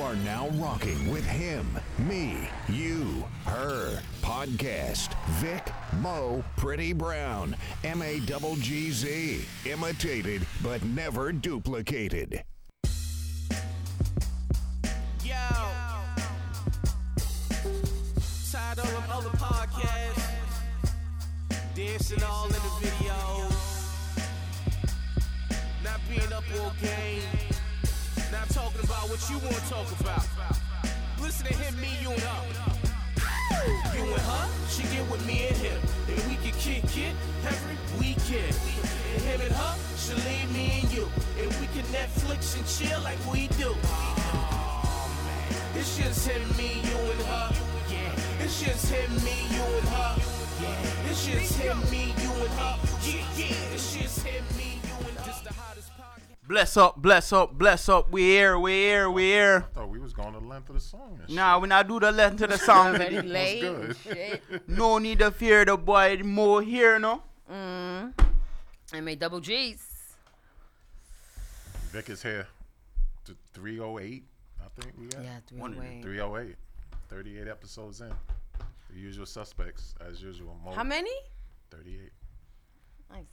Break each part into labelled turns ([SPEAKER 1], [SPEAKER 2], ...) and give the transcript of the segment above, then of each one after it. [SPEAKER 1] are now rocking with him, me, you, her podcast. Vic Mo Pretty Brown, M A double G Z, imitated but never duplicated.
[SPEAKER 2] Yo. Tired of them other podcasts. Dancing all in the videos. Not being up all game. Not talking about what you want to talk about. Listen to him, me, you, and her. You and her, she get with me and him. And we can kick it every weekend. And him and her, she leave me and you. And we can Netflix and chill like we do. It's just him, me, you, and her. Yeah. It's just him, me, you, and her. Yeah. It's just him, me, you, and her. Yeah, yeah. It's just him, me, you, and her. Just the hottest podcast.
[SPEAKER 3] Bless up, bless up, bless up. We here, we here, we here.
[SPEAKER 4] thought we was going to the length of the song. And
[SPEAKER 3] Nah, we not do the lesson to the song.
[SPEAKER 5] Already late.
[SPEAKER 4] good.
[SPEAKER 5] and Shit.
[SPEAKER 3] no need to fear the boy more here, no.
[SPEAKER 5] I made Mm. double G's.
[SPEAKER 4] shit. Vic is here. To 308, I think we got.
[SPEAKER 5] Yeah, three oh
[SPEAKER 3] One of the
[SPEAKER 5] away.
[SPEAKER 4] 308. 38 episodes in. The usual suspects, as usual. Mo,
[SPEAKER 5] How many?
[SPEAKER 4] 38.
[SPEAKER 5] Nice.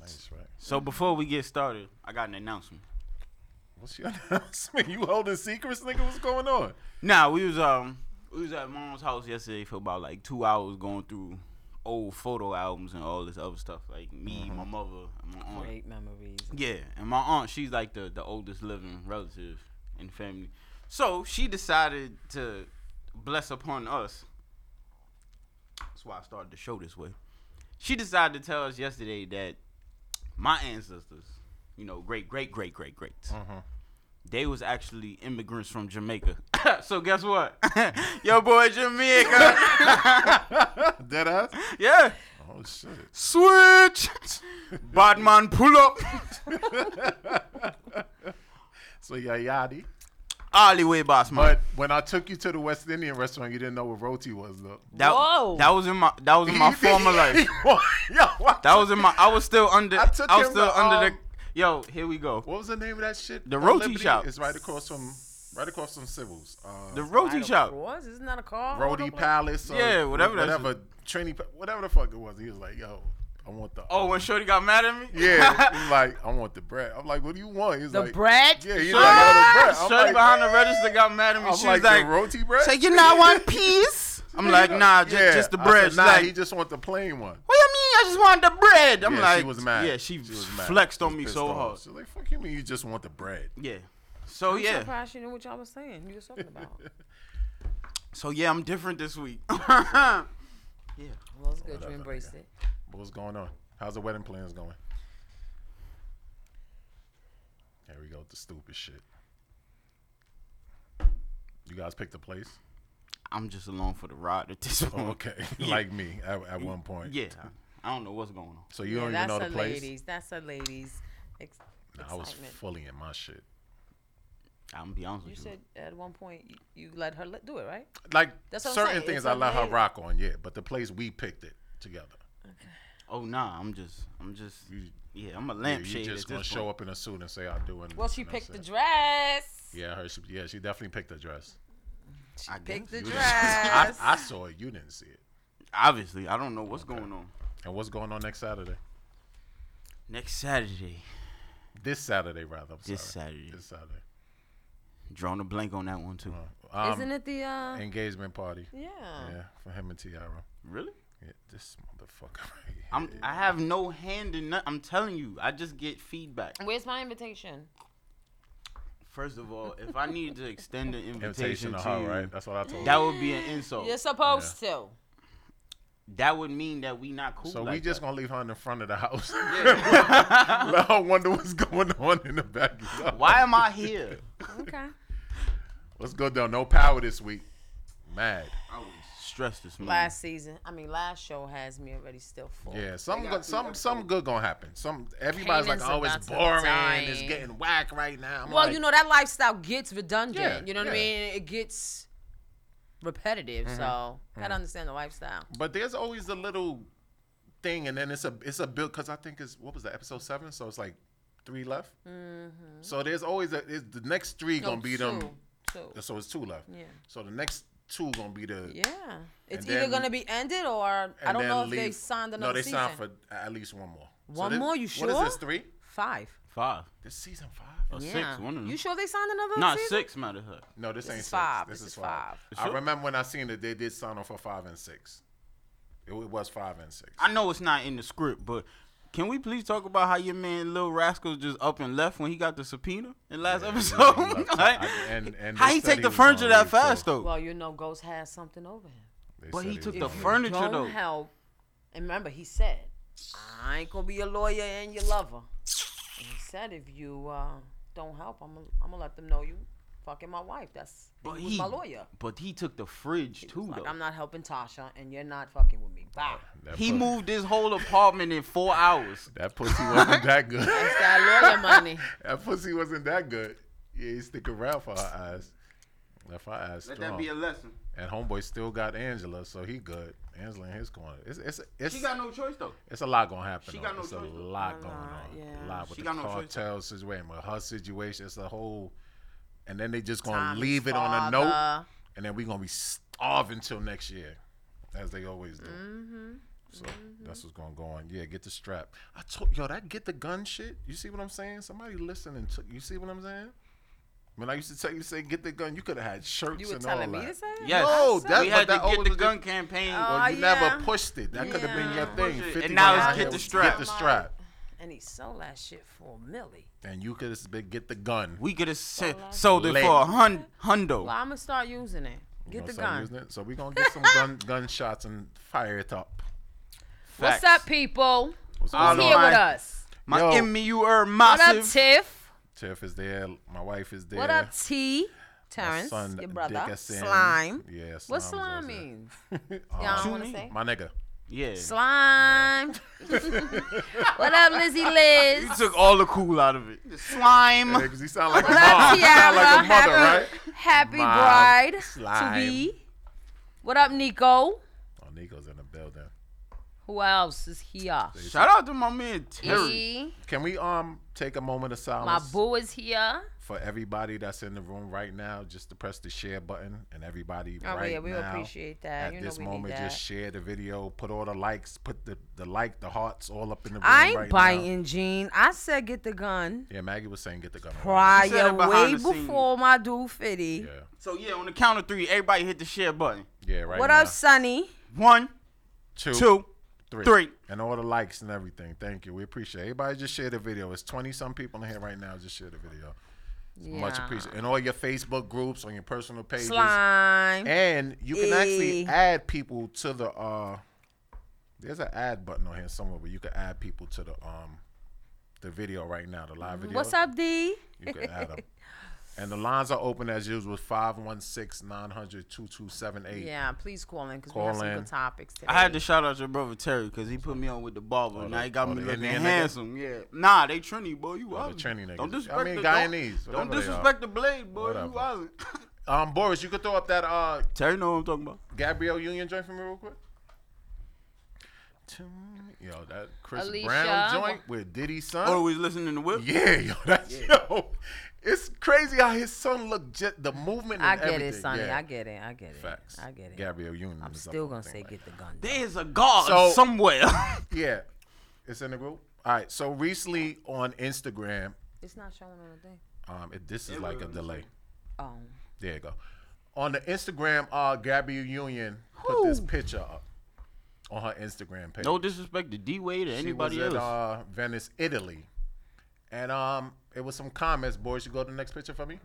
[SPEAKER 4] Nice, right?
[SPEAKER 3] So before we get started, I got an announcement.
[SPEAKER 4] What's your announcement? You holding secrets, nigga? What's going on?
[SPEAKER 3] Nah, we was um we was at mom's house yesterday for about like two hours going through old photo albums and all this other stuff. Like me, my mother, and my aunt.
[SPEAKER 5] Mm-hmm. Great memories.
[SPEAKER 3] Yeah, and my aunt, she's like the, the oldest living relative in family. So she decided to bless upon us. That's why I started the show this way. She decided to tell us yesterday that my ancestors, you know, great, great, great, great, great,
[SPEAKER 5] Mm-hmm.
[SPEAKER 3] they was actually immigrants from Jamaica. so guess what? Your boy Jamaica.
[SPEAKER 4] Dead ass?
[SPEAKER 3] yeah.
[SPEAKER 4] Oh, shit.
[SPEAKER 3] Switch. Batman, pull up.
[SPEAKER 4] So, yeah, yadi.
[SPEAKER 3] Alleyway boss, man.
[SPEAKER 4] But when I took you to the West Indian restaurant, you didn't know what roti was, though.
[SPEAKER 3] That,
[SPEAKER 5] Whoa.
[SPEAKER 3] that was in my that was in my former life.
[SPEAKER 4] yo, I
[SPEAKER 3] That was in my I was still under I,
[SPEAKER 4] I took
[SPEAKER 3] was
[SPEAKER 4] him
[SPEAKER 3] still
[SPEAKER 4] to,
[SPEAKER 3] under the
[SPEAKER 4] um,
[SPEAKER 3] Yo, here we go.
[SPEAKER 4] What was the name of that shit?
[SPEAKER 3] The
[SPEAKER 4] on
[SPEAKER 3] roti
[SPEAKER 4] Liberty?
[SPEAKER 3] shop.
[SPEAKER 4] It's right across from right across from Sybil's. Uh,
[SPEAKER 3] The
[SPEAKER 4] the
[SPEAKER 3] roti shop.
[SPEAKER 5] Was isn't that a car?
[SPEAKER 4] Rody Palace. Or
[SPEAKER 3] Yeah, whatever that
[SPEAKER 4] Whatever Trini, Pa- whatever the fuck it was. He was like, "Yo, I want the." um,
[SPEAKER 3] Oh, when Shorty got mad at me?
[SPEAKER 4] yeah. He was like, "I want the bread." I'm like, "What do you want?" He's
[SPEAKER 5] The
[SPEAKER 4] like,
[SPEAKER 5] bread?
[SPEAKER 4] Yeah, he's like, "I
[SPEAKER 3] Ah,
[SPEAKER 4] want the bread."
[SPEAKER 3] Shorty
[SPEAKER 4] I'm like,
[SPEAKER 3] behind the register got mad at me.
[SPEAKER 4] I'm
[SPEAKER 3] she
[SPEAKER 4] like,
[SPEAKER 3] was like,
[SPEAKER 4] the roti bread.
[SPEAKER 3] "So you not one piece?" I'm like, "Nah, just,
[SPEAKER 4] Yeah.
[SPEAKER 3] just the
[SPEAKER 4] I
[SPEAKER 3] bread."
[SPEAKER 4] Said,
[SPEAKER 3] She's
[SPEAKER 4] nah,
[SPEAKER 3] like,
[SPEAKER 4] he just want the plain one.
[SPEAKER 3] "What you mean? I just want the bread." I'm
[SPEAKER 4] yeah,
[SPEAKER 3] like,
[SPEAKER 4] she was mad.
[SPEAKER 3] "Yeah, she,
[SPEAKER 4] was mad.
[SPEAKER 3] flexed
[SPEAKER 4] She
[SPEAKER 3] on
[SPEAKER 4] was
[SPEAKER 3] me
[SPEAKER 4] pissed
[SPEAKER 3] so
[SPEAKER 4] off.
[SPEAKER 3] hard."
[SPEAKER 4] She was like, "Fuck you, mean you just want the bread?"
[SPEAKER 3] Yeah.
[SPEAKER 4] Oh,
[SPEAKER 3] So
[SPEAKER 5] I'm
[SPEAKER 3] yeah.
[SPEAKER 5] surprised you knew what y'all was saying. You was talking about.
[SPEAKER 3] So yeah, I'm different this week. yeah.
[SPEAKER 5] Well, it's good you embraced it.
[SPEAKER 4] But what's going on? How's the wedding plans going? Here we go with the stupid shit. You guys picked a place?
[SPEAKER 3] I'm just along for the ride at this point.
[SPEAKER 4] Oh, okay. like me at, at one point.
[SPEAKER 3] Yeah. I don't know what's going on.
[SPEAKER 4] So you
[SPEAKER 5] Yeah,
[SPEAKER 4] don't even
[SPEAKER 5] that's
[SPEAKER 4] know the
[SPEAKER 5] a
[SPEAKER 4] place?
[SPEAKER 5] ladies. That's a ladies. Ex-
[SPEAKER 4] Nah, I was
[SPEAKER 5] excitement.
[SPEAKER 4] fully in my shit.
[SPEAKER 3] I'm gonna be honest
[SPEAKER 5] you
[SPEAKER 3] with you.
[SPEAKER 5] said at one point you, you let her let, do it, right?
[SPEAKER 4] Like
[SPEAKER 5] That's what I'm
[SPEAKER 4] certain
[SPEAKER 5] saying,
[SPEAKER 4] things
[SPEAKER 5] it's
[SPEAKER 4] I
[SPEAKER 5] a
[SPEAKER 4] let her
[SPEAKER 5] lady.
[SPEAKER 4] rock on, yeah. But the place we picked it together.
[SPEAKER 3] Oh nah, I'm just, I'm just,
[SPEAKER 4] You-
[SPEAKER 3] yeah, I'm a
[SPEAKER 4] Yeah,
[SPEAKER 3] lampshade
[SPEAKER 4] you just
[SPEAKER 3] at
[SPEAKER 4] gonna
[SPEAKER 3] this
[SPEAKER 4] show
[SPEAKER 3] point.
[SPEAKER 4] up in a suit and say I do and
[SPEAKER 5] Well, she
[SPEAKER 4] and
[SPEAKER 5] picked the
[SPEAKER 4] that's it.
[SPEAKER 5] dress.
[SPEAKER 4] Yeah, her she, yeah, she definitely picked the dress.
[SPEAKER 5] She
[SPEAKER 3] I
[SPEAKER 5] picked
[SPEAKER 3] guess.
[SPEAKER 5] the
[SPEAKER 4] You didn't- I,
[SPEAKER 5] dress.
[SPEAKER 4] I saw it, you didn't see it.
[SPEAKER 3] Obviously, I don't know what's going on.
[SPEAKER 4] And what's going on next Saturday?
[SPEAKER 3] Next Saturday,
[SPEAKER 4] This Saturday rather, I'm
[SPEAKER 3] This
[SPEAKER 4] sorry.
[SPEAKER 3] Saturday.
[SPEAKER 4] This Saturday.
[SPEAKER 3] drawing a blank on that one too.
[SPEAKER 4] Um,
[SPEAKER 5] Isn't it the uh?
[SPEAKER 4] engagement party.
[SPEAKER 5] Yeah.
[SPEAKER 4] Yeah, for him and Tiara.
[SPEAKER 3] Really?
[SPEAKER 4] Yeah, this motherfucker right here.
[SPEAKER 3] I'm, I have no hand in. Nothing. I'm telling you, I just get feedback.
[SPEAKER 5] Where's my invitation?
[SPEAKER 3] First of all, if I needed to extend an invitation,
[SPEAKER 4] Invitation to
[SPEAKER 3] to
[SPEAKER 4] her,
[SPEAKER 3] you,
[SPEAKER 4] right? That's what I told
[SPEAKER 3] that
[SPEAKER 4] her.
[SPEAKER 3] would be an insult.
[SPEAKER 5] You're supposed to.
[SPEAKER 3] That would mean that we not cool.
[SPEAKER 4] So we
[SPEAKER 3] like
[SPEAKER 4] just
[SPEAKER 3] that.
[SPEAKER 4] gonna leave her in the front of the house. Let her wonder what's going on in the backyard.
[SPEAKER 3] Why am I here?
[SPEAKER 5] Okay.
[SPEAKER 4] Let's go down. No power this week. Mad.
[SPEAKER 3] I was stressed
[SPEAKER 4] Mm.
[SPEAKER 3] this morning.
[SPEAKER 5] last season. I mean, last show has me already still full.
[SPEAKER 4] Yeah, some go, some some good gonna happen. Some everybody's
[SPEAKER 5] Canaan's
[SPEAKER 4] like, oh,
[SPEAKER 5] about
[SPEAKER 4] it's
[SPEAKER 5] to
[SPEAKER 4] boring.
[SPEAKER 5] die.
[SPEAKER 4] It's getting whack right now. I'm
[SPEAKER 5] Well,
[SPEAKER 4] like,
[SPEAKER 5] you know that lifestyle gets redundant.
[SPEAKER 4] Yeah,
[SPEAKER 5] you know what I
[SPEAKER 4] yeah. Mm-hmm,
[SPEAKER 5] mean? It gets repetitive. So gotta understand the lifestyle.
[SPEAKER 4] But there's always a little thing, and then it's a it's a build because I think it's what was that episode seven,
[SPEAKER 5] Mm-hmm. Mm,
[SPEAKER 4] so it's like three left. So there's always a it's, the next three
[SPEAKER 5] No,
[SPEAKER 4] gonna be them
[SPEAKER 5] Oh, two. two.
[SPEAKER 4] So it's two left.
[SPEAKER 5] Yeah.
[SPEAKER 4] So the next two gonna be the.
[SPEAKER 5] Yeah, it's
[SPEAKER 4] And
[SPEAKER 5] either
[SPEAKER 4] then-
[SPEAKER 5] gonna be ended or I
[SPEAKER 4] and
[SPEAKER 5] don't
[SPEAKER 4] then
[SPEAKER 5] know if they
[SPEAKER 4] leave-
[SPEAKER 5] signed another
[SPEAKER 4] No, they
[SPEAKER 5] season.
[SPEAKER 4] signed for at least one more. So
[SPEAKER 5] One
[SPEAKER 4] this-
[SPEAKER 5] more, you
[SPEAKER 4] What
[SPEAKER 5] sure?
[SPEAKER 4] is this? Three.
[SPEAKER 5] five.
[SPEAKER 3] Five
[SPEAKER 4] This season five?
[SPEAKER 3] or
[SPEAKER 5] yeah.
[SPEAKER 3] six. One of them.
[SPEAKER 5] You sure they signed another
[SPEAKER 3] Nah,
[SPEAKER 5] season?
[SPEAKER 3] six matter of fact.
[SPEAKER 4] No, this,
[SPEAKER 5] This
[SPEAKER 4] ain't
[SPEAKER 5] is
[SPEAKER 4] six.
[SPEAKER 5] five.
[SPEAKER 4] This,
[SPEAKER 5] This
[SPEAKER 4] is,
[SPEAKER 5] is five.
[SPEAKER 4] five. I
[SPEAKER 3] Sure?
[SPEAKER 4] remember when I seen that they did sign off for five and six. It, wa- it was five and six.
[SPEAKER 3] I know it's not in the script, but can we please talk about how your man Lil Rascal just up and left when he got the subpoena in last episode?
[SPEAKER 4] he left.
[SPEAKER 3] Like,
[SPEAKER 4] I- and- and
[SPEAKER 3] how
[SPEAKER 4] they
[SPEAKER 3] he
[SPEAKER 4] said
[SPEAKER 3] take
[SPEAKER 4] he
[SPEAKER 3] the
[SPEAKER 4] was gonna
[SPEAKER 3] furniture that
[SPEAKER 4] leave, so-
[SPEAKER 3] fast though?
[SPEAKER 5] Well, you know, Ghost has something over him.
[SPEAKER 4] They
[SPEAKER 3] but
[SPEAKER 4] said
[SPEAKER 3] he took
[SPEAKER 4] was
[SPEAKER 3] the
[SPEAKER 4] gonna-
[SPEAKER 3] furniture
[SPEAKER 5] Don't
[SPEAKER 3] though.
[SPEAKER 5] help. And remember, he said, "I ain't gonna be your lawyer and your lover." And he said, "If you uh, don't help, I'm gonna, I'm gonna let them know you fucking my wife. That's
[SPEAKER 3] But
[SPEAKER 5] he was
[SPEAKER 3] he,
[SPEAKER 5] my lawyer.
[SPEAKER 3] but he took the fridge too
[SPEAKER 5] Like,
[SPEAKER 3] though.
[SPEAKER 5] I'm not helping Tasha, and you're not fucking with me. Bye."
[SPEAKER 4] That
[SPEAKER 3] he
[SPEAKER 4] pussy-
[SPEAKER 3] moved his whole apartment in four hours.
[SPEAKER 4] That pussy wasn't that good.
[SPEAKER 5] It's that lawyer money.
[SPEAKER 4] that pussy wasn't that good. Yeah, he stick around for her eyes. Left her eyes
[SPEAKER 3] Let
[SPEAKER 4] strong.
[SPEAKER 3] that be a lesson.
[SPEAKER 4] and homeboy still got Angela, so he good. Angela in his corner. It's it's it's,
[SPEAKER 3] She got no choice though.
[SPEAKER 4] it's a lot gonna happen.
[SPEAKER 3] She
[SPEAKER 4] though.
[SPEAKER 3] got no
[SPEAKER 4] it's a
[SPEAKER 3] choice.
[SPEAKER 4] lot going on.
[SPEAKER 5] lot, yeah.
[SPEAKER 4] A lot with
[SPEAKER 3] She
[SPEAKER 4] the
[SPEAKER 3] got no choice.
[SPEAKER 4] cartel situation, with her situation. It's a whole. And then they just gonna
[SPEAKER 5] Tommy's
[SPEAKER 4] leave it on a note,
[SPEAKER 5] father.
[SPEAKER 4] and then we gonna be starving till next year, as they always do.
[SPEAKER 3] Mm-hmm.
[SPEAKER 4] So that's what's gonna go on. Yeah, get the strap. I told yo that get the gun shit. You see what I'm saying? Somebody listening to you. See what I'm saying? When I used to tell you say get the gun, you could have had shirts
[SPEAKER 5] You were
[SPEAKER 4] and all
[SPEAKER 5] telling me
[SPEAKER 4] that.
[SPEAKER 5] to say that?
[SPEAKER 3] Yes,
[SPEAKER 4] No, that-
[SPEAKER 3] we
[SPEAKER 4] but
[SPEAKER 3] had
[SPEAKER 4] that
[SPEAKER 3] to get
[SPEAKER 4] always
[SPEAKER 3] the
[SPEAKER 4] was
[SPEAKER 3] gun
[SPEAKER 4] the-
[SPEAKER 3] campaign.
[SPEAKER 5] Oh,
[SPEAKER 4] Well, you
[SPEAKER 5] yeah.
[SPEAKER 4] never pushed it. That could have been your
[SPEAKER 5] Yeah.
[SPEAKER 4] thing.
[SPEAKER 3] Push it.
[SPEAKER 4] 50
[SPEAKER 3] And now
[SPEAKER 4] was
[SPEAKER 3] it's
[SPEAKER 4] out
[SPEAKER 3] get
[SPEAKER 4] here,
[SPEAKER 3] the strap.
[SPEAKER 4] Get the strap.
[SPEAKER 5] And he sold that shit for a milli.
[SPEAKER 4] And you could have been get the gun.
[SPEAKER 3] we could have
[SPEAKER 5] Oh,
[SPEAKER 3] sold it
[SPEAKER 4] Lit.
[SPEAKER 3] for a hun- hundo.
[SPEAKER 4] Oh.
[SPEAKER 5] Well, I'm gonna start using it.
[SPEAKER 4] You
[SPEAKER 5] Get the
[SPEAKER 4] know what I'm
[SPEAKER 5] gun.
[SPEAKER 4] saying, isn't it? So we're going to get some gun gunshots and fire it up.
[SPEAKER 5] What's
[SPEAKER 3] Facts.
[SPEAKER 5] up, people?
[SPEAKER 4] What's
[SPEAKER 3] I
[SPEAKER 5] Who's
[SPEAKER 4] going
[SPEAKER 3] don't
[SPEAKER 5] here
[SPEAKER 4] on?
[SPEAKER 3] know.
[SPEAKER 5] with us?
[SPEAKER 3] My
[SPEAKER 4] Yo.
[SPEAKER 3] MU er
[SPEAKER 5] What up,
[SPEAKER 3] massive.
[SPEAKER 5] Tiff?
[SPEAKER 4] Tiff is there. My wife is there.
[SPEAKER 5] What up, T?
[SPEAKER 4] My
[SPEAKER 5] Terrence,
[SPEAKER 4] son,
[SPEAKER 5] your brother.
[SPEAKER 4] Dickerson.
[SPEAKER 5] Slime.
[SPEAKER 4] Yeah, slime.
[SPEAKER 5] What
[SPEAKER 4] is
[SPEAKER 5] slime
[SPEAKER 4] also-
[SPEAKER 5] means?
[SPEAKER 4] Um,
[SPEAKER 5] Y'all don't want to
[SPEAKER 3] Tune
[SPEAKER 5] say?
[SPEAKER 4] my nigga.
[SPEAKER 3] yeah.
[SPEAKER 5] Slime. what up, Lizzie Liz?
[SPEAKER 3] You took all the cool out of it. Slime.
[SPEAKER 4] Because he sound like a
[SPEAKER 5] What
[SPEAKER 4] mom.
[SPEAKER 5] up,
[SPEAKER 4] He sound
[SPEAKER 5] Tiara?
[SPEAKER 4] like a mother, right?
[SPEAKER 5] happy happy
[SPEAKER 4] Mom,
[SPEAKER 5] bride
[SPEAKER 4] slime.
[SPEAKER 5] to be. What up, Nico?
[SPEAKER 4] Oh, Nico's in the building.
[SPEAKER 5] Who else is here?
[SPEAKER 3] Shout out to my man Terry.
[SPEAKER 5] E.
[SPEAKER 4] Can we um take a moment of
[SPEAKER 5] My
[SPEAKER 4] silence?
[SPEAKER 5] boo is here.
[SPEAKER 4] for everybody that's in the room right now, just to press the share button and everybody
[SPEAKER 5] Oh,
[SPEAKER 4] right
[SPEAKER 5] yeah, we
[SPEAKER 4] now
[SPEAKER 5] appreciate that.
[SPEAKER 4] at
[SPEAKER 5] You know
[SPEAKER 4] this
[SPEAKER 5] we need
[SPEAKER 4] moment
[SPEAKER 5] that.
[SPEAKER 4] just share the video, put all the likes, put the, the like, the hearts all up in the room
[SPEAKER 5] I ain't
[SPEAKER 4] right now.
[SPEAKER 5] biting, Gene. I said get the gun
[SPEAKER 4] Yeah, Maggie was saying get the gun.
[SPEAKER 3] You said
[SPEAKER 5] prior,
[SPEAKER 3] it behind
[SPEAKER 5] way
[SPEAKER 3] the scenes.
[SPEAKER 5] before my dude Fitty.
[SPEAKER 4] Yeah,
[SPEAKER 3] So yeah, on the count of three, everybody hit the share button.
[SPEAKER 4] yeah, right.
[SPEAKER 5] what
[SPEAKER 4] now.
[SPEAKER 5] up, Sonny?
[SPEAKER 3] One,
[SPEAKER 4] Two,
[SPEAKER 3] two.
[SPEAKER 4] three.
[SPEAKER 3] three.
[SPEAKER 4] and all the likes and everything. Thank you, we appreciate. it. Everybody just share the video. It's twenty some people in here right now. Just share the video. Much appreciated. And all your Facebook groups on your personal pages.
[SPEAKER 5] Slime.
[SPEAKER 4] And you can actually
[SPEAKER 5] Eh.
[SPEAKER 4] add people to the uh there's an add button on here somewhere where you can add people to the um the video right now, the live video.
[SPEAKER 5] Mm-hmm. What's up, D?
[SPEAKER 4] You can add them. And the lines are open as usual 516 900 2278.
[SPEAKER 5] Yeah, please call in because we
[SPEAKER 4] Call
[SPEAKER 5] have some
[SPEAKER 4] in.
[SPEAKER 5] good topics today.
[SPEAKER 3] I had to shout out your brother Terry because he put me on with the barber. and now he got
[SPEAKER 4] oh,
[SPEAKER 3] me
[SPEAKER 4] the
[SPEAKER 3] looking
[SPEAKER 4] Indian nigga?
[SPEAKER 3] handsome. Yeah. Nah, they Trini, boy. You
[SPEAKER 4] Oh, the
[SPEAKER 3] wasn't.
[SPEAKER 4] Trini
[SPEAKER 3] Don't
[SPEAKER 4] niggas. I
[SPEAKER 3] disrespect
[SPEAKER 4] mean,
[SPEAKER 3] the,
[SPEAKER 4] Guyanese,
[SPEAKER 3] Don't, don't
[SPEAKER 4] whatever they are.
[SPEAKER 3] disrespect the blade, boy.
[SPEAKER 4] Whatever.
[SPEAKER 3] You wasn't.
[SPEAKER 4] Um Boris, you could throw up that uh
[SPEAKER 3] Terry know what I'm talking about.
[SPEAKER 4] Gabrielle Union joint for me real quick. Tune- Yo, that Chris
[SPEAKER 5] Alicia.
[SPEAKER 4] Brown joint with Diddy's son.
[SPEAKER 3] Always Oh, listening to Whip.
[SPEAKER 4] Yeah, yo, that's yo. It's crazy how his son look just the movement. And
[SPEAKER 5] I get
[SPEAKER 4] everything.
[SPEAKER 5] it, Sonny.
[SPEAKER 4] Yeah.
[SPEAKER 5] I get it. I get it.
[SPEAKER 4] Facts.
[SPEAKER 5] I get it.
[SPEAKER 4] Gabrielle Union.
[SPEAKER 5] I'm
[SPEAKER 4] is up
[SPEAKER 5] still
[SPEAKER 4] on
[SPEAKER 5] gonna
[SPEAKER 4] the
[SPEAKER 5] say
[SPEAKER 4] thing
[SPEAKER 5] get the gun. though.
[SPEAKER 3] There's a God
[SPEAKER 4] So-
[SPEAKER 3] somewhere.
[SPEAKER 4] like- Yeah, it's in the group. All right. So recently on Instagram,
[SPEAKER 5] It's not showing on the thing.
[SPEAKER 4] um, it, this is like a delay.
[SPEAKER 5] Oh,
[SPEAKER 4] There you go. On the Instagram, uh, Gabrielle Union put this picture up on her Instagram page.
[SPEAKER 3] no disrespect to D Wade or
[SPEAKER 4] She
[SPEAKER 3] anybody else.
[SPEAKER 4] was at uh, Venice, Italy, and um, it was some comments. Boys, you go to the next picture for me.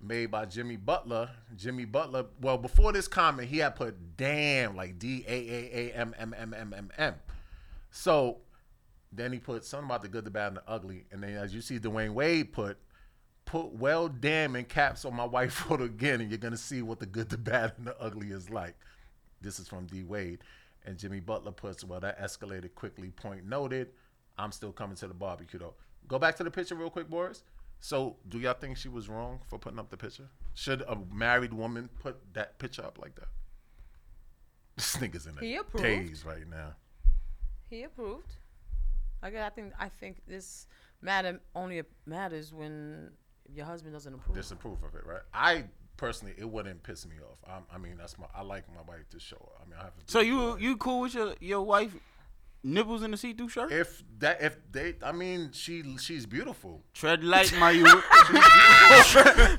[SPEAKER 4] Made by Jimmy Butler. Jimmy Butler. Well, before this comment, he had put "damn" like D A A A M M M M M M. So then he put something about the good, the bad, and the ugly. And then as you see, Dwayne Wade put put well damn in caps on my white photo again, and you're gonna see what the good, the bad, and the ugly is like. This is from D Wade. And Jimmy Butler puts, well, that escalated quickly, point noted. I'm still coming to the barbecue though. Go back to the picture real quick, Boris. So do y'all think she was wrong for putting up the picture? Should a married woman put that picture up like that? This nigga's in
[SPEAKER 5] He
[SPEAKER 4] a
[SPEAKER 5] approved.
[SPEAKER 4] daze right now.
[SPEAKER 5] he approved. I get. I think. I think this matter only matters when your husband doesn't approve.
[SPEAKER 4] disapprove of it, right? I personally, it wouldn't piss me off. I, I mean, that's my. I like my wife to show. up. I mean, I have. A
[SPEAKER 3] So you you cool with your your wife nipples in the see through shirt?
[SPEAKER 4] if that if they, I mean, she she's beautiful.
[SPEAKER 3] Tread light, my youth.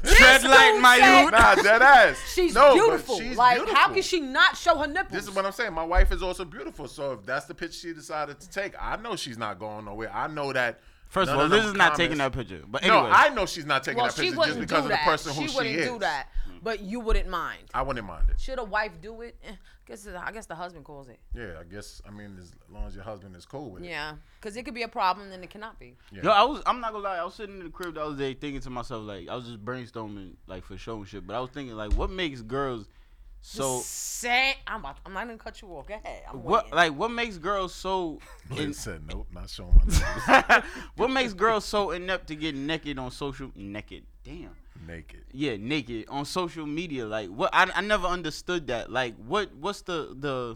[SPEAKER 3] Tread light, my
[SPEAKER 5] said-
[SPEAKER 3] youth.
[SPEAKER 4] Nah, dead ass.
[SPEAKER 5] She's
[SPEAKER 4] No, but
[SPEAKER 5] beautiful.
[SPEAKER 4] she's
[SPEAKER 5] like, how
[SPEAKER 4] beautiful.
[SPEAKER 5] can she not show her nipples?
[SPEAKER 4] This is what I'm saying. My wife is also beautiful. So if that's the picture she decided to take, I know she's not going nowhere. I know that.
[SPEAKER 3] First of
[SPEAKER 4] none
[SPEAKER 3] all, this
[SPEAKER 4] them
[SPEAKER 3] is not taking that
[SPEAKER 4] comments-
[SPEAKER 3] picture. But
[SPEAKER 4] No,
[SPEAKER 3] anyway,
[SPEAKER 4] I know she's not taking
[SPEAKER 5] well,
[SPEAKER 4] that
[SPEAKER 5] she
[SPEAKER 4] picture just
[SPEAKER 5] wouldn't
[SPEAKER 4] because
[SPEAKER 5] do
[SPEAKER 4] of the
[SPEAKER 5] that.
[SPEAKER 4] person who
[SPEAKER 5] she wouldn't
[SPEAKER 4] is.
[SPEAKER 5] do that.
[SPEAKER 3] Hmm.
[SPEAKER 5] But you wouldn't mind.
[SPEAKER 4] I wouldn't mind it.
[SPEAKER 5] Should a wife do it? Eh, guess I guess the husband calls it.
[SPEAKER 4] Yeah, I guess. I mean, as long as your husband is cool with it.
[SPEAKER 5] Yeah, because it could be a problem, then it cannot be.
[SPEAKER 3] yo, I was I'm not gonna lie. I was sitting in the crib the other day thinking to myself like I was just brainstorming like for show and shit. But I was thinking like what makes girls so
[SPEAKER 5] Say, I'm, about, I'm not gonna cut you off. Go ahead. I'm
[SPEAKER 3] what
[SPEAKER 5] waiting.
[SPEAKER 3] like what makes girls so
[SPEAKER 4] He
[SPEAKER 3] in,
[SPEAKER 4] said, nope, not showing my nipples.
[SPEAKER 3] what makes girls so inept to get naked on social naked damn
[SPEAKER 4] naked.
[SPEAKER 3] yeah naked on social media like what I, I never understood that like what what's the the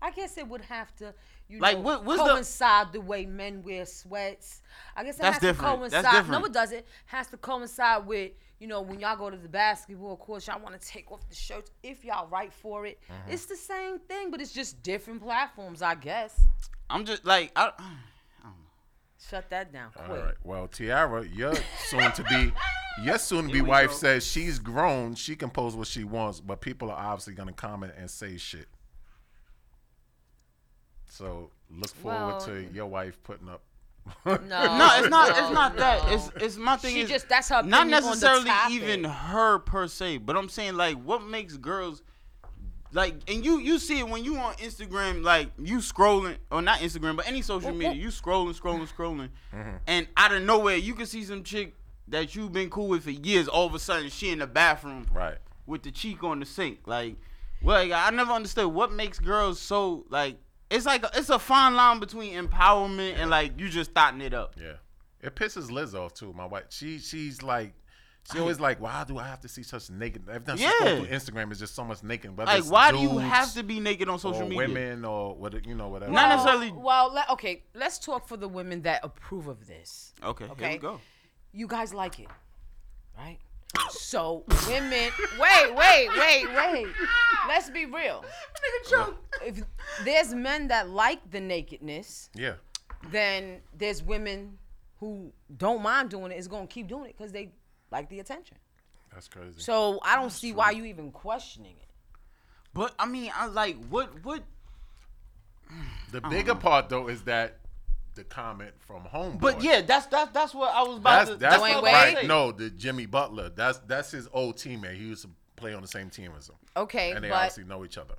[SPEAKER 5] I guess it would have to, you
[SPEAKER 3] Like,
[SPEAKER 5] know,
[SPEAKER 3] what- what's the-
[SPEAKER 5] coincide the... way men wear sweats. I guess it
[SPEAKER 3] That's
[SPEAKER 5] has to
[SPEAKER 3] different. That's
[SPEAKER 5] coincide.
[SPEAKER 3] different.
[SPEAKER 5] No, it doesn't. Has to coincide with you know when y'all go to the basketball course, y'all want to take off the shirts if y'all right for it.
[SPEAKER 3] Mm-hmm.
[SPEAKER 5] It's the same thing, but it's just different platforms, I guess.
[SPEAKER 3] I'm just like I
[SPEAKER 5] Shut that down
[SPEAKER 4] All
[SPEAKER 5] quick.
[SPEAKER 4] right. Well, Tiara, your soon to be your soon to be wife
[SPEAKER 3] go.
[SPEAKER 4] says she's grown. She can post what she wants, but people are obviously gonna comment and say shit. So look forward
[SPEAKER 5] Well-
[SPEAKER 4] to your wife putting up.
[SPEAKER 5] No,
[SPEAKER 3] No, it's not. It's
[SPEAKER 5] no,
[SPEAKER 3] not that.
[SPEAKER 5] no.
[SPEAKER 3] It's it's my thing.
[SPEAKER 5] She
[SPEAKER 3] is
[SPEAKER 5] just- that's her
[SPEAKER 3] Not
[SPEAKER 5] opinion on the
[SPEAKER 3] necessarily
[SPEAKER 5] topic.
[SPEAKER 3] even her per se, but I'm saying like what makes girls like, and you you see it when you on Instagram, like you scrolling or not Instagram, but any social media, you scrolling, scrolling, scrolling,
[SPEAKER 6] Mm-hmm.
[SPEAKER 3] and out of nowhere you can see some chick that you've been cool with for years. All of a sudden, she in the bathroom,
[SPEAKER 4] Right.
[SPEAKER 3] with the cheek on the sink. Like, well, like, I never understood what makes girls so like. It's like a, it's a fine line between empowerment and like you just thotting it up.
[SPEAKER 4] Yeah. It pisses Liz off too. My wife. She she's like. She always like, why do I have to see such naked? Every time she's
[SPEAKER 3] Yeah.
[SPEAKER 4] going through Instagram, it's just so much naked. Whether
[SPEAKER 3] Like,
[SPEAKER 4] it's
[SPEAKER 3] why do you
[SPEAKER 4] dudes
[SPEAKER 3] have to be naked on social
[SPEAKER 4] or
[SPEAKER 3] media?
[SPEAKER 4] women or what? You know, whatever.
[SPEAKER 3] Not
[SPEAKER 5] Well-
[SPEAKER 3] necessarily-
[SPEAKER 5] Well, le- okay, let's talk for the women that approve of this.
[SPEAKER 3] Okay, here
[SPEAKER 5] Okay.
[SPEAKER 3] we go.
[SPEAKER 5] You guys like it, right? So women, wait, wait, wait, wait. Let's be real. If there's men that like the nakedness,
[SPEAKER 4] Yeah.
[SPEAKER 5] then there's women who don't mind doing it. Is gonna keep doing it because they like the attention.
[SPEAKER 4] That's crazy.
[SPEAKER 5] So I don't see why you even questioning it.
[SPEAKER 3] But I mean, I like what what.
[SPEAKER 4] The bigger part though is that the comment from home.
[SPEAKER 3] But yeah, that's that's that's what I was about
[SPEAKER 4] that's
[SPEAKER 3] to.
[SPEAKER 4] that's
[SPEAKER 5] Dwayne
[SPEAKER 4] the,
[SPEAKER 5] Wade?
[SPEAKER 4] right. No, the Jimmy Butler. That's that's his old teammate. He used to play on the same team as him,
[SPEAKER 5] Okay,
[SPEAKER 4] and they
[SPEAKER 5] but
[SPEAKER 4] obviously know each other.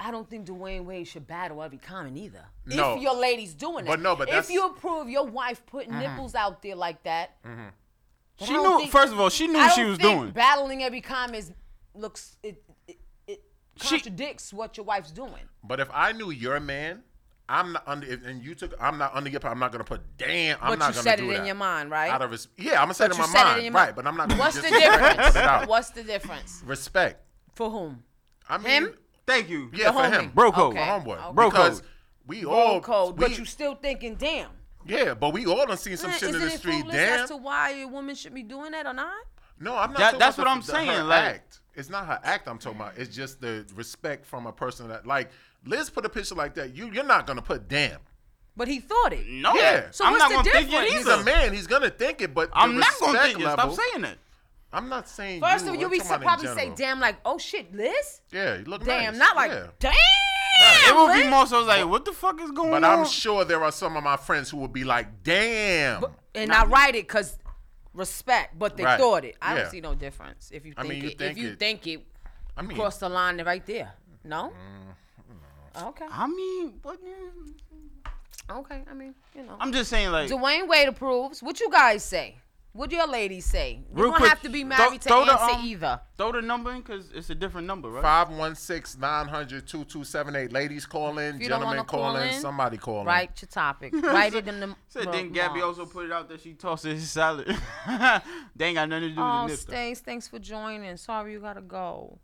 [SPEAKER 5] I don't think Dwayne Wade should battle every comment either.
[SPEAKER 4] No.
[SPEAKER 5] If your lady's doing it.
[SPEAKER 4] But no, but
[SPEAKER 5] if
[SPEAKER 4] that's-
[SPEAKER 5] you approve your wife putting
[SPEAKER 3] Mm-hmm.
[SPEAKER 5] nipples out there like that,
[SPEAKER 4] Mm-hmm.
[SPEAKER 5] but
[SPEAKER 3] She
[SPEAKER 5] I don't
[SPEAKER 3] knew.
[SPEAKER 5] think-
[SPEAKER 3] first of all, she knew
[SPEAKER 5] I
[SPEAKER 3] what she
[SPEAKER 5] don't
[SPEAKER 3] was
[SPEAKER 5] think
[SPEAKER 3] doing.
[SPEAKER 5] Battling every comment is- looks it it, it
[SPEAKER 3] She-
[SPEAKER 5] contradicts what your wife's doing.
[SPEAKER 4] But if I knew your man, I'm not under. If, and you took, I'm not under your. power. I'm not gonna put. Damn, I'm
[SPEAKER 5] But
[SPEAKER 4] not
[SPEAKER 5] you
[SPEAKER 4] gonna
[SPEAKER 5] said
[SPEAKER 4] do
[SPEAKER 5] it in
[SPEAKER 4] that.
[SPEAKER 5] your mind, right?
[SPEAKER 4] Out of res- yeah, I'm gonna say it in
[SPEAKER 5] you
[SPEAKER 4] my
[SPEAKER 5] said it
[SPEAKER 4] mind,
[SPEAKER 5] in your
[SPEAKER 4] right?
[SPEAKER 5] mind.
[SPEAKER 4] But I'm not. gonna
[SPEAKER 5] What's the
[SPEAKER 4] disrespect and
[SPEAKER 5] difference?
[SPEAKER 4] put it out.
[SPEAKER 5] What's the difference?
[SPEAKER 4] respect?
[SPEAKER 5] For whom?
[SPEAKER 4] I mean,
[SPEAKER 5] Him?
[SPEAKER 3] Thank you.
[SPEAKER 4] Yeah,
[SPEAKER 5] The
[SPEAKER 4] for him,
[SPEAKER 5] homie.
[SPEAKER 3] Bro code.
[SPEAKER 5] Okay.
[SPEAKER 4] my homeboy,
[SPEAKER 5] Okay.
[SPEAKER 3] Bro
[SPEAKER 4] because
[SPEAKER 3] code.
[SPEAKER 4] we all
[SPEAKER 5] Cold,
[SPEAKER 4] we-
[SPEAKER 5] but you still thinking, damn.
[SPEAKER 4] yeah, but we all done seen some
[SPEAKER 5] eh,
[SPEAKER 4] shit in
[SPEAKER 5] isn't
[SPEAKER 4] the
[SPEAKER 5] it
[SPEAKER 4] street.
[SPEAKER 5] foolish
[SPEAKER 4] Damn,
[SPEAKER 5] as to why a woman should be doing that or not?
[SPEAKER 4] No, I'm not.
[SPEAKER 3] That-
[SPEAKER 4] talking
[SPEAKER 3] that's
[SPEAKER 4] about
[SPEAKER 3] what
[SPEAKER 4] the-
[SPEAKER 3] I'm
[SPEAKER 4] the- her
[SPEAKER 3] saying, like-
[SPEAKER 4] act. it's not her act. I'm talking about. It's just the respect from a person that, like, Liz put a picture like that. You, you're not gonna put damn.
[SPEAKER 5] But he thought it.
[SPEAKER 3] No.
[SPEAKER 4] Yeah. So
[SPEAKER 3] I'm
[SPEAKER 5] what's
[SPEAKER 3] not
[SPEAKER 5] the
[SPEAKER 3] gonna think
[SPEAKER 5] difference?
[SPEAKER 3] it
[SPEAKER 4] He's
[SPEAKER 3] either.
[SPEAKER 4] a man. He's gonna think it, but the
[SPEAKER 3] I'm not gonna
[SPEAKER 4] respect
[SPEAKER 3] think it. Stop
[SPEAKER 4] level-
[SPEAKER 3] saying that.
[SPEAKER 4] I'm not saying.
[SPEAKER 5] First
[SPEAKER 4] you,
[SPEAKER 5] of all, you
[SPEAKER 4] I'm
[SPEAKER 5] be
[SPEAKER 4] talking about in
[SPEAKER 5] probably say,
[SPEAKER 4] general.
[SPEAKER 5] damn, like, oh shit, Liz?
[SPEAKER 4] Yeah, you look
[SPEAKER 5] Damn,
[SPEAKER 4] nice.
[SPEAKER 5] not like,
[SPEAKER 4] Yeah.
[SPEAKER 5] damn.
[SPEAKER 3] It would be
[SPEAKER 5] Liz."
[SPEAKER 3] more so like, what the fuck is going
[SPEAKER 4] But
[SPEAKER 3] on?
[SPEAKER 4] I'm sure there are some of my friends who would be like, damn.
[SPEAKER 5] And I write it because respect, but they
[SPEAKER 4] Right.
[SPEAKER 5] thought it. I
[SPEAKER 4] Yeah.
[SPEAKER 5] don't see no difference if you
[SPEAKER 4] I
[SPEAKER 5] think
[SPEAKER 4] mean, you
[SPEAKER 5] it.
[SPEAKER 4] think
[SPEAKER 5] if you
[SPEAKER 4] it.
[SPEAKER 5] think it,
[SPEAKER 4] I mean, Mm.
[SPEAKER 5] cross the line right there. No? Okay.
[SPEAKER 3] I mean, what? the-
[SPEAKER 5] Okay. I mean, you know.
[SPEAKER 3] I'm just saying like.
[SPEAKER 5] Dwayne Wade approves. What you guys say? What do your ladies say? You
[SPEAKER 3] Real
[SPEAKER 5] don't
[SPEAKER 3] quick,
[SPEAKER 5] have to be married
[SPEAKER 3] throw-
[SPEAKER 5] to E
[SPEAKER 3] throw the,
[SPEAKER 5] answer
[SPEAKER 3] um,
[SPEAKER 5] either.
[SPEAKER 3] Throw the number in because it's a different number, right?
[SPEAKER 4] 516 900 2278. Ladies call in,
[SPEAKER 5] you don't
[SPEAKER 4] gentlemen
[SPEAKER 5] wanna
[SPEAKER 4] call,
[SPEAKER 5] call
[SPEAKER 4] in,
[SPEAKER 5] in,
[SPEAKER 4] somebody call in.
[SPEAKER 5] Write your topic. Write it in the.
[SPEAKER 3] Said then
[SPEAKER 5] remarks.
[SPEAKER 3] Gabby also put it out that she tossed his salad. they ain't got nothing to do with
[SPEAKER 5] Oh,
[SPEAKER 3] the nip. though.
[SPEAKER 5] Stace, thanks for joining. Sorry you gotta go.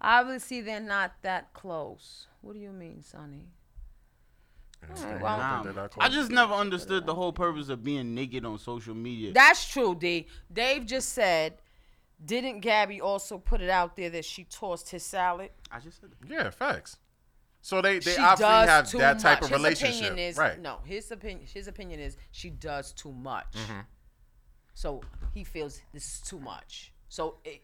[SPEAKER 5] Obviously, they're not that close. What do you mean, Sonny? All right, well,
[SPEAKER 3] Nah,
[SPEAKER 4] Did I call
[SPEAKER 3] I
[SPEAKER 4] you?
[SPEAKER 3] just never understood the whole purpose of being naked on social media.
[SPEAKER 5] that's true, D. Dave just said Didn't Gabby also put it out there that she tossed his salad?
[SPEAKER 3] I just said that.
[SPEAKER 4] Yeah, facts. So they they
[SPEAKER 5] she
[SPEAKER 4] obviously
[SPEAKER 5] does
[SPEAKER 4] have
[SPEAKER 5] too
[SPEAKER 4] that type
[SPEAKER 5] much.
[SPEAKER 4] of
[SPEAKER 5] his
[SPEAKER 4] relationship,
[SPEAKER 5] Opinion is,
[SPEAKER 4] right?
[SPEAKER 5] No, his opinion. His opinion is she does too much.
[SPEAKER 4] Mm-hmm.
[SPEAKER 5] So he feels this is too much. So it,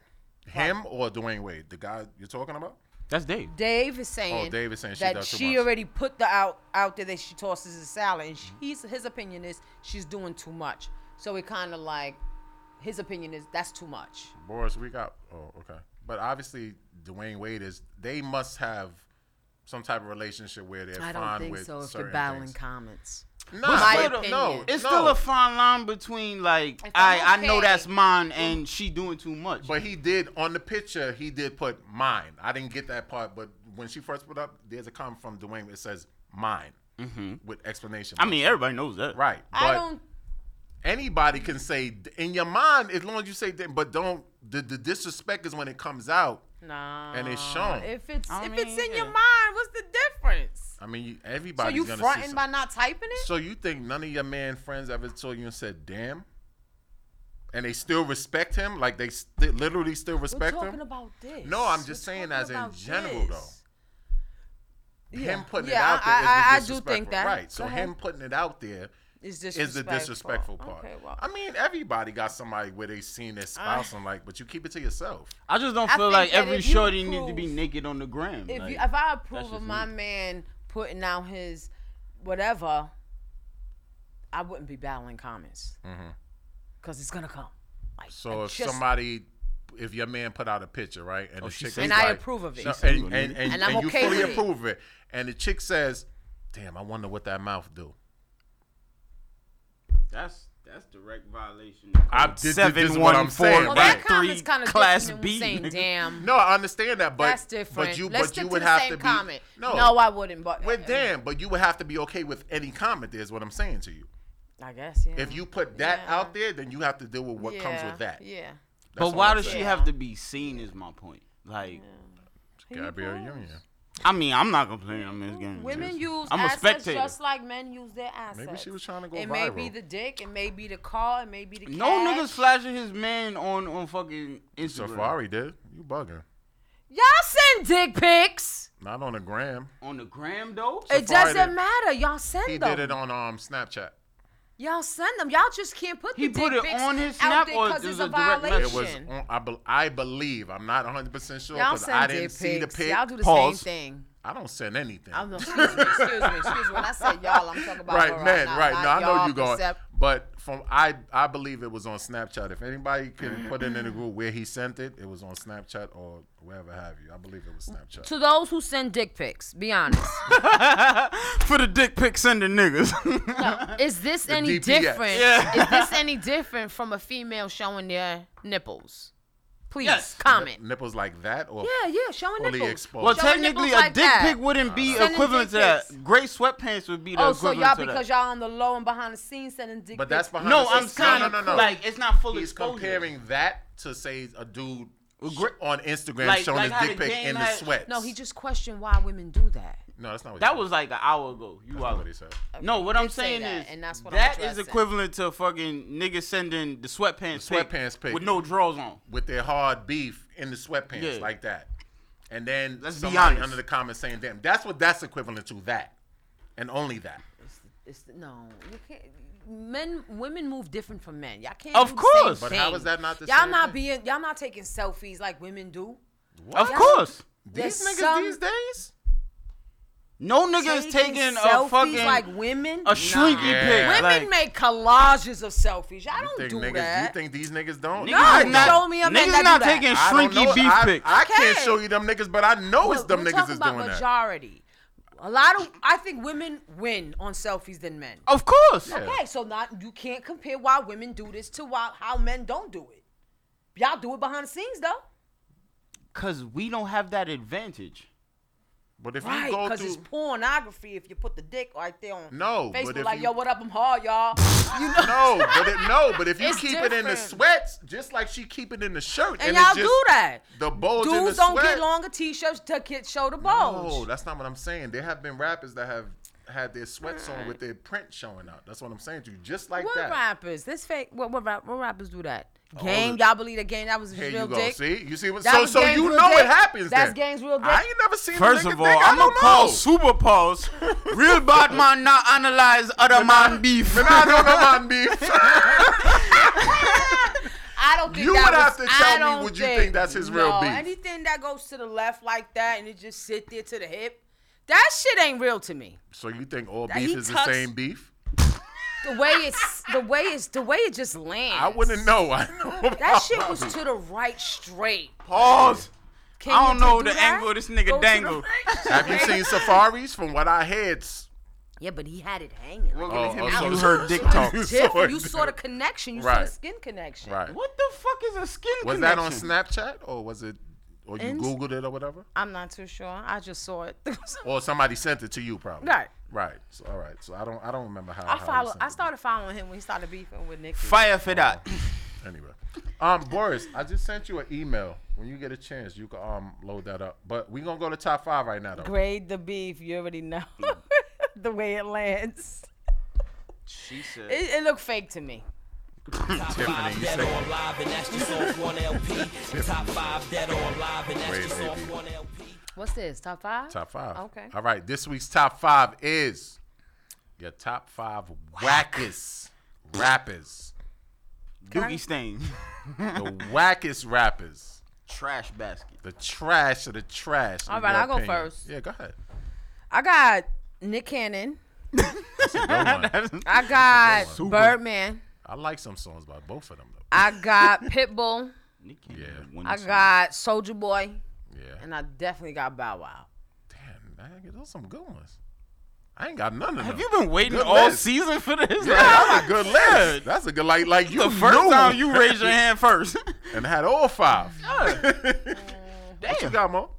[SPEAKER 4] Him or Dwayne Wade, the guy you're talking about?
[SPEAKER 3] That's Dave.
[SPEAKER 5] Dave is saying.
[SPEAKER 4] Oh, Dave is saying she
[SPEAKER 5] that
[SPEAKER 4] does too
[SPEAKER 5] she
[SPEAKER 4] much.
[SPEAKER 5] already put the out out there that she tosses a salad, and he's his opinion is she's doing too much. So it kind of like his opinion is that's too much.
[SPEAKER 4] Boris, we got. Oh, okay. But obviously, Dwayne Wade is. They must have some type of relationship where they're
[SPEAKER 5] I don't
[SPEAKER 4] fine
[SPEAKER 5] think
[SPEAKER 4] with
[SPEAKER 5] so. If you're
[SPEAKER 4] certain
[SPEAKER 5] battling
[SPEAKER 4] things.
[SPEAKER 5] comments,
[SPEAKER 4] No,
[SPEAKER 3] My
[SPEAKER 4] but
[SPEAKER 3] opinion.
[SPEAKER 4] no,
[SPEAKER 3] It's
[SPEAKER 4] no.
[SPEAKER 3] still a fine line between like
[SPEAKER 5] If
[SPEAKER 3] I
[SPEAKER 5] I'm
[SPEAKER 3] I know
[SPEAKER 5] okay-
[SPEAKER 3] that's mine and she doing too much.
[SPEAKER 4] But he did on the picture. He did put mine. I didn't get that part. But when she first put up, there's a comment from Dwayne. It says mine with explanation.
[SPEAKER 3] Mm-hmm. I mean, everybody knows that.
[SPEAKER 4] right? But
[SPEAKER 5] I don't.
[SPEAKER 4] anybody can say d- in your mind as long as you say. d- But don't the, the disrespect is when it comes out.
[SPEAKER 5] Nah.
[SPEAKER 4] it's shown.
[SPEAKER 5] Uh, If it's
[SPEAKER 3] I
[SPEAKER 5] if
[SPEAKER 3] mean,
[SPEAKER 5] it's in your
[SPEAKER 3] yeah.
[SPEAKER 5] mind, what's the difference?
[SPEAKER 4] I mean, you-
[SPEAKER 5] So
[SPEAKER 4] everybody's
[SPEAKER 5] you
[SPEAKER 4] gonna see
[SPEAKER 5] fronting
[SPEAKER 4] some-
[SPEAKER 5] by not typing it?
[SPEAKER 4] So you think none of your man friends ever told you and said, "Damn," and they still respect him? Like they st- literally still
[SPEAKER 5] We're
[SPEAKER 4] respect
[SPEAKER 5] talking
[SPEAKER 4] him?
[SPEAKER 5] about this.
[SPEAKER 4] No, I'm just
[SPEAKER 5] We're
[SPEAKER 4] saying
[SPEAKER 5] talking
[SPEAKER 4] as in
[SPEAKER 5] about
[SPEAKER 4] general, though.
[SPEAKER 5] this.
[SPEAKER 4] Him putting
[SPEAKER 5] Yeah,
[SPEAKER 4] it out there is
[SPEAKER 5] I- I- I do
[SPEAKER 4] the disrespectful.
[SPEAKER 5] think that.
[SPEAKER 4] Right. So
[SPEAKER 5] Go ahead.
[SPEAKER 4] him putting it out there
[SPEAKER 5] Is
[SPEAKER 4] is the
[SPEAKER 5] disrespectful.
[SPEAKER 4] disrespectful part.
[SPEAKER 5] Okay, well,
[SPEAKER 4] I mean, everybody got somebody where they seen their spouse and like, but you keep it to yourself.
[SPEAKER 3] I just don't
[SPEAKER 5] I
[SPEAKER 3] feel
[SPEAKER 5] think
[SPEAKER 3] like
[SPEAKER 5] that
[SPEAKER 3] every
[SPEAKER 5] if you
[SPEAKER 3] shorty need to be
[SPEAKER 5] prove-
[SPEAKER 3] naked on the gram.
[SPEAKER 5] if
[SPEAKER 3] like,
[SPEAKER 5] you, if I approve of
[SPEAKER 3] just
[SPEAKER 5] my
[SPEAKER 3] me.
[SPEAKER 5] man putting out his whatever, I wouldn't be battling comments
[SPEAKER 4] Mm-hmm.
[SPEAKER 5] because it's gonna come. Like,
[SPEAKER 4] So
[SPEAKER 5] I
[SPEAKER 4] if
[SPEAKER 5] just-
[SPEAKER 4] somebody, if your man put out a picture, right, and the
[SPEAKER 3] Oh, she
[SPEAKER 4] chick
[SPEAKER 3] single.
[SPEAKER 4] is
[SPEAKER 5] And I
[SPEAKER 4] like-
[SPEAKER 5] approve of it.
[SPEAKER 4] No,
[SPEAKER 5] She's
[SPEAKER 4] and,
[SPEAKER 3] single,
[SPEAKER 4] and,
[SPEAKER 3] nigga.
[SPEAKER 4] and,
[SPEAKER 5] And I'm
[SPEAKER 4] and you
[SPEAKER 5] okay
[SPEAKER 4] fully
[SPEAKER 5] with it.
[SPEAKER 4] approve of it, and the chick says, "Damn, I wonder what that mouth do."
[SPEAKER 3] that's that's direct violation.
[SPEAKER 4] I-
[SPEAKER 3] Code
[SPEAKER 4] this- this is what I'm saying,
[SPEAKER 5] well,
[SPEAKER 4] right.
[SPEAKER 5] that comment's kind of
[SPEAKER 3] class
[SPEAKER 5] different
[SPEAKER 3] B.
[SPEAKER 5] than saying,
[SPEAKER 3] nigga.
[SPEAKER 5] "Damn,
[SPEAKER 4] No, I understand that, but
[SPEAKER 5] that's different."
[SPEAKER 4] But you,
[SPEAKER 5] Let's
[SPEAKER 4] but
[SPEAKER 5] stick
[SPEAKER 4] you
[SPEAKER 5] to
[SPEAKER 4] would
[SPEAKER 5] the
[SPEAKER 4] have
[SPEAKER 5] same
[SPEAKER 4] to be
[SPEAKER 5] comment.
[SPEAKER 4] no,
[SPEAKER 5] I wouldn't. But
[SPEAKER 4] with damn, but you would have to be okay with any comment. Is what I'm saying to you.
[SPEAKER 5] I guess yeah.
[SPEAKER 4] If you put that
[SPEAKER 5] Yeah.
[SPEAKER 4] out there, then you have to deal with what comes
[SPEAKER 5] Yeah,
[SPEAKER 4] with that.
[SPEAKER 5] yeah.
[SPEAKER 4] That's
[SPEAKER 3] But
[SPEAKER 4] all
[SPEAKER 3] why
[SPEAKER 4] I'm
[SPEAKER 3] does she
[SPEAKER 4] saying.
[SPEAKER 3] have to be seen? Is my point. Like,
[SPEAKER 4] Gabrielle Union?
[SPEAKER 3] I mean, I'm not complaining on this game.
[SPEAKER 5] Women
[SPEAKER 3] Mm, Just-
[SPEAKER 5] use
[SPEAKER 3] I'm a
[SPEAKER 5] assets
[SPEAKER 3] spectator.
[SPEAKER 5] just like men use their assets.
[SPEAKER 4] Maybe she was trying to go
[SPEAKER 5] It may be
[SPEAKER 4] viral.
[SPEAKER 5] the dick, it may be the car, it may be the cash.
[SPEAKER 3] no niggas flashing his man on on fucking Instagram.
[SPEAKER 4] Safari did. You bugging?
[SPEAKER 5] Y'all send dick pics.
[SPEAKER 4] Not on the gram.
[SPEAKER 3] on the gram though.
[SPEAKER 5] it
[SPEAKER 4] Safari
[SPEAKER 5] doesn't
[SPEAKER 4] did.
[SPEAKER 5] matter. Y'all send
[SPEAKER 4] He
[SPEAKER 5] them.
[SPEAKER 4] did it on um Snapchat.
[SPEAKER 5] Y'all send them. Y'all just can't put the
[SPEAKER 3] He
[SPEAKER 5] dick
[SPEAKER 3] put it
[SPEAKER 5] pics
[SPEAKER 3] on his
[SPEAKER 5] out
[SPEAKER 3] snap
[SPEAKER 5] there
[SPEAKER 3] or
[SPEAKER 5] 'cause
[SPEAKER 3] it
[SPEAKER 5] it's
[SPEAKER 3] was
[SPEAKER 5] a
[SPEAKER 3] a direct
[SPEAKER 5] violation.
[SPEAKER 3] message?
[SPEAKER 4] It was on. I, bel I believe. I'm not 100 percent sure
[SPEAKER 5] Y'all
[SPEAKER 4] because I
[SPEAKER 5] send
[SPEAKER 4] didn't
[SPEAKER 5] dick
[SPEAKER 4] see the
[SPEAKER 5] pics.
[SPEAKER 4] pic.
[SPEAKER 5] Y'all do the
[SPEAKER 3] Pause.
[SPEAKER 5] same thing.
[SPEAKER 4] I don't send anything.
[SPEAKER 5] I'm not, excuse me, excuse me, excuse me. When I say y'all, I'm talking about
[SPEAKER 4] right,
[SPEAKER 5] her,
[SPEAKER 4] man,
[SPEAKER 5] not-
[SPEAKER 4] right.
[SPEAKER 5] not
[SPEAKER 4] No, I know
[SPEAKER 5] y'all
[SPEAKER 4] you going,
[SPEAKER 5] except-
[SPEAKER 4] but from I, I believe it was on Snapchat. If anybody can put it in the group where he sent it, it was on Snapchat or wherever have you. I believe it was Snapchat.
[SPEAKER 5] To those who send dick pics, be honest.
[SPEAKER 3] for the dick pic sending niggas.
[SPEAKER 5] Is this any
[SPEAKER 4] DPS.
[SPEAKER 5] different? Is this any different from a female showing their nipples? Please
[SPEAKER 3] Yes.
[SPEAKER 5] comment.
[SPEAKER 4] Nipples like that, or
[SPEAKER 5] Yeah, yeah, showing
[SPEAKER 4] fully
[SPEAKER 5] nipples.
[SPEAKER 4] exposed.
[SPEAKER 3] well,
[SPEAKER 5] Showing
[SPEAKER 3] technically,
[SPEAKER 5] nipples
[SPEAKER 3] a
[SPEAKER 5] like
[SPEAKER 3] dick
[SPEAKER 5] that.
[SPEAKER 3] pic wouldn't be
[SPEAKER 5] Sending
[SPEAKER 3] equivalent to
[SPEAKER 5] dick
[SPEAKER 3] that.
[SPEAKER 5] pics.
[SPEAKER 3] Gray sweatpants would be the
[SPEAKER 5] Oh, so
[SPEAKER 3] equivalent
[SPEAKER 5] y'all
[SPEAKER 3] to that.
[SPEAKER 5] because y'all on the low and behind the scenes sending dick
[SPEAKER 4] but
[SPEAKER 5] pics.
[SPEAKER 4] that's behind.
[SPEAKER 3] no,
[SPEAKER 4] the
[SPEAKER 3] I'm
[SPEAKER 4] scenes. No,
[SPEAKER 3] saying
[SPEAKER 4] no, no, no.
[SPEAKER 3] like it's not full
[SPEAKER 4] He's
[SPEAKER 3] exposure.
[SPEAKER 4] comparing that to say a dude
[SPEAKER 3] Well,
[SPEAKER 4] sh-
[SPEAKER 3] gr-
[SPEAKER 4] on Instagram
[SPEAKER 3] like-
[SPEAKER 4] showing
[SPEAKER 3] like how
[SPEAKER 4] his dick
[SPEAKER 3] the
[SPEAKER 4] pic
[SPEAKER 3] game
[SPEAKER 4] in
[SPEAKER 3] had-
[SPEAKER 4] his sweat.
[SPEAKER 5] no, he just questioned why women do that.
[SPEAKER 4] No, that's not what he
[SPEAKER 3] That
[SPEAKER 4] said.
[SPEAKER 3] was like an hour ago. You
[SPEAKER 4] That's
[SPEAKER 3] out.
[SPEAKER 4] not what he said.
[SPEAKER 3] No, what I'm
[SPEAKER 5] did say
[SPEAKER 3] saying
[SPEAKER 5] that,
[SPEAKER 3] is
[SPEAKER 5] and that's what I'm
[SPEAKER 3] that is
[SPEAKER 5] addressing.
[SPEAKER 3] equivalent to fucking niggas sending the sweatpants,
[SPEAKER 4] The sweatpants pic.
[SPEAKER 3] with no drawers on.
[SPEAKER 4] with their hard beef in the sweatpants
[SPEAKER 3] Yeah.
[SPEAKER 4] like that. And then
[SPEAKER 3] Let's be
[SPEAKER 4] somebody
[SPEAKER 3] honest.
[SPEAKER 4] under the comments saying, damn, that's what that's equivalent to that. And only that.
[SPEAKER 5] It's no, you can't. Men, women move different from men. Y'all can't.
[SPEAKER 3] Of
[SPEAKER 5] do the same
[SPEAKER 3] course. But
[SPEAKER 4] how
[SPEAKER 5] thing.
[SPEAKER 4] is that not the
[SPEAKER 5] y'all
[SPEAKER 4] same
[SPEAKER 5] not
[SPEAKER 4] thing?
[SPEAKER 5] being y'all not taking selfies like women do.
[SPEAKER 3] Of course,
[SPEAKER 5] There's
[SPEAKER 4] These niggas
[SPEAKER 5] some
[SPEAKER 4] these days?
[SPEAKER 3] no nigga is taking a
[SPEAKER 5] selfies
[SPEAKER 3] fucking
[SPEAKER 5] like women.
[SPEAKER 3] a shrinky
[SPEAKER 5] Nah.
[SPEAKER 3] pic.
[SPEAKER 4] Yeah.
[SPEAKER 5] Women
[SPEAKER 3] like,
[SPEAKER 5] make collages of selfies. Y'all
[SPEAKER 4] You
[SPEAKER 5] don't
[SPEAKER 4] think,
[SPEAKER 5] do
[SPEAKER 4] niggas,
[SPEAKER 5] that.
[SPEAKER 4] you think these niggas don't?
[SPEAKER 3] niggas
[SPEAKER 5] No,
[SPEAKER 3] is not,
[SPEAKER 5] show me a man
[SPEAKER 3] niggas
[SPEAKER 5] that
[SPEAKER 3] not
[SPEAKER 5] do that.
[SPEAKER 3] taking
[SPEAKER 4] I don't know.
[SPEAKER 3] shrinky beef
[SPEAKER 4] I,
[SPEAKER 3] pics.
[SPEAKER 4] I can't
[SPEAKER 5] Okay.
[SPEAKER 4] show you them niggas, but I know it's
[SPEAKER 5] Well,
[SPEAKER 4] them
[SPEAKER 5] we're
[SPEAKER 4] niggas
[SPEAKER 5] talking
[SPEAKER 4] is
[SPEAKER 5] about
[SPEAKER 4] doing that.
[SPEAKER 5] majority. A lot of I think women win on selfies than men.
[SPEAKER 3] Of course.
[SPEAKER 4] Yeah.
[SPEAKER 5] Okay, so not you can't compare why women do this to why how men don't do it. Y'all do it behind the scenes though.
[SPEAKER 3] Cause we don't have that advantage.
[SPEAKER 4] But if
[SPEAKER 5] Right,
[SPEAKER 4] you go
[SPEAKER 5] because
[SPEAKER 4] through
[SPEAKER 5] it's pornography if you put the dick right there on
[SPEAKER 4] No, but
[SPEAKER 5] Facebook.
[SPEAKER 4] if
[SPEAKER 5] Like,
[SPEAKER 4] you-
[SPEAKER 5] yo, what up? I'm hard, y'all. You know,
[SPEAKER 4] No, but it, no, but if you
[SPEAKER 5] It's
[SPEAKER 4] keep it in the
[SPEAKER 5] different.
[SPEAKER 4] sweats, just like she keep it in the shirt,
[SPEAKER 5] and,
[SPEAKER 4] it's
[SPEAKER 5] y'all
[SPEAKER 4] just
[SPEAKER 5] do that.
[SPEAKER 4] The bulge in the
[SPEAKER 5] Dudes don't
[SPEAKER 4] sweat.
[SPEAKER 5] get longer t-shirts to get show the
[SPEAKER 4] No,
[SPEAKER 5] bulge.
[SPEAKER 4] that's not what I'm saying. There have been rappers that have had their sweats on with their print showing out. That's what I'm saying to you. Just like
[SPEAKER 5] What
[SPEAKER 4] that. Oh,
[SPEAKER 5] rappers? This fake. What what, rap, what rappers do that? Game,
[SPEAKER 4] the-
[SPEAKER 5] y'all believe that game? That was his
[SPEAKER 4] Here
[SPEAKER 5] real
[SPEAKER 4] you go.
[SPEAKER 5] dick.
[SPEAKER 4] See, you see what?
[SPEAKER 5] That
[SPEAKER 4] so,
[SPEAKER 5] was
[SPEAKER 4] so
[SPEAKER 5] Gang's
[SPEAKER 4] you
[SPEAKER 5] real
[SPEAKER 4] know
[SPEAKER 5] dick.
[SPEAKER 4] it happens.
[SPEAKER 5] That's
[SPEAKER 4] then.
[SPEAKER 5] Gang's real
[SPEAKER 4] I
[SPEAKER 5] dick.
[SPEAKER 4] ain't never seen. a
[SPEAKER 3] First
[SPEAKER 4] nigga
[SPEAKER 3] of all,
[SPEAKER 4] dick. I
[SPEAKER 3] I'm
[SPEAKER 4] don't
[SPEAKER 3] gonna call
[SPEAKER 4] know.
[SPEAKER 3] super pause. Real bad man not analyze other man beef.
[SPEAKER 4] Man, I don't know about beef.
[SPEAKER 5] I don't think
[SPEAKER 4] You
[SPEAKER 5] that
[SPEAKER 4] would
[SPEAKER 5] was-
[SPEAKER 4] have to tell
[SPEAKER 5] I
[SPEAKER 4] me,
[SPEAKER 5] don't
[SPEAKER 4] would you think that's his real
[SPEAKER 5] no,
[SPEAKER 4] beef?
[SPEAKER 5] Anything that goes to the left like that and it just sit there to the hip, that shit ain't real to me.
[SPEAKER 4] So you think all
[SPEAKER 5] he
[SPEAKER 4] beef is
[SPEAKER 5] tucks-
[SPEAKER 4] the same beef?
[SPEAKER 5] The way it's the way it's the way it just lands.
[SPEAKER 4] I wouldn't know. I know
[SPEAKER 5] That
[SPEAKER 4] about
[SPEAKER 5] shit was
[SPEAKER 4] it.
[SPEAKER 5] to the right straight.
[SPEAKER 3] Pause.
[SPEAKER 5] Can
[SPEAKER 3] I don't
[SPEAKER 5] you
[SPEAKER 3] know
[SPEAKER 5] do
[SPEAKER 3] the
[SPEAKER 5] that?
[SPEAKER 3] angle of this
[SPEAKER 5] Go
[SPEAKER 3] nigga
[SPEAKER 5] to the
[SPEAKER 3] dangle.
[SPEAKER 5] right straight.
[SPEAKER 4] Have you seen safaris? From what I heard, s-
[SPEAKER 5] Yeah, but he had it hanging. Like,
[SPEAKER 3] Look
[SPEAKER 4] Oh,
[SPEAKER 3] at him.
[SPEAKER 4] oh,
[SPEAKER 3] You
[SPEAKER 4] sorry.
[SPEAKER 3] heard dick talk.
[SPEAKER 4] You
[SPEAKER 5] different.
[SPEAKER 4] saw it.
[SPEAKER 5] you saw the connection. You saw the
[SPEAKER 4] Right.
[SPEAKER 5] skin connection.
[SPEAKER 4] right?
[SPEAKER 3] What the fuck is a skin
[SPEAKER 4] Was that
[SPEAKER 3] connection?
[SPEAKER 4] on Snapchat or was it? Or you
[SPEAKER 5] Inst-
[SPEAKER 4] Googled it or whatever?
[SPEAKER 5] I'm not too sure. I just saw it.
[SPEAKER 3] Oh.
[SPEAKER 4] Or somebody sent it to you probably?
[SPEAKER 5] Right.
[SPEAKER 4] Right. So all right. So I don't. I don't remember how.
[SPEAKER 5] I
[SPEAKER 4] how he
[SPEAKER 5] follow.
[SPEAKER 4] sent
[SPEAKER 5] I
[SPEAKER 4] it.
[SPEAKER 5] started following him when he started beefing with Nicki.
[SPEAKER 3] Fire for that.
[SPEAKER 4] Anyway, um, Boris, I just sent you an email. When you get a chance, you can um load that up. But we gonna go to top five right now though.
[SPEAKER 5] Grade the beef. You already know the way it lands.
[SPEAKER 3] She said.
[SPEAKER 5] It, it looked fake to me.
[SPEAKER 4] Tiffany, you
[SPEAKER 7] Dead
[SPEAKER 4] say
[SPEAKER 7] or alive, and that's just off one LP. Top five, dead or alive, and that's
[SPEAKER 4] Wait,
[SPEAKER 7] just off
[SPEAKER 4] maybe.
[SPEAKER 7] one LP.
[SPEAKER 5] What's this? Top five?
[SPEAKER 4] top five.
[SPEAKER 5] Okay.
[SPEAKER 4] All right. This week's top five is your top five wackest rappers.
[SPEAKER 3] Doogie Stain.
[SPEAKER 4] The wackest rappers.
[SPEAKER 3] Trash basket.
[SPEAKER 4] The trash of the trash. in
[SPEAKER 5] All right,
[SPEAKER 4] your
[SPEAKER 5] I'll go
[SPEAKER 4] opinion.
[SPEAKER 5] first.
[SPEAKER 4] Yeah, go ahead.
[SPEAKER 5] I got Nick Cannon.
[SPEAKER 4] Go on.
[SPEAKER 5] I got Birdman.
[SPEAKER 4] I like some songs by both of them though.
[SPEAKER 5] I got Pitbull.
[SPEAKER 3] Nick can't
[SPEAKER 4] Yeah.
[SPEAKER 3] have one
[SPEAKER 5] I
[SPEAKER 3] song.
[SPEAKER 5] got Soldier Boy.
[SPEAKER 4] Yeah.
[SPEAKER 5] And I definitely got Bow Wow.
[SPEAKER 4] Damn, man, those some good ones. I ain't got none of them.
[SPEAKER 3] Have you been waiting
[SPEAKER 4] Good
[SPEAKER 3] all
[SPEAKER 4] list.
[SPEAKER 3] season for this?
[SPEAKER 4] That's a good list. That's a good like like you
[SPEAKER 3] the first
[SPEAKER 4] knew
[SPEAKER 3] time you raised your hand first.
[SPEAKER 4] and had all five. What you
[SPEAKER 3] Damn.
[SPEAKER 4] got, Mo?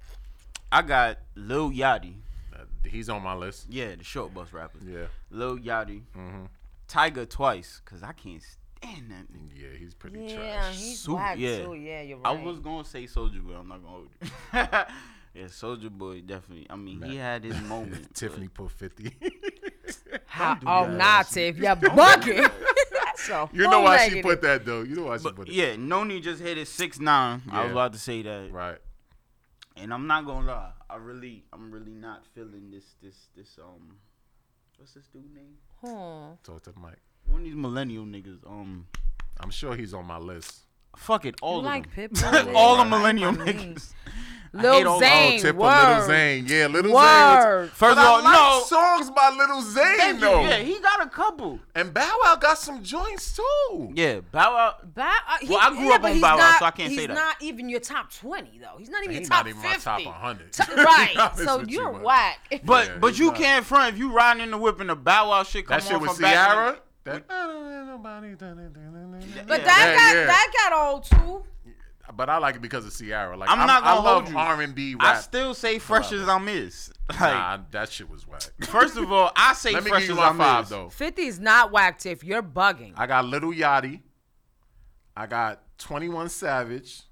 [SPEAKER 3] I got Lil Yachty.
[SPEAKER 4] Uh, he's on my list.
[SPEAKER 3] Yeah, the short bus rapper.
[SPEAKER 4] Yeah, Mm-hmm.
[SPEAKER 3] Lil Yachty. Tiger twice, cause I can't stand that nigga.
[SPEAKER 4] yeah, he's pretty
[SPEAKER 5] Yeah,
[SPEAKER 4] trash.
[SPEAKER 5] he's
[SPEAKER 3] Soup,
[SPEAKER 5] black
[SPEAKER 3] yeah.
[SPEAKER 5] too. Yeah, you're
[SPEAKER 3] I
[SPEAKER 5] right.
[SPEAKER 3] was gonna say Soldier Boy. I'm not gonna hold you. yeah, Soldier Boy definitely. I mean, he had his moment. but-
[SPEAKER 4] Tiffany put fifty.
[SPEAKER 5] How, oh, nah, Tiff. You're bugging. so
[SPEAKER 4] you know why she put that though. You know why she
[SPEAKER 3] But
[SPEAKER 4] put it.
[SPEAKER 3] yeah, Noni just hit his six nine. I was
[SPEAKER 4] Yeah.
[SPEAKER 3] about to say that,
[SPEAKER 4] Right.
[SPEAKER 3] and I'm not gonna lie. I really, I'm really not feeling this, this, this. Um, what's this dude name?
[SPEAKER 5] Hmm.
[SPEAKER 4] Talk to the mic.
[SPEAKER 3] One of these millennial niggas. Um,
[SPEAKER 4] I'm sure he's on my list.
[SPEAKER 3] fuck it, all
[SPEAKER 5] You
[SPEAKER 3] of
[SPEAKER 5] like
[SPEAKER 3] them.
[SPEAKER 5] Pitbull?
[SPEAKER 3] all the
[SPEAKER 5] Like
[SPEAKER 3] millennial
[SPEAKER 5] my
[SPEAKER 3] niggas.
[SPEAKER 5] knees.
[SPEAKER 3] I hate all-
[SPEAKER 5] Lil
[SPEAKER 4] Oh,
[SPEAKER 5] Zane.
[SPEAKER 4] tip
[SPEAKER 5] word.
[SPEAKER 4] for Little Zane. Yeah, Little Zane.
[SPEAKER 5] Word.
[SPEAKER 4] Was,
[SPEAKER 3] First
[SPEAKER 4] But
[SPEAKER 3] of all,
[SPEAKER 4] I like
[SPEAKER 3] no.
[SPEAKER 4] songs by Little Zane
[SPEAKER 3] Thank you.
[SPEAKER 4] though.
[SPEAKER 3] Yeah, he got a couple.
[SPEAKER 4] And Bow Wow got some joints too.
[SPEAKER 3] Yeah, Bow Wow.
[SPEAKER 5] Bow, uh, he,
[SPEAKER 3] Well, I grew
[SPEAKER 5] yeah,
[SPEAKER 3] up
[SPEAKER 5] but
[SPEAKER 3] on
[SPEAKER 5] he's
[SPEAKER 3] Bow Wow,
[SPEAKER 5] not-
[SPEAKER 3] so I can't say that.
[SPEAKER 5] He's not even your top 20, though. He's not even
[SPEAKER 4] He's
[SPEAKER 5] your top
[SPEAKER 4] not even
[SPEAKER 5] 50.
[SPEAKER 4] my top 100.
[SPEAKER 5] T-
[SPEAKER 4] To be
[SPEAKER 5] right.
[SPEAKER 4] honest
[SPEAKER 5] so
[SPEAKER 4] with you,
[SPEAKER 5] you're
[SPEAKER 4] man.
[SPEAKER 5] whack.
[SPEAKER 3] But
[SPEAKER 4] Yeah,
[SPEAKER 3] but
[SPEAKER 4] he's
[SPEAKER 3] you
[SPEAKER 4] not-
[SPEAKER 3] can't front if you riding in the whip and the Bow Wow shit come
[SPEAKER 4] That shit
[SPEAKER 3] on
[SPEAKER 4] with
[SPEAKER 3] from back in the-
[SPEAKER 4] Ciara. That, but,
[SPEAKER 5] But
[SPEAKER 3] Yeah.
[SPEAKER 5] that
[SPEAKER 4] Yeah,
[SPEAKER 5] got
[SPEAKER 4] yeah.
[SPEAKER 5] that got old too.
[SPEAKER 4] I like it because of Ciara. Like
[SPEAKER 3] I'm, not gonna
[SPEAKER 4] I love
[SPEAKER 3] hold you.
[SPEAKER 4] R&B
[SPEAKER 3] I
[SPEAKER 4] rap.
[SPEAKER 3] still say fresh as I'm is. Like,
[SPEAKER 4] nah, that shit was whack.
[SPEAKER 3] first of all, I say
[SPEAKER 4] Let me
[SPEAKER 3] fresh
[SPEAKER 4] give
[SPEAKER 3] as
[SPEAKER 4] you my
[SPEAKER 3] I'm
[SPEAKER 4] five
[SPEAKER 3] is.
[SPEAKER 4] though.
[SPEAKER 5] 50 is not whack, Tiff. You're bugging.
[SPEAKER 4] I got Little Yachty. I got 21 Savage.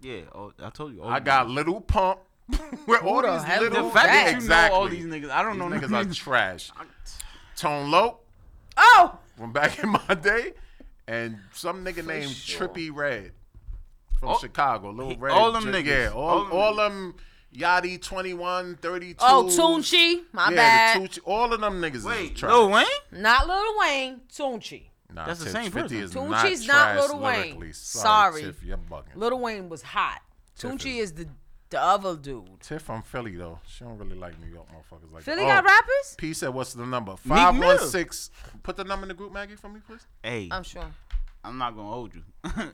[SPEAKER 3] Yeah, oh, I told you. all
[SPEAKER 4] I
[SPEAKER 3] these
[SPEAKER 4] got
[SPEAKER 3] niggas.
[SPEAKER 4] Little Pump. Where all
[SPEAKER 5] the
[SPEAKER 4] these
[SPEAKER 5] hell
[SPEAKER 4] little
[SPEAKER 5] is
[SPEAKER 3] the fact that you
[SPEAKER 4] exactly.
[SPEAKER 3] know all these niggas. I don't
[SPEAKER 4] These
[SPEAKER 3] know
[SPEAKER 4] niggas
[SPEAKER 3] niggas.
[SPEAKER 4] are trash. Tone Loc
[SPEAKER 5] oh,
[SPEAKER 4] from back in my day, and some nigga named Trippy Red from
[SPEAKER 3] Oh,
[SPEAKER 4] Chicago. Little
[SPEAKER 3] he-
[SPEAKER 4] Red.
[SPEAKER 3] all them
[SPEAKER 4] Tri-
[SPEAKER 3] niggas.
[SPEAKER 4] Yeah, all,
[SPEAKER 3] All them
[SPEAKER 4] all them Yachty 21, 32.
[SPEAKER 5] oh, Toonchi. My
[SPEAKER 4] yeah,
[SPEAKER 5] bad.
[SPEAKER 4] the Tucci, all of them niggas is
[SPEAKER 3] Wait,
[SPEAKER 4] trash.
[SPEAKER 3] Lil Wayne?
[SPEAKER 5] Not Lil Wayne. Toonchi.
[SPEAKER 4] Nah,
[SPEAKER 3] That's the
[SPEAKER 4] Tiff,
[SPEAKER 3] same
[SPEAKER 4] 50
[SPEAKER 3] person.
[SPEAKER 4] Is not
[SPEAKER 5] Tucci's not
[SPEAKER 4] trash
[SPEAKER 5] Lil Wayne.
[SPEAKER 4] lyrically.
[SPEAKER 5] Sorry.
[SPEAKER 4] Sorry, Tiff, you're bugging.
[SPEAKER 5] Lil Wayne was hot. Toonchi is the the other dude.
[SPEAKER 4] Tiff from Philly though. She don't really like New York motherfuckers like
[SPEAKER 5] Philly
[SPEAKER 4] that. Oh,
[SPEAKER 5] got rappers?
[SPEAKER 4] P said, "What's the number?
[SPEAKER 3] Meek
[SPEAKER 4] Five
[SPEAKER 3] Mill.
[SPEAKER 4] one six. Put the number in the group, Maggie, for me, please.
[SPEAKER 3] Hey,
[SPEAKER 5] I'm sure.
[SPEAKER 3] I'm not gonna hold you.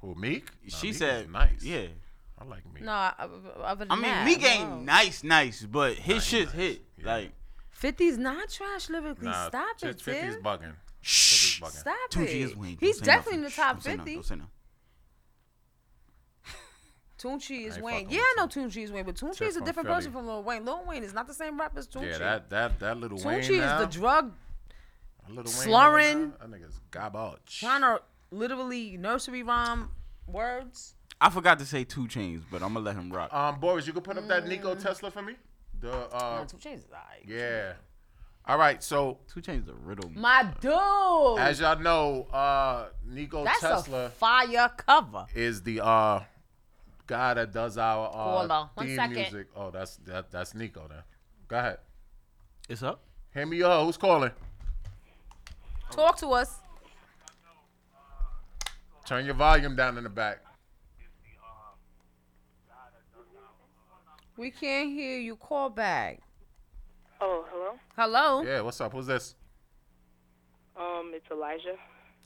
[SPEAKER 4] Who Meek? Nah,
[SPEAKER 3] she
[SPEAKER 4] Meek is
[SPEAKER 3] said,
[SPEAKER 4] "Nice.
[SPEAKER 3] Yeah.
[SPEAKER 4] I like Meek.
[SPEAKER 5] No, I- I- other than
[SPEAKER 3] I mean,
[SPEAKER 5] that,
[SPEAKER 3] Meek ain't
[SPEAKER 5] no.
[SPEAKER 3] nice, nice, but his shit's hit.
[SPEAKER 4] yeah.
[SPEAKER 3] Like,
[SPEAKER 5] 50's not trash lyrically.
[SPEAKER 4] Nah,
[SPEAKER 5] Stop
[SPEAKER 4] Tiff-
[SPEAKER 5] it,
[SPEAKER 4] Tiff is
[SPEAKER 5] Tim.
[SPEAKER 4] bugging.
[SPEAKER 3] shh.
[SPEAKER 4] Bugging.
[SPEAKER 5] Stop it.
[SPEAKER 3] Tunchi is Wayne.
[SPEAKER 5] He's
[SPEAKER 3] Don't say nothing.
[SPEAKER 5] definitely in the
[SPEAKER 3] Shh,
[SPEAKER 5] top
[SPEAKER 3] don't say nothing.
[SPEAKER 5] 50.
[SPEAKER 3] Don't say nothing.
[SPEAKER 5] Tunchi is
[SPEAKER 4] ain't
[SPEAKER 5] Wayne.
[SPEAKER 4] fucking
[SPEAKER 5] Yeah,
[SPEAKER 4] with
[SPEAKER 5] I know Tunchi is Wayne, but Tunchi
[SPEAKER 4] Tiff
[SPEAKER 5] is a
[SPEAKER 4] from
[SPEAKER 5] different
[SPEAKER 4] Philly.
[SPEAKER 5] person from Lil Wayne. Lil Wayne is not the same rap as Tunchi.
[SPEAKER 4] Yeah, that that that little Wayne
[SPEAKER 5] Tunchi is
[SPEAKER 4] now.
[SPEAKER 5] the drug
[SPEAKER 4] Lil Wayne
[SPEAKER 5] slurring.
[SPEAKER 4] nigga now, That nigga's garbage.
[SPEAKER 5] trying to literally nursery rhyme words.
[SPEAKER 3] I forgot to say two chains, but I'm gonna let him
[SPEAKER 4] Oh.
[SPEAKER 3] rock.
[SPEAKER 5] Mm.
[SPEAKER 4] Um, Boris, you can put up that Nico Tesla for me. The uh,
[SPEAKER 5] Two Chainz is alright.
[SPEAKER 4] yeah. All right, so
[SPEAKER 3] Two Chainz a riddle.
[SPEAKER 5] My dude.
[SPEAKER 4] as y'all know, uh, Nico
[SPEAKER 5] That's
[SPEAKER 4] Tesla
[SPEAKER 5] a fire cover.
[SPEAKER 4] is the uh, guy that does our uh,
[SPEAKER 5] Hold on, one
[SPEAKER 4] theme
[SPEAKER 5] second.
[SPEAKER 4] music. Oh, that's that, that's Nico. Then go ahead,
[SPEAKER 3] it's up.
[SPEAKER 4] hand me up. Who's calling?
[SPEAKER 5] Talk to us.
[SPEAKER 4] Turn your volume down in the back.
[SPEAKER 5] We can't hear you. Call back.
[SPEAKER 8] Oh, hello.
[SPEAKER 5] Hello.
[SPEAKER 4] Yeah, what's up? Who's this?
[SPEAKER 8] Um, it's Elijah.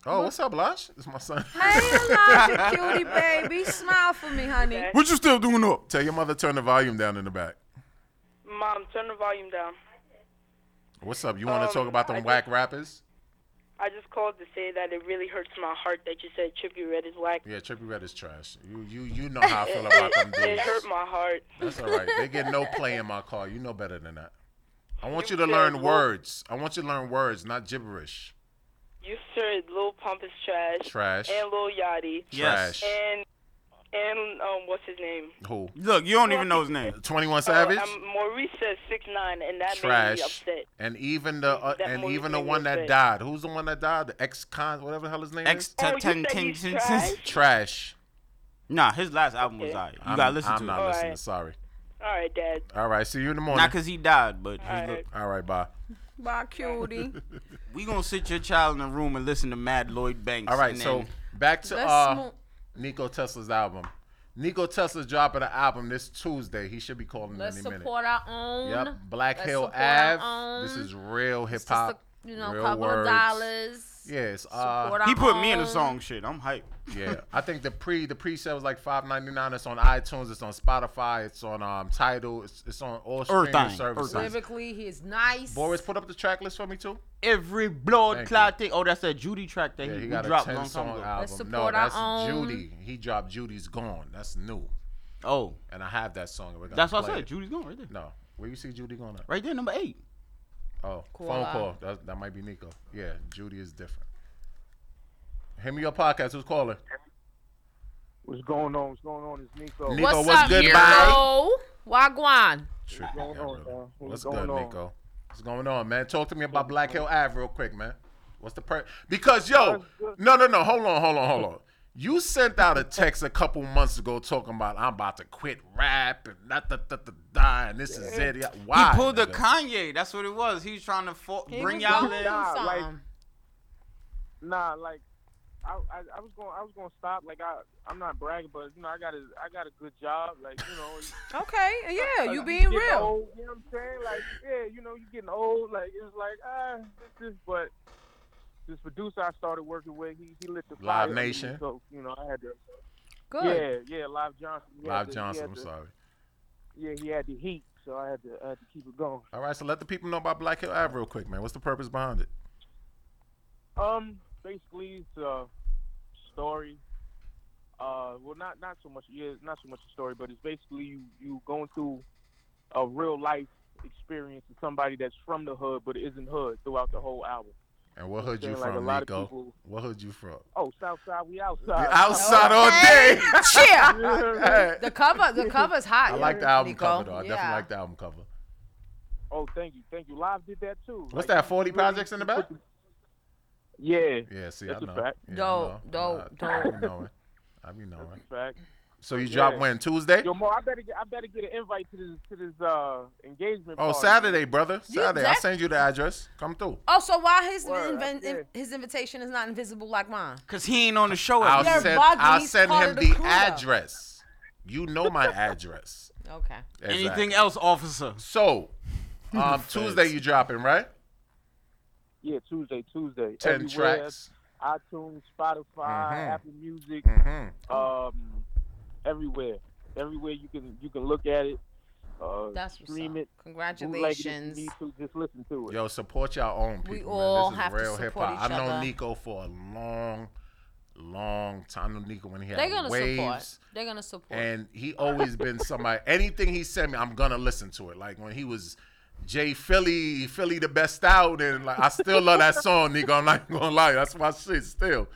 [SPEAKER 4] Oh, what's up, Lash? It's my son.
[SPEAKER 5] Hey, Elijah, cutie baby, smile for me, honey.
[SPEAKER 4] What you still doing up? Tell your mother turn the volume down in the back.
[SPEAKER 8] Mom, turn the volume down.
[SPEAKER 4] What's up? You want to
[SPEAKER 8] Um,
[SPEAKER 4] talk about them
[SPEAKER 8] I
[SPEAKER 4] whack rappers?
[SPEAKER 8] I just called to say that it really hurts my heart that you said Trippy Red is whack.
[SPEAKER 4] Yeah, Trippy Red is trash. You you you know how I feel about them
[SPEAKER 8] It hurt
[SPEAKER 4] dudes.
[SPEAKER 8] my heart.
[SPEAKER 4] That's all right. They get no play in my car. You know better than that. I want you to
[SPEAKER 8] You
[SPEAKER 4] learn
[SPEAKER 8] said-
[SPEAKER 4] words. I want you to learn words, not gibberish.
[SPEAKER 8] You said Lil Pump is trash.
[SPEAKER 4] Trash.
[SPEAKER 8] And Lil Yachty.
[SPEAKER 3] Yes.
[SPEAKER 4] Trash.
[SPEAKER 8] And and um, what's his name?
[SPEAKER 4] Who?
[SPEAKER 3] Look, you don't even know his name.
[SPEAKER 4] Twenty One
[SPEAKER 8] Uh,
[SPEAKER 4] Savage.
[SPEAKER 8] um, Maurice says six nine, and that made me
[SPEAKER 4] Trash.
[SPEAKER 8] upset.
[SPEAKER 4] And even the uh,
[SPEAKER 8] That
[SPEAKER 4] and
[SPEAKER 8] Maurice
[SPEAKER 4] even the
[SPEAKER 8] made me
[SPEAKER 4] one that
[SPEAKER 8] upset.
[SPEAKER 4] died. Who's the one that died? The ex con, whatever the hell his name
[SPEAKER 3] X
[SPEAKER 8] Oh,
[SPEAKER 3] ten
[SPEAKER 8] you
[SPEAKER 3] ten
[SPEAKER 8] said
[SPEAKER 3] ten
[SPEAKER 8] he's
[SPEAKER 3] ten.
[SPEAKER 8] trash?
[SPEAKER 4] is. Trash.
[SPEAKER 3] Nah, his last album was alright. You
[SPEAKER 4] I'm,
[SPEAKER 3] gotta listen
[SPEAKER 4] I'm
[SPEAKER 3] to
[SPEAKER 4] not
[SPEAKER 3] it.
[SPEAKER 8] All
[SPEAKER 4] listening.
[SPEAKER 8] right.
[SPEAKER 4] Sorry.
[SPEAKER 8] All right, Dad.
[SPEAKER 4] All right. See you in the morning.
[SPEAKER 3] Not cause he died, but
[SPEAKER 8] All
[SPEAKER 3] he's
[SPEAKER 8] right.
[SPEAKER 3] look-
[SPEAKER 4] all right. Bye.
[SPEAKER 5] Bye, cutie.
[SPEAKER 3] we gonna sit your child in a room and listen to Mad Lloyd Banks.
[SPEAKER 4] All right.
[SPEAKER 3] and
[SPEAKER 4] So
[SPEAKER 3] then-
[SPEAKER 4] back to
[SPEAKER 5] Let's
[SPEAKER 4] uh,
[SPEAKER 5] smoke.
[SPEAKER 4] Nico Tesla's album. Nico Tesla's dropping an album this Tuesday. He should be calling in
[SPEAKER 5] Let's
[SPEAKER 4] any minute.
[SPEAKER 5] support our own.
[SPEAKER 4] Yep, Black
[SPEAKER 5] Let's
[SPEAKER 4] Hill
[SPEAKER 5] support our
[SPEAKER 4] Ave.
[SPEAKER 5] own.
[SPEAKER 4] This is real hip
[SPEAKER 5] Just
[SPEAKER 4] hop.
[SPEAKER 5] a, you know,
[SPEAKER 4] real
[SPEAKER 5] couple
[SPEAKER 4] words.
[SPEAKER 5] of dollars.
[SPEAKER 4] Yes.
[SPEAKER 5] Support
[SPEAKER 4] Uh,
[SPEAKER 5] our
[SPEAKER 3] he put me in the
[SPEAKER 5] own.
[SPEAKER 3] song. Shit, I'm hyped.
[SPEAKER 4] yeah. I think the pre the pre sale was like five ninety nine. It's on iTunes. It's on Spotify. It's on um Tidal. It's, it's on all streaming
[SPEAKER 3] Everything,
[SPEAKER 4] services.
[SPEAKER 3] everything.
[SPEAKER 5] Lyrically, he is nice.
[SPEAKER 4] Boris, put up the track list for me too.
[SPEAKER 3] Every blood
[SPEAKER 4] Thank
[SPEAKER 3] clot thing. Oh, that's that Judy track that
[SPEAKER 4] Yeah,
[SPEAKER 3] he,
[SPEAKER 4] he
[SPEAKER 3] we
[SPEAKER 4] got a
[SPEAKER 3] dropped
[SPEAKER 4] ten
[SPEAKER 3] long time
[SPEAKER 4] song
[SPEAKER 3] ago.
[SPEAKER 4] album.
[SPEAKER 5] Let's
[SPEAKER 4] no,
[SPEAKER 5] support our
[SPEAKER 4] that's
[SPEAKER 5] own.
[SPEAKER 4] Judy. He dropped Judy's Gone. That's new,
[SPEAKER 3] Oh,
[SPEAKER 4] and I have that song. and We're gonna
[SPEAKER 3] that's what I
[SPEAKER 4] play
[SPEAKER 3] said.
[SPEAKER 4] it.
[SPEAKER 3] Judy's gone right there.
[SPEAKER 4] No, where you see Judy Gone at?
[SPEAKER 3] Right there, number eight.
[SPEAKER 4] Oh,
[SPEAKER 5] Cool.
[SPEAKER 4] phone call. That, that might be Nico. Yeah, Judy is different. Hit me your podcast. Who's calling?
[SPEAKER 6] What's going on? What's going on? It's Nico.
[SPEAKER 4] Nico,
[SPEAKER 5] What's
[SPEAKER 4] what's
[SPEAKER 5] up,
[SPEAKER 4] good,
[SPEAKER 5] Nico?
[SPEAKER 4] bye?
[SPEAKER 5] Wagwan.
[SPEAKER 4] Trippy,
[SPEAKER 6] going
[SPEAKER 4] yeah,
[SPEAKER 6] on,
[SPEAKER 4] brother.
[SPEAKER 6] man? What's
[SPEAKER 4] What's
[SPEAKER 6] going
[SPEAKER 4] good,
[SPEAKER 6] on?
[SPEAKER 4] Nico? What's going on, man? Talk to me about Black Hill Ave real quick, man. What's the per? Because yo, no, no, no. Hold on, hold on, hold on. You sent out a text a couple months ago talking about I'm about to quit rap and da da da da, da and this is it. Yeah, Why?
[SPEAKER 3] he pulled the
[SPEAKER 4] nigga?
[SPEAKER 3] Kanye. That's what it was. He was trying to fo-
[SPEAKER 5] He
[SPEAKER 3] bring
[SPEAKER 5] was
[SPEAKER 3] y'all
[SPEAKER 5] going
[SPEAKER 3] in.
[SPEAKER 6] Nah,
[SPEAKER 5] through
[SPEAKER 6] like-
[SPEAKER 5] something.
[SPEAKER 6] Nah, like I, I, I was going, I was going to stop. Like I, I'm not bragging, but you know, I got a, I got a good job. Like you know,
[SPEAKER 5] okay, yeah, you
[SPEAKER 6] like,
[SPEAKER 5] being
[SPEAKER 6] getting
[SPEAKER 5] real.
[SPEAKER 6] Old, you know what I'm saying? Like yeah, you know, you getting old. Like it's like ah, this, this, but this producer I started working with, he, he lit the
[SPEAKER 4] Live
[SPEAKER 6] fire. under me,
[SPEAKER 4] Nation.
[SPEAKER 6] So you know, I had to.
[SPEAKER 5] Good.
[SPEAKER 6] Yeah, yeah, Live Johnson. he had
[SPEAKER 4] Live
[SPEAKER 6] the- he
[SPEAKER 4] Johnson.
[SPEAKER 6] had
[SPEAKER 4] I'm
[SPEAKER 6] the-
[SPEAKER 4] sorry.
[SPEAKER 6] Yeah, he had the heat, so I had to, I had to keep it going.
[SPEAKER 4] All right, so let the people know about Black Hill Ave real quick, man. What's the purpose behind it?
[SPEAKER 6] Um, basically, it's a story. Uh, well, not not so much. Yeah, it's not so much a story, but it's basically you you going through a real life experience with somebody that's from the hood but isn't hood throughout the whole album.
[SPEAKER 4] And what hood you
[SPEAKER 6] Seems like
[SPEAKER 4] from,
[SPEAKER 6] a lot of
[SPEAKER 4] Nico?
[SPEAKER 6] people-
[SPEAKER 4] What hood you from?
[SPEAKER 6] Oh, Southside, we outside.
[SPEAKER 4] We outside all
[SPEAKER 5] Okay.
[SPEAKER 4] day.
[SPEAKER 5] Cheer.
[SPEAKER 6] Yeah.
[SPEAKER 5] The cover, the cover's hot.
[SPEAKER 4] I like the album
[SPEAKER 5] Nico.
[SPEAKER 4] cover though. I
[SPEAKER 5] Yeah.
[SPEAKER 4] definitely like the album cover.
[SPEAKER 6] oh, thank you, thank you. Live did that too.
[SPEAKER 4] What's
[SPEAKER 6] Like,
[SPEAKER 4] that? Forty projects in the back.
[SPEAKER 6] Yeah,
[SPEAKER 4] Yeah, see,
[SPEAKER 6] That's
[SPEAKER 4] I
[SPEAKER 6] a
[SPEAKER 4] know.
[SPEAKER 6] fact.
[SPEAKER 4] Yeah, I
[SPEAKER 5] Dope,
[SPEAKER 4] know.
[SPEAKER 5] dope,
[SPEAKER 4] I- I be
[SPEAKER 5] dope.
[SPEAKER 4] knowing. I be knowing.
[SPEAKER 6] fact.
[SPEAKER 4] So you drop
[SPEAKER 6] Yeah.
[SPEAKER 4] when Tuesday?
[SPEAKER 6] Yo, Mo, I better get I better get an invite to this to this uh engagement.
[SPEAKER 4] Oh,
[SPEAKER 6] party.
[SPEAKER 4] Saturday, brother.
[SPEAKER 5] You
[SPEAKER 4] Saturday. I'll
[SPEAKER 5] def-
[SPEAKER 4] send you the address. Come through.
[SPEAKER 5] Oh, so why his
[SPEAKER 6] Word,
[SPEAKER 5] inven-
[SPEAKER 6] that's good.
[SPEAKER 5] his invitation is not invisible like mine?
[SPEAKER 3] Cause he ain't on the show.
[SPEAKER 4] I'll
[SPEAKER 3] At
[SPEAKER 5] You're
[SPEAKER 3] least.
[SPEAKER 4] send,
[SPEAKER 5] bugging.
[SPEAKER 4] I'll
[SPEAKER 5] He's
[SPEAKER 4] send
[SPEAKER 5] part
[SPEAKER 4] him
[SPEAKER 5] of the
[SPEAKER 4] the
[SPEAKER 5] crew, though.
[SPEAKER 4] address. You know my address.
[SPEAKER 5] Okay.
[SPEAKER 4] Exactly.
[SPEAKER 3] Anything else, officer?
[SPEAKER 4] So, um, Tuesday you dropping, right?
[SPEAKER 6] Yeah, Tuesday, Tuesday.
[SPEAKER 4] 10
[SPEAKER 6] Everywhere,
[SPEAKER 4] tracks.
[SPEAKER 6] iTunes, Spotify,
[SPEAKER 4] Mhm.
[SPEAKER 6] Apple Music,
[SPEAKER 4] Mm-hmm.
[SPEAKER 6] um, everywhere, everywhere you can you can look at it, uh,
[SPEAKER 5] That's what's
[SPEAKER 6] stream
[SPEAKER 5] up.
[SPEAKER 6] it, bootleg it if you
[SPEAKER 5] Congratulations.
[SPEAKER 6] need to, just listen to it.
[SPEAKER 4] Yo, support your own people.
[SPEAKER 5] We
[SPEAKER 4] man.
[SPEAKER 5] all
[SPEAKER 4] this is
[SPEAKER 5] have to
[SPEAKER 4] real
[SPEAKER 5] support
[SPEAKER 4] hip-hop.
[SPEAKER 5] each
[SPEAKER 4] I've known
[SPEAKER 5] other.
[SPEAKER 4] Nico for a long, long time. I know Nico when he had
[SPEAKER 5] They're gonna
[SPEAKER 4] waves.
[SPEAKER 5] support. They're gonna support.
[SPEAKER 4] and he always been somebody. Anything he sent me, I'm gonna listen to it. Like when he was Jay Philly, Philly the best out, and like I still love that song, nigga. I'm not gonna lie, that's my shit still.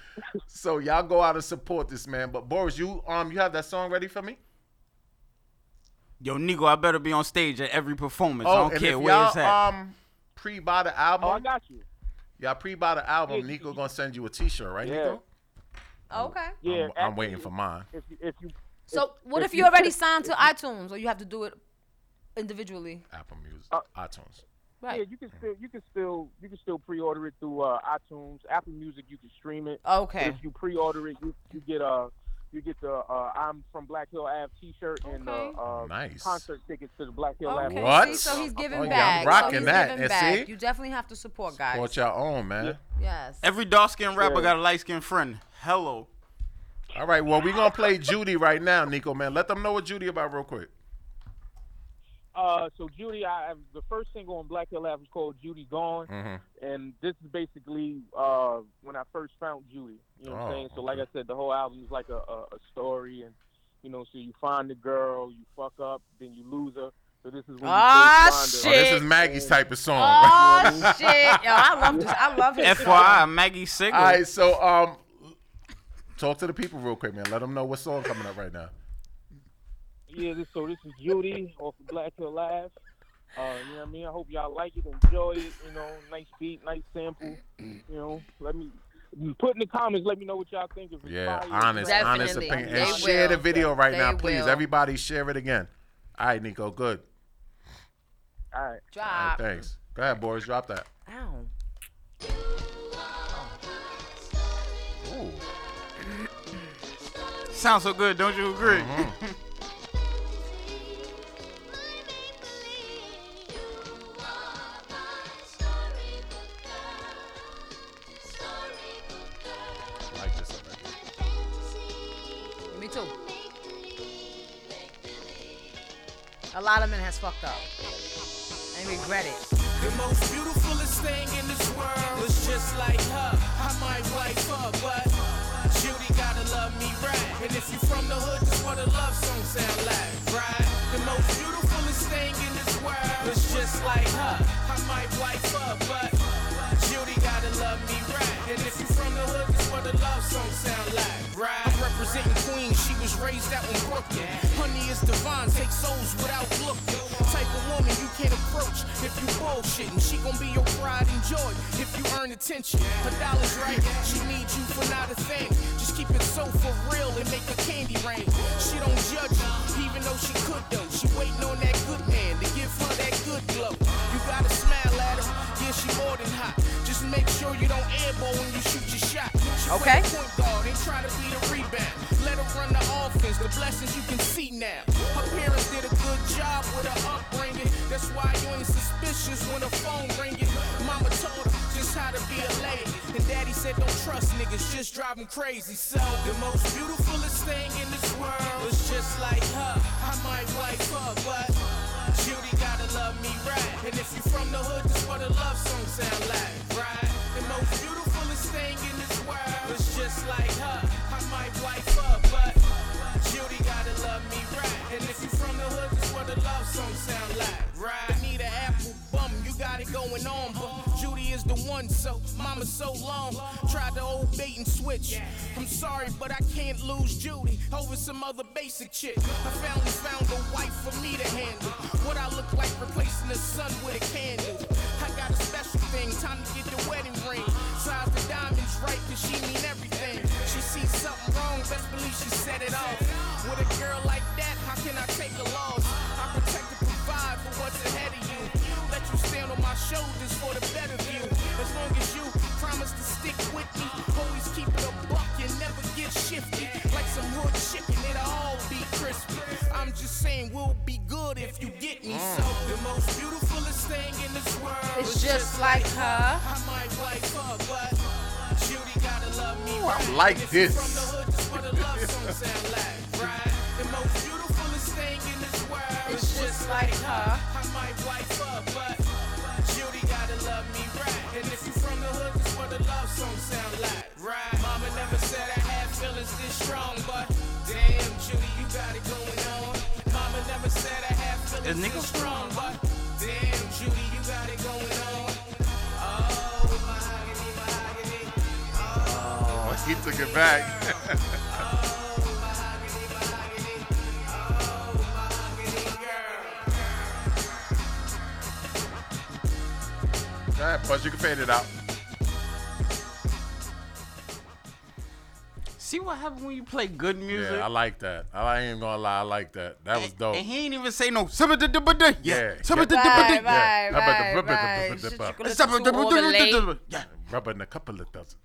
[SPEAKER 4] So y'all go out and support this man. But Boris, you um, you have that song ready for me?
[SPEAKER 3] Yo, Nico, I better be on stage at every performance. I don't
[SPEAKER 4] Oh, and
[SPEAKER 3] care
[SPEAKER 4] if
[SPEAKER 3] where
[SPEAKER 4] y'all
[SPEAKER 3] it's at.
[SPEAKER 4] um pre-buy the album.
[SPEAKER 6] Oh, I got you.
[SPEAKER 4] Y'all pre-buy the album.
[SPEAKER 6] Yeah,
[SPEAKER 4] Nico
[SPEAKER 6] you-
[SPEAKER 4] gonna send you a T-shirt, right,
[SPEAKER 6] Yeah.
[SPEAKER 4] Nico?
[SPEAKER 5] Okay.
[SPEAKER 6] Yeah,
[SPEAKER 4] I'm, I'm
[SPEAKER 6] actually,
[SPEAKER 4] waiting for mine.
[SPEAKER 6] If you, if you
[SPEAKER 5] So what
[SPEAKER 6] if
[SPEAKER 5] if you
[SPEAKER 6] you-
[SPEAKER 5] already signed to iTunes, or you have to do it individually?
[SPEAKER 4] Apple Music,
[SPEAKER 6] Uh,
[SPEAKER 4] iTunes.
[SPEAKER 6] yeah,
[SPEAKER 5] Right.
[SPEAKER 6] you can still you can still you can still pre-order it through uh, iTunes, Apple Music. You can stream it.
[SPEAKER 5] Okay.
[SPEAKER 6] If you pre-order it, you, you get a you get the uh, I'm from Black Hill Ave T-shirt and uh,
[SPEAKER 5] Okay.
[SPEAKER 6] uh,
[SPEAKER 4] Nice.
[SPEAKER 6] concert tickets to the Black Hill Ave.
[SPEAKER 5] Okay.
[SPEAKER 4] What?
[SPEAKER 5] See, so he's giving
[SPEAKER 4] Oh, yeah,
[SPEAKER 5] back.
[SPEAKER 4] I'm
[SPEAKER 5] So
[SPEAKER 4] rocking
[SPEAKER 5] he's
[SPEAKER 4] that.
[SPEAKER 5] Giving
[SPEAKER 4] And
[SPEAKER 5] back.
[SPEAKER 4] see?
[SPEAKER 5] You definitely have to support guys.
[SPEAKER 4] Bought your own, man.
[SPEAKER 5] Yes.
[SPEAKER 3] Every dark skinned rapper
[SPEAKER 6] Yeah.
[SPEAKER 3] got a light skinned friend. Hello.
[SPEAKER 4] All right, well, we're gonna play Judy right now, Nico, man. Let them know what Judy about real quick.
[SPEAKER 6] Uh, so Judy, I I- the first single on Black Hill Ave was called Judy Gone,
[SPEAKER 5] Mm-hmm.
[SPEAKER 4] Mhm.
[SPEAKER 6] and this is basically uh, when I first found Judy. You know what I'm
[SPEAKER 4] Oh,
[SPEAKER 6] saying? So
[SPEAKER 4] okay.
[SPEAKER 6] like I said, the whole album is like a, a, a story, and you know, so you find the girl, you fuck up, then you lose her. So this is when you
[SPEAKER 5] Ah,
[SPEAKER 6] first
[SPEAKER 4] Oh,
[SPEAKER 6] find her.
[SPEAKER 5] shit.
[SPEAKER 4] this is Maggie's type of song. right?
[SPEAKER 5] Oh shit! Yo, I love this. I love his.
[SPEAKER 3] FYI, Maggie Sigal.
[SPEAKER 4] All right, so um, talk to the people real quick, man. Let them know what song coming up right now.
[SPEAKER 6] Yeah, this, so this is Judy off of Black Hill Live. Uh, you know what I mean? I hope y'all like it, enjoy it. You know, nice beat, nice sample. You know, let me put in the comments. Let me know what y'all think. If it's
[SPEAKER 4] Yeah,
[SPEAKER 6] fire,
[SPEAKER 4] honest,
[SPEAKER 6] if it's not.
[SPEAKER 4] honest
[SPEAKER 5] Definitely.
[SPEAKER 4] opinion.
[SPEAKER 5] They
[SPEAKER 4] And share the
[SPEAKER 5] will.
[SPEAKER 4] video right
[SPEAKER 5] They
[SPEAKER 4] now, please.
[SPEAKER 5] will.
[SPEAKER 4] Everybody, share it again. All right, Nico, good.
[SPEAKER 6] All right.
[SPEAKER 4] All right,
[SPEAKER 5] Drop.
[SPEAKER 4] thanks. Go ahead, boys. Drop that.
[SPEAKER 5] Ow.
[SPEAKER 4] Ooh.
[SPEAKER 3] Sounds so good, don't you agree?
[SPEAKER 4] Uh-huh. I like this already.
[SPEAKER 5] Me too. A lot of men has fucked up and regret it.
[SPEAKER 2] The most beautifulest thing in this world was just like her. I might wife her, but Judy gotta love me right. And if you from the hood, that's what a love song sound like, right? The most beautifulest thing in this world was just like her. I might wife her, but Judy gotta love me right. And if you from the hood, that's what a love song sound like, right? I'm representing Queens, she was raised out in Brooklyn. Honey is divine, take souls without looking. Type of woman you can't approach if you bullshitting. She gon' be your pride and joy if you earn attention. Her dollar's right, she needs you for not a thing. Just keep it so for real and make her candy rain. She don't judge you, even though she could though. She waiting on that good man to give her that good glow. You gotta smile at her, yeah, she more than hot. Just make sure you don't airball when you shoot your shot. She
[SPEAKER 5] Okay.
[SPEAKER 2] play point guard and try to be the rebound. Let her run the offense, the blessings you can see now. Her parents did a good job with her upbringing. That's why you ain't suspicious when her phone ringing. Mama told her just how to be a lady. And daddy said, don't trust niggas, just drive them crazy. So the most beautifulest thing in this world is just like her. I might wife her, but Judy gotta love me right. And if you from the hood, that's what a love song sound like, right? The most beautifulest thing in this world is just like her. I might wife her, but Judy gotta love me right. And if you from the hood, that's what a love song sound like, right? Need an apple bum, you got it going on, but Judy is the one, so mama so long. Tried to old bait and switch. I'm sorry, but I can't lose Judy over some other basic chick. I finally found a wife for me to handle. What I look like replacing the sun with a candle. I got a special thing, time to get the wedding ring. Size the diamonds right, cause she mean everything. She sees something wrong, best believe she set it off. With a girl like that, how can I take a loss? I protect and provide for what's ahead of you. Let you stand on my shoulders for the better view. As long as you promise to stick with me, always keep it a buck and never get shifty. Like some hood chicken, it'll all be crispy. I'm just saying, we'll be good if you get me. So the most beautifulest thing in this world
[SPEAKER 5] It's
[SPEAKER 2] is
[SPEAKER 5] just like her.
[SPEAKER 2] I might wife her, but Judy gotta love me.
[SPEAKER 4] I
[SPEAKER 2] right.
[SPEAKER 4] like
[SPEAKER 2] If you
[SPEAKER 4] this.
[SPEAKER 2] From the hood, that's what a love song sound like, right? The most beautifulest thing in this world is just like her. I might wife her, but Judy gotta love me right. And if you from the hood, that's what a love song sound like, right? Mama never said I had feelings this strong, but damn, Judy, you got it going on. Mama never said I had
[SPEAKER 3] Is
[SPEAKER 2] feelings
[SPEAKER 3] Nico
[SPEAKER 2] this strong, but damn, Judy, you got it going on. Oh, mahogany, mahogany.
[SPEAKER 4] Oh, he took it back. All right, plus you can fade it out.
[SPEAKER 3] See what happens when you play good music.
[SPEAKER 4] Yeah, I like that. I ain't gonna lie, I like that. That was dope.
[SPEAKER 3] And he ain't even say no. "Sub-a-da-da-ba-da." Yeah.
[SPEAKER 4] Yeah.
[SPEAKER 5] Right,
[SPEAKER 3] Sub-a-da-da-ba-da.
[SPEAKER 5] right,
[SPEAKER 4] Yeah.
[SPEAKER 5] right,
[SPEAKER 4] Rubber,
[SPEAKER 5] right.
[SPEAKER 4] rubber,
[SPEAKER 5] Shit, you
[SPEAKER 4] rubber.
[SPEAKER 5] could listen to all the late-
[SPEAKER 3] Sub-a-da-ba-da-da-da-da. Yeah.
[SPEAKER 4] Rubbing a couple of dozen.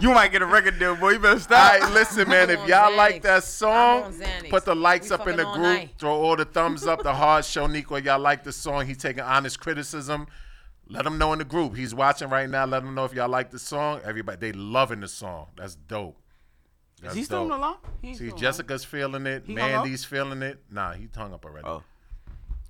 [SPEAKER 3] You might get a record deal, boy. You better
[SPEAKER 4] All
[SPEAKER 3] stop.
[SPEAKER 4] right, listen, man. If
[SPEAKER 5] on
[SPEAKER 4] y'all
[SPEAKER 5] Xanax.
[SPEAKER 4] like that
[SPEAKER 5] I'm on
[SPEAKER 4] song,
[SPEAKER 5] Xanax.
[SPEAKER 4] put the likes
[SPEAKER 5] We
[SPEAKER 4] up in the
[SPEAKER 5] fucking all
[SPEAKER 4] group.
[SPEAKER 5] night.
[SPEAKER 4] Throw all the thumbs up, the heart. Show Nico y'all like the song. He taking honest criticism. Let him know in the group. He's watching right now. Let him know if y'all like the song. Everybody, they loving the song. That's dope.
[SPEAKER 3] Is
[SPEAKER 4] That's
[SPEAKER 3] he still on
[SPEAKER 4] dope.
[SPEAKER 3] the line? He
[SPEAKER 4] See,
[SPEAKER 3] still on
[SPEAKER 4] Jessica's feeling it.
[SPEAKER 3] He hung up?
[SPEAKER 4] Mandy's feeling it. Nah, he hung up already.
[SPEAKER 3] the line? Oh.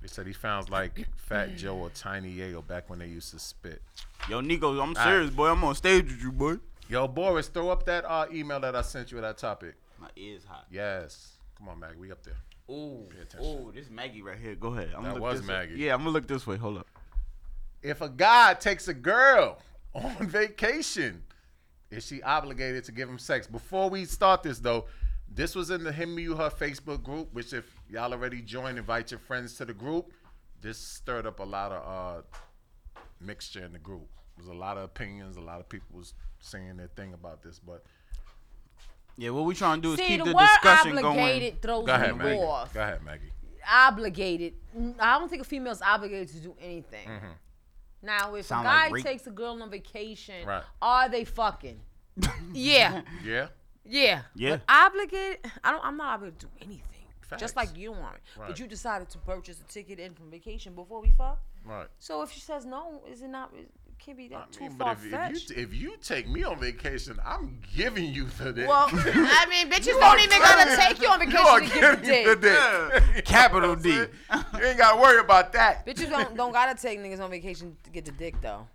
[SPEAKER 4] They said he sounds like Fat Joe or Tiny Yayo back when they used to spit.
[SPEAKER 3] Yo, Nico, I'm serious, boy. I'm on stage with you, boy.
[SPEAKER 4] Yo, Boris, throw up that uh, email that I sent you with that topic.
[SPEAKER 3] My ears hot.
[SPEAKER 4] Yes. Come on, Mag. We up there.
[SPEAKER 3] Ooh,
[SPEAKER 4] attention.
[SPEAKER 3] ooh, this Maggie right here. Go ahead. I'm
[SPEAKER 4] That
[SPEAKER 3] look
[SPEAKER 4] was
[SPEAKER 3] this way.
[SPEAKER 4] Maggie.
[SPEAKER 3] Yeah, I'm gonna look this way. Hold up.
[SPEAKER 4] If a guy takes a girl on vacation, is she obligated to give him sex? Before we start this though, this was in the him you her Facebook group, which if y'all already joined, invite your friends to the group. This stirred up a lot of uh, mixture in the group. There was a lot of opinions, a lot of people was saying their thing about this, but
[SPEAKER 3] Yeah, what we trying to do is
[SPEAKER 5] See,
[SPEAKER 3] keep
[SPEAKER 5] the,
[SPEAKER 3] the,
[SPEAKER 5] word
[SPEAKER 3] discussion going.
[SPEAKER 5] obligated throws
[SPEAKER 4] go ahead,
[SPEAKER 5] me
[SPEAKER 4] Maggie.
[SPEAKER 5] off.
[SPEAKER 4] Go ahead, Maggie.
[SPEAKER 5] Obligated. Mm, I don't think a female's obligated to do anything.
[SPEAKER 4] Mm-hmm.
[SPEAKER 5] Now, if
[SPEAKER 3] Sound
[SPEAKER 5] a guy
[SPEAKER 3] like rape.
[SPEAKER 5] takes a girl on vacation,
[SPEAKER 4] Right.
[SPEAKER 5] are they fucking? yeah,
[SPEAKER 4] Yeah.
[SPEAKER 5] yeah,
[SPEAKER 3] Yeah.
[SPEAKER 5] But obligated? I don't. I'm not obligated to do anything.
[SPEAKER 4] Facts.
[SPEAKER 5] Just like you aren't.
[SPEAKER 4] Right.
[SPEAKER 5] But you decided to purchase a ticket in from vacation before we fuck.
[SPEAKER 4] Right.
[SPEAKER 5] So if she says no, is it not? It can't be that
[SPEAKER 4] I
[SPEAKER 5] too
[SPEAKER 4] mean, but
[SPEAKER 5] far
[SPEAKER 4] if, if
[SPEAKER 5] fetched.
[SPEAKER 4] you if you take me on vacation, I'm giving you the dick.
[SPEAKER 5] Well, I mean, bitches
[SPEAKER 4] are
[SPEAKER 5] don't even gotta
[SPEAKER 4] giving-
[SPEAKER 5] take you on vacation
[SPEAKER 4] are
[SPEAKER 5] to give
[SPEAKER 4] giving
[SPEAKER 5] you
[SPEAKER 4] the
[SPEAKER 5] dick.
[SPEAKER 4] dick.
[SPEAKER 3] Capital D.
[SPEAKER 4] You ain't got to worry about that.
[SPEAKER 5] Bitches don't don't gotta take niggas on vacation to get the dick though.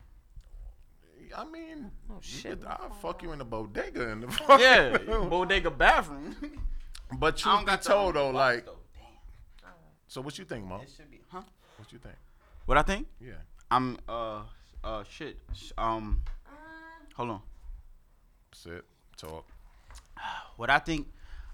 [SPEAKER 5] Oh,
[SPEAKER 4] I mean,
[SPEAKER 5] shit,
[SPEAKER 4] shit,
[SPEAKER 5] what's
[SPEAKER 4] I'll fuck you in the bodega in the fucking
[SPEAKER 3] Yeah, bodega bathroom.
[SPEAKER 4] But
[SPEAKER 3] I
[SPEAKER 4] truth
[SPEAKER 3] don't
[SPEAKER 4] be
[SPEAKER 3] got the
[SPEAKER 4] told, though,
[SPEAKER 3] box,
[SPEAKER 4] like,
[SPEAKER 3] though.
[SPEAKER 4] so what you think, Mo?
[SPEAKER 3] It should be, huh?
[SPEAKER 4] What you think?
[SPEAKER 3] What I think?
[SPEAKER 4] Yeah.
[SPEAKER 3] I'm uh uh shit. Sh- Um, hold on.
[SPEAKER 4] Sit, talk.
[SPEAKER 3] What I think?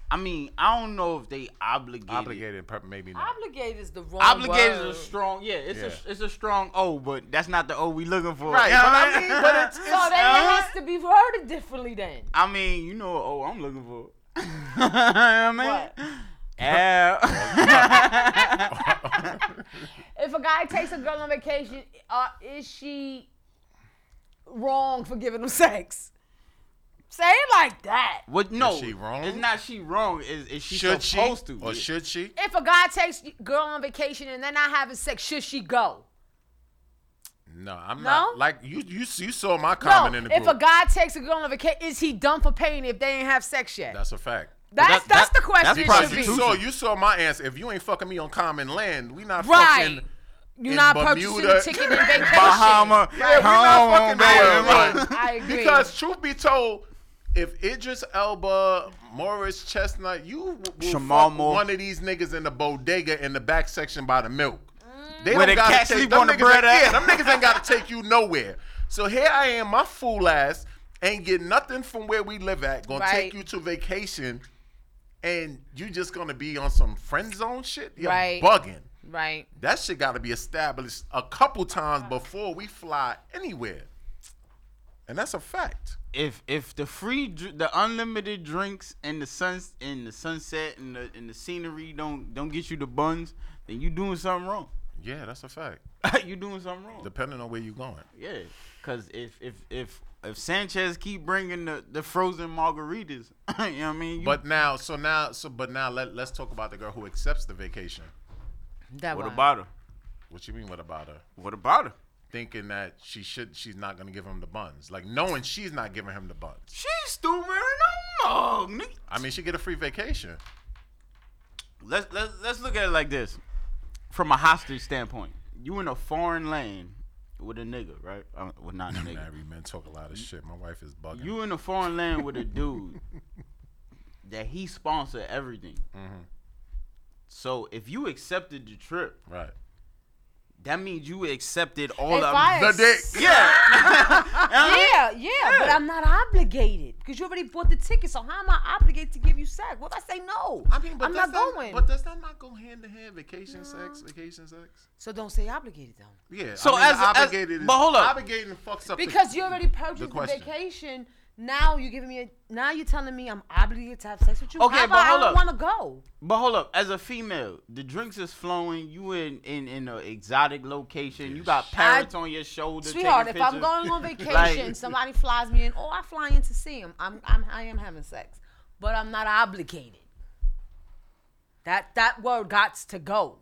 [SPEAKER 3] I mean, I don't know if they obligated.
[SPEAKER 4] Obligated, per- maybe not.
[SPEAKER 5] Obligated is the wrong
[SPEAKER 3] Obligated
[SPEAKER 5] word.
[SPEAKER 3] is a strong. Yeah, it's
[SPEAKER 4] Yeah.
[SPEAKER 3] a it's a strong O, but that's not the O we looking for.
[SPEAKER 4] Right,
[SPEAKER 3] You know
[SPEAKER 4] but
[SPEAKER 3] what
[SPEAKER 4] I mean, but it's-
[SPEAKER 5] So then it has to be worded differently then.
[SPEAKER 3] I mean, you know what O I'm looking for. you know what I mean?
[SPEAKER 5] What? If a guy takes a girl on vacation, uh, is she wrong for giving him sex? Say it like that.
[SPEAKER 3] What? No,
[SPEAKER 4] she wrong?
[SPEAKER 3] It's not she wrong. Is is she
[SPEAKER 4] Should she?
[SPEAKER 3] supposed to?
[SPEAKER 4] Or
[SPEAKER 3] Yeah.
[SPEAKER 4] should she?
[SPEAKER 5] If a guy takes a girl on vacation and they're not having sex, should she go?
[SPEAKER 4] No, I'm
[SPEAKER 5] No?
[SPEAKER 4] not. Like, you you, you saw my comment
[SPEAKER 5] no.
[SPEAKER 4] in the
[SPEAKER 5] if
[SPEAKER 4] group.
[SPEAKER 5] a guy takes a girl on vacation, is he done for paying if they ain't have sex yet?
[SPEAKER 4] That's a fact.
[SPEAKER 5] That's
[SPEAKER 3] That-
[SPEAKER 5] that's
[SPEAKER 3] that-
[SPEAKER 5] the question.
[SPEAKER 3] that's
[SPEAKER 5] it should
[SPEAKER 4] You
[SPEAKER 5] be.
[SPEAKER 3] prostitution.
[SPEAKER 4] saw, you saw my answer. If you ain't fucking me on common land, we not
[SPEAKER 5] Right.
[SPEAKER 4] fucking.
[SPEAKER 5] You're
[SPEAKER 4] in
[SPEAKER 5] not purchasing
[SPEAKER 4] Bermuda,
[SPEAKER 5] a ticket in vacation.
[SPEAKER 3] Bahama.
[SPEAKER 4] Yeah, we
[SPEAKER 3] Come
[SPEAKER 4] not
[SPEAKER 3] on,
[SPEAKER 4] fucking going,
[SPEAKER 3] baby.
[SPEAKER 5] I
[SPEAKER 4] right?
[SPEAKER 5] agree. I agree.
[SPEAKER 4] Because truth be told, if Idris Elba, Morris Chestnut, you w- will
[SPEAKER 3] Shamal
[SPEAKER 4] fuck
[SPEAKER 3] Moore.
[SPEAKER 4] one of these niggas in the bodega in the back section by the milk. They
[SPEAKER 3] Where the
[SPEAKER 4] gotta
[SPEAKER 3] cat sleep
[SPEAKER 4] them
[SPEAKER 3] on the
[SPEAKER 4] niggas
[SPEAKER 3] bread
[SPEAKER 4] ain't- Yeah,
[SPEAKER 3] at.
[SPEAKER 4] them niggas ain't got to take you nowhere. So here I am, my fool ass, ain't get nothing from where we live at. Gonna
[SPEAKER 5] Right.
[SPEAKER 4] take you to vacation, and you just gonna be on some friend zone shit. You're
[SPEAKER 5] Right.
[SPEAKER 4] bugging.
[SPEAKER 5] Right.
[SPEAKER 4] That shit got to be established a couple times before we fly anywhere, and that's a fact.
[SPEAKER 3] If if the free dr- the unlimited drinks and the suns and the sunset and the and the scenery don't don't get you the buns, then you doing something wrong.
[SPEAKER 4] Yeah, that's a fact.
[SPEAKER 3] you doing something wrong.
[SPEAKER 4] Depending on where you're going.
[SPEAKER 3] yeah, because if if if if Sanchez keep bringing the, the frozen margaritas, you know what I mean. You-
[SPEAKER 4] But now, so now, so but now, let let's talk about the girl who accepts the vacation.
[SPEAKER 5] That
[SPEAKER 3] what
[SPEAKER 5] one.
[SPEAKER 3] about her?
[SPEAKER 4] What you mean? What about her?
[SPEAKER 3] What about her?
[SPEAKER 4] Thinking that she should, she's not gonna give him the buns. Like knowing she's not giving him the buns.
[SPEAKER 3] She's still wearing a mug, nigga.
[SPEAKER 4] I mean, she get a free vacation.
[SPEAKER 3] let's let's let's look at it like this, from a hostage standpoint. You in a foreign land with a nigga, right? Um, well, not a nigga.
[SPEAKER 4] Married men talk a lot of shit. My wife is bugging.
[SPEAKER 3] You in a foreign land with a dude that he sponsor everything.
[SPEAKER 4] Mm-hmm.
[SPEAKER 3] So if you accepted the trip,
[SPEAKER 4] right?
[SPEAKER 3] that means you accepted all
[SPEAKER 5] If
[SPEAKER 3] of
[SPEAKER 5] I
[SPEAKER 4] The
[SPEAKER 5] ac-
[SPEAKER 4] dick.
[SPEAKER 3] yeah.
[SPEAKER 5] yeah, yeah, but I'm not obligated because you already bought the ticket. So how am I obligated to give you sex? What if I say no?
[SPEAKER 4] I mean, but
[SPEAKER 5] I'm not
[SPEAKER 4] does that,
[SPEAKER 5] going.
[SPEAKER 4] But does that not go hand to hand? Vacation sex, vacation sex.
[SPEAKER 5] so don't say obligated though.
[SPEAKER 4] Yeah.
[SPEAKER 3] So
[SPEAKER 4] I mean,
[SPEAKER 3] as- as-
[SPEAKER 4] obligated, is-
[SPEAKER 3] but hold up.
[SPEAKER 4] obligating fucks up the-
[SPEAKER 5] Because you already purchased the,
[SPEAKER 4] question.
[SPEAKER 5] vacation. Now you're giving me a. Now you're telling me I'm obligated to have sex with you.
[SPEAKER 3] Okay,
[SPEAKER 5] How
[SPEAKER 3] but
[SPEAKER 5] about
[SPEAKER 3] hold
[SPEAKER 5] I
[SPEAKER 3] up.
[SPEAKER 5] don't want to go.
[SPEAKER 3] But hold up, as a female, the drinks is flowing. You in in in an exotic location. You got parrots on your shoulder. taking
[SPEAKER 5] Sweetheart, if I'm
[SPEAKER 3] pictures.
[SPEAKER 5] going on vacation,
[SPEAKER 3] Like-
[SPEAKER 5] somebody flies me in, oh, I fly in to see him. I'm, I'm, I am having sex, but I'm not obligated. That that word got to go.